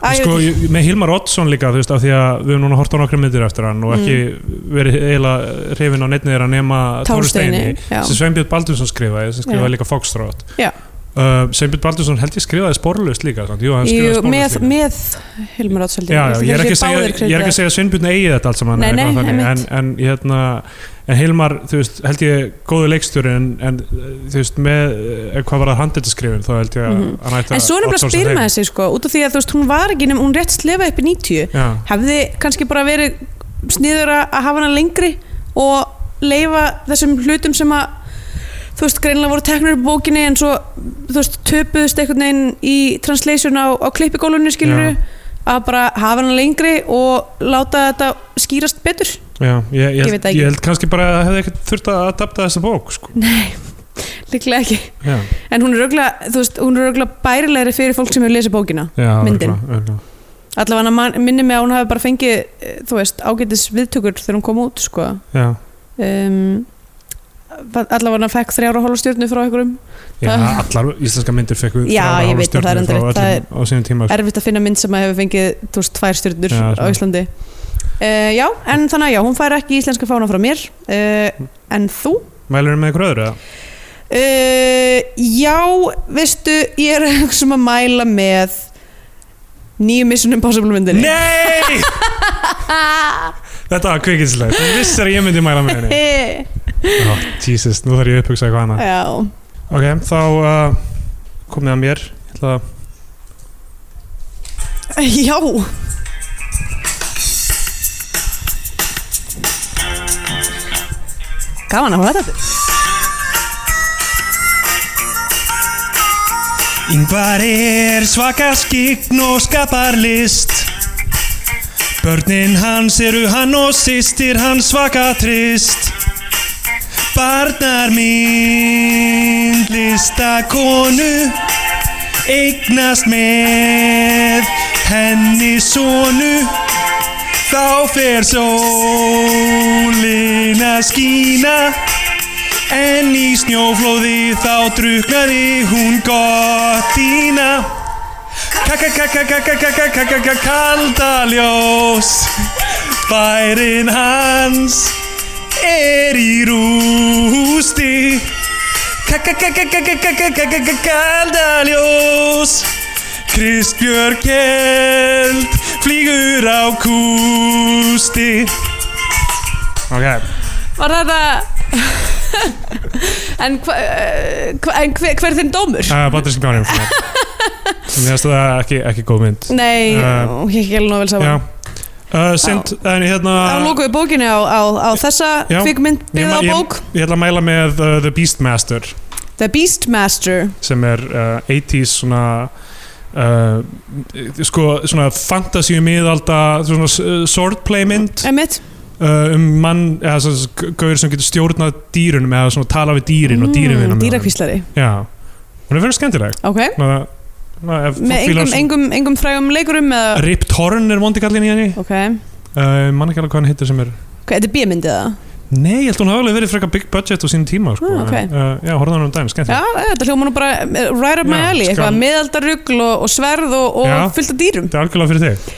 [SPEAKER 4] Æ, ég
[SPEAKER 3] sko,
[SPEAKER 4] veit
[SPEAKER 3] ég- með Hilmar Oddsson líka þú veist, af því að við höfum núna hort á nokkra myndir eftir hann og ekki
[SPEAKER 4] Mm.
[SPEAKER 3] verið eiginlega hrifin á neittni þeirra nema
[SPEAKER 4] ekki,
[SPEAKER 3] Tóri Steini
[SPEAKER 4] Társteini, já.
[SPEAKER 3] sem Sveinbjörn Baldursson skrifaði sem skrifaði
[SPEAKER 4] Já.
[SPEAKER 3] líka Foxtrot
[SPEAKER 4] Já.
[SPEAKER 3] uh, Sveinbjörn Baldursson held ég skrifaði sporlust líka sant? Jú, hann skrifaði
[SPEAKER 4] Jú, með,
[SPEAKER 3] sporlust líka
[SPEAKER 4] með Hilmar Átsveldi
[SPEAKER 3] Já, já, ég, er ekki að segja, ég er ekki að segja að Sveinbjörn eigi þetta allt saman
[SPEAKER 4] Nei,
[SPEAKER 3] eða eitthvað
[SPEAKER 4] nei,
[SPEAKER 3] þannig, en,
[SPEAKER 4] einmitt.
[SPEAKER 3] en, hérna, en Hilmar þú veist, held ég góðu leikstjóri en, en þú veist, með eh, hvað var það handetaskriðin þá held ég að
[SPEAKER 4] Mhm.
[SPEAKER 3] hann ætti
[SPEAKER 4] en svo nefnilega spyr maður sig sko, út af því að þú veist, hún var ekki nefn, hún rétt slefaði upp í 90
[SPEAKER 3] Já,
[SPEAKER 4] hefði kannski bara verið sniður að að hafa hana lengri og leifa þessum hlutum sem að þú veist, greinilega voru teknur upp í bókinni en svo, þú veist, töpuðust einhvern veginn í translation á, á klippigólunni skilur að bara hafa hana lengri og láta þetta skýrast betur
[SPEAKER 3] já ég, ég,
[SPEAKER 4] Ég veit
[SPEAKER 3] held,
[SPEAKER 4] það
[SPEAKER 3] ég,
[SPEAKER 4] ekki.
[SPEAKER 3] held kannski bara að það hefði ekkert þurft að adapta þessa bók sko.
[SPEAKER 4] líklega ekki,
[SPEAKER 3] Já,
[SPEAKER 4] en hún er auðvitað þú veist, hún er auðvitað bærilegri fyrir fólk sem hefur lesið bókina
[SPEAKER 3] já,
[SPEAKER 4] Myndin.
[SPEAKER 3] örugglega, örugglega.
[SPEAKER 4] allavega hann minni mig að hún hafi bara fengið eh, þú veist, ágætis viðtökur þegar hún kom út sko
[SPEAKER 3] Já,
[SPEAKER 4] um, allavega hann fekk þrjára hóla stjórnu frá einhverjum
[SPEAKER 3] já
[SPEAKER 4] Það-
[SPEAKER 3] allar íslenska myndir fekk
[SPEAKER 4] Já, ég veit það, það er endur rétt, það er-
[SPEAKER 3] á sínum tíma sko.
[SPEAKER 4] erfitt að finna mynd sem að hefur fengið þú veist, tvær stjórnur
[SPEAKER 3] Já,
[SPEAKER 4] á
[SPEAKER 3] svona.
[SPEAKER 4] Íslandi uh, já, en þannig að já, hún fær ekki íslenska fána frá mér uh, en þú?
[SPEAKER 3] Mælur með einhver öðru? eða?
[SPEAKER 4] Uh, já, veistu ég er eitthvað sem að mæla með nýju Mission Impossible myndinni
[SPEAKER 3] Nei! Þetta var kvikinslega Þú vissir að ég myndi mæla með henni
[SPEAKER 4] Eh,
[SPEAKER 3] oh, Jesus, nú þarf ég að upphugsa eitthvað annað
[SPEAKER 4] já,
[SPEAKER 3] Ok, þá uh, komið að mér Ég ætla að
[SPEAKER 4] já gaman að hún þetta
[SPEAKER 3] Yngvar er svaka skikn og skapar list Börnin hans eru hann og sýstir hann svaka trist Barnar mín listakonu Eignast með henni sonu Þá fer sólin að skína En í snjóflóði þá druknaði hún gottína Kakakakakakakakakakakakakakaldaljóðs Bærin hans er í rústi Kakakakakakakakakakakakakaldaljóðs Kristbjörg Held flýgur á kústi Ok,
[SPEAKER 4] Var þetta En, hva, eh, hva, en hver, hver er þinn dómur?
[SPEAKER 3] uh, Patrick Gánir Mér finnst það ekki, ekki góð mynd
[SPEAKER 4] Nei,
[SPEAKER 3] Eh,
[SPEAKER 4] uh, ég ekki alveg nóg vel
[SPEAKER 3] Já
[SPEAKER 4] saman
[SPEAKER 3] uh, Sint, en hérna
[SPEAKER 4] Þá lókuðu bókinni á, á, á þessa
[SPEAKER 3] Já.
[SPEAKER 4] kvikmynd
[SPEAKER 3] Ég
[SPEAKER 4] byggða
[SPEAKER 3] ma-
[SPEAKER 4] á
[SPEAKER 3] ég-
[SPEAKER 4] bók
[SPEAKER 3] Ég ætla að mæla með uh, The Beastmaster
[SPEAKER 4] The Beastmaster
[SPEAKER 3] sem er uh, 80s svona Uh, sko, svona fantasíu miðalda svona uh, swordplay mynd
[SPEAKER 4] Emmitt
[SPEAKER 3] uh, um mann eða svona gauður sem getur stjórnað dýrunum eða svona tala við dýrin
[SPEAKER 4] Mm,
[SPEAKER 3] og dýrin vinna með honum.
[SPEAKER 4] Dýrakvíslari,
[SPEAKER 3] Já, hún er fyrir skemmtileg
[SPEAKER 4] ok
[SPEAKER 3] Ná, ná, ef fólk
[SPEAKER 4] Með
[SPEAKER 3] fílar
[SPEAKER 4] engum,
[SPEAKER 3] svona-
[SPEAKER 4] engum, engum frægum leikurum eða
[SPEAKER 3] Rip Torn er vondi kallin í henni
[SPEAKER 4] Ok, hvað,
[SPEAKER 3] uh, mann ekki alveg hvað hann heitir sem er
[SPEAKER 4] þetta er bímyndið það?
[SPEAKER 3] Nei, ég held hún hafa alveg verið frekar big budget á sínum tíma sko.
[SPEAKER 4] Ah, ok.
[SPEAKER 3] uh, Já, horfðu hann um daginn,
[SPEAKER 4] Já,
[SPEAKER 3] skemmtileg
[SPEAKER 4] þetta hljóma nú bara eh, right up my
[SPEAKER 3] Já,
[SPEAKER 4] alley,
[SPEAKER 3] skal-
[SPEAKER 4] eitthvað meðaldarugl og, og sverð og,
[SPEAKER 3] Já.
[SPEAKER 4] og fullt af dýrum
[SPEAKER 3] Þetta er algjörlega fyrir þig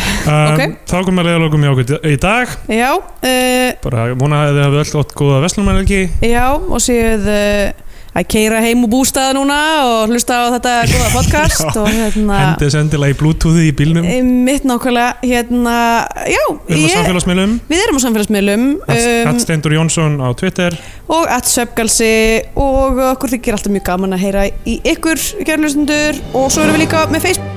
[SPEAKER 3] um,
[SPEAKER 4] Ok.
[SPEAKER 3] Þá komum við að leiða lókum í okkur í dag
[SPEAKER 4] Já, uh,
[SPEAKER 3] bara vona að þið hafi öll átt góða veslumælgi
[SPEAKER 4] já og séuð uh, að keira heim úr bústaða núna og hlusta á þetta góða podcast
[SPEAKER 3] Já.
[SPEAKER 4] og hérna
[SPEAKER 3] hendið sendilega í bluetoothið í bílnum
[SPEAKER 4] eh, mitt nákvæmlega, hérna já,
[SPEAKER 3] við erum á samfélagsmiðlum
[SPEAKER 4] við erum á samfélagsmiðlum
[SPEAKER 3] um,
[SPEAKER 4] um,
[SPEAKER 3] Steindur Jónsson á Twitter
[SPEAKER 4] og at söpgalsi og okkur þykir alltaf mjög gaman að heyra í ykkur kjærlustundur og svo erum við líka með Facebook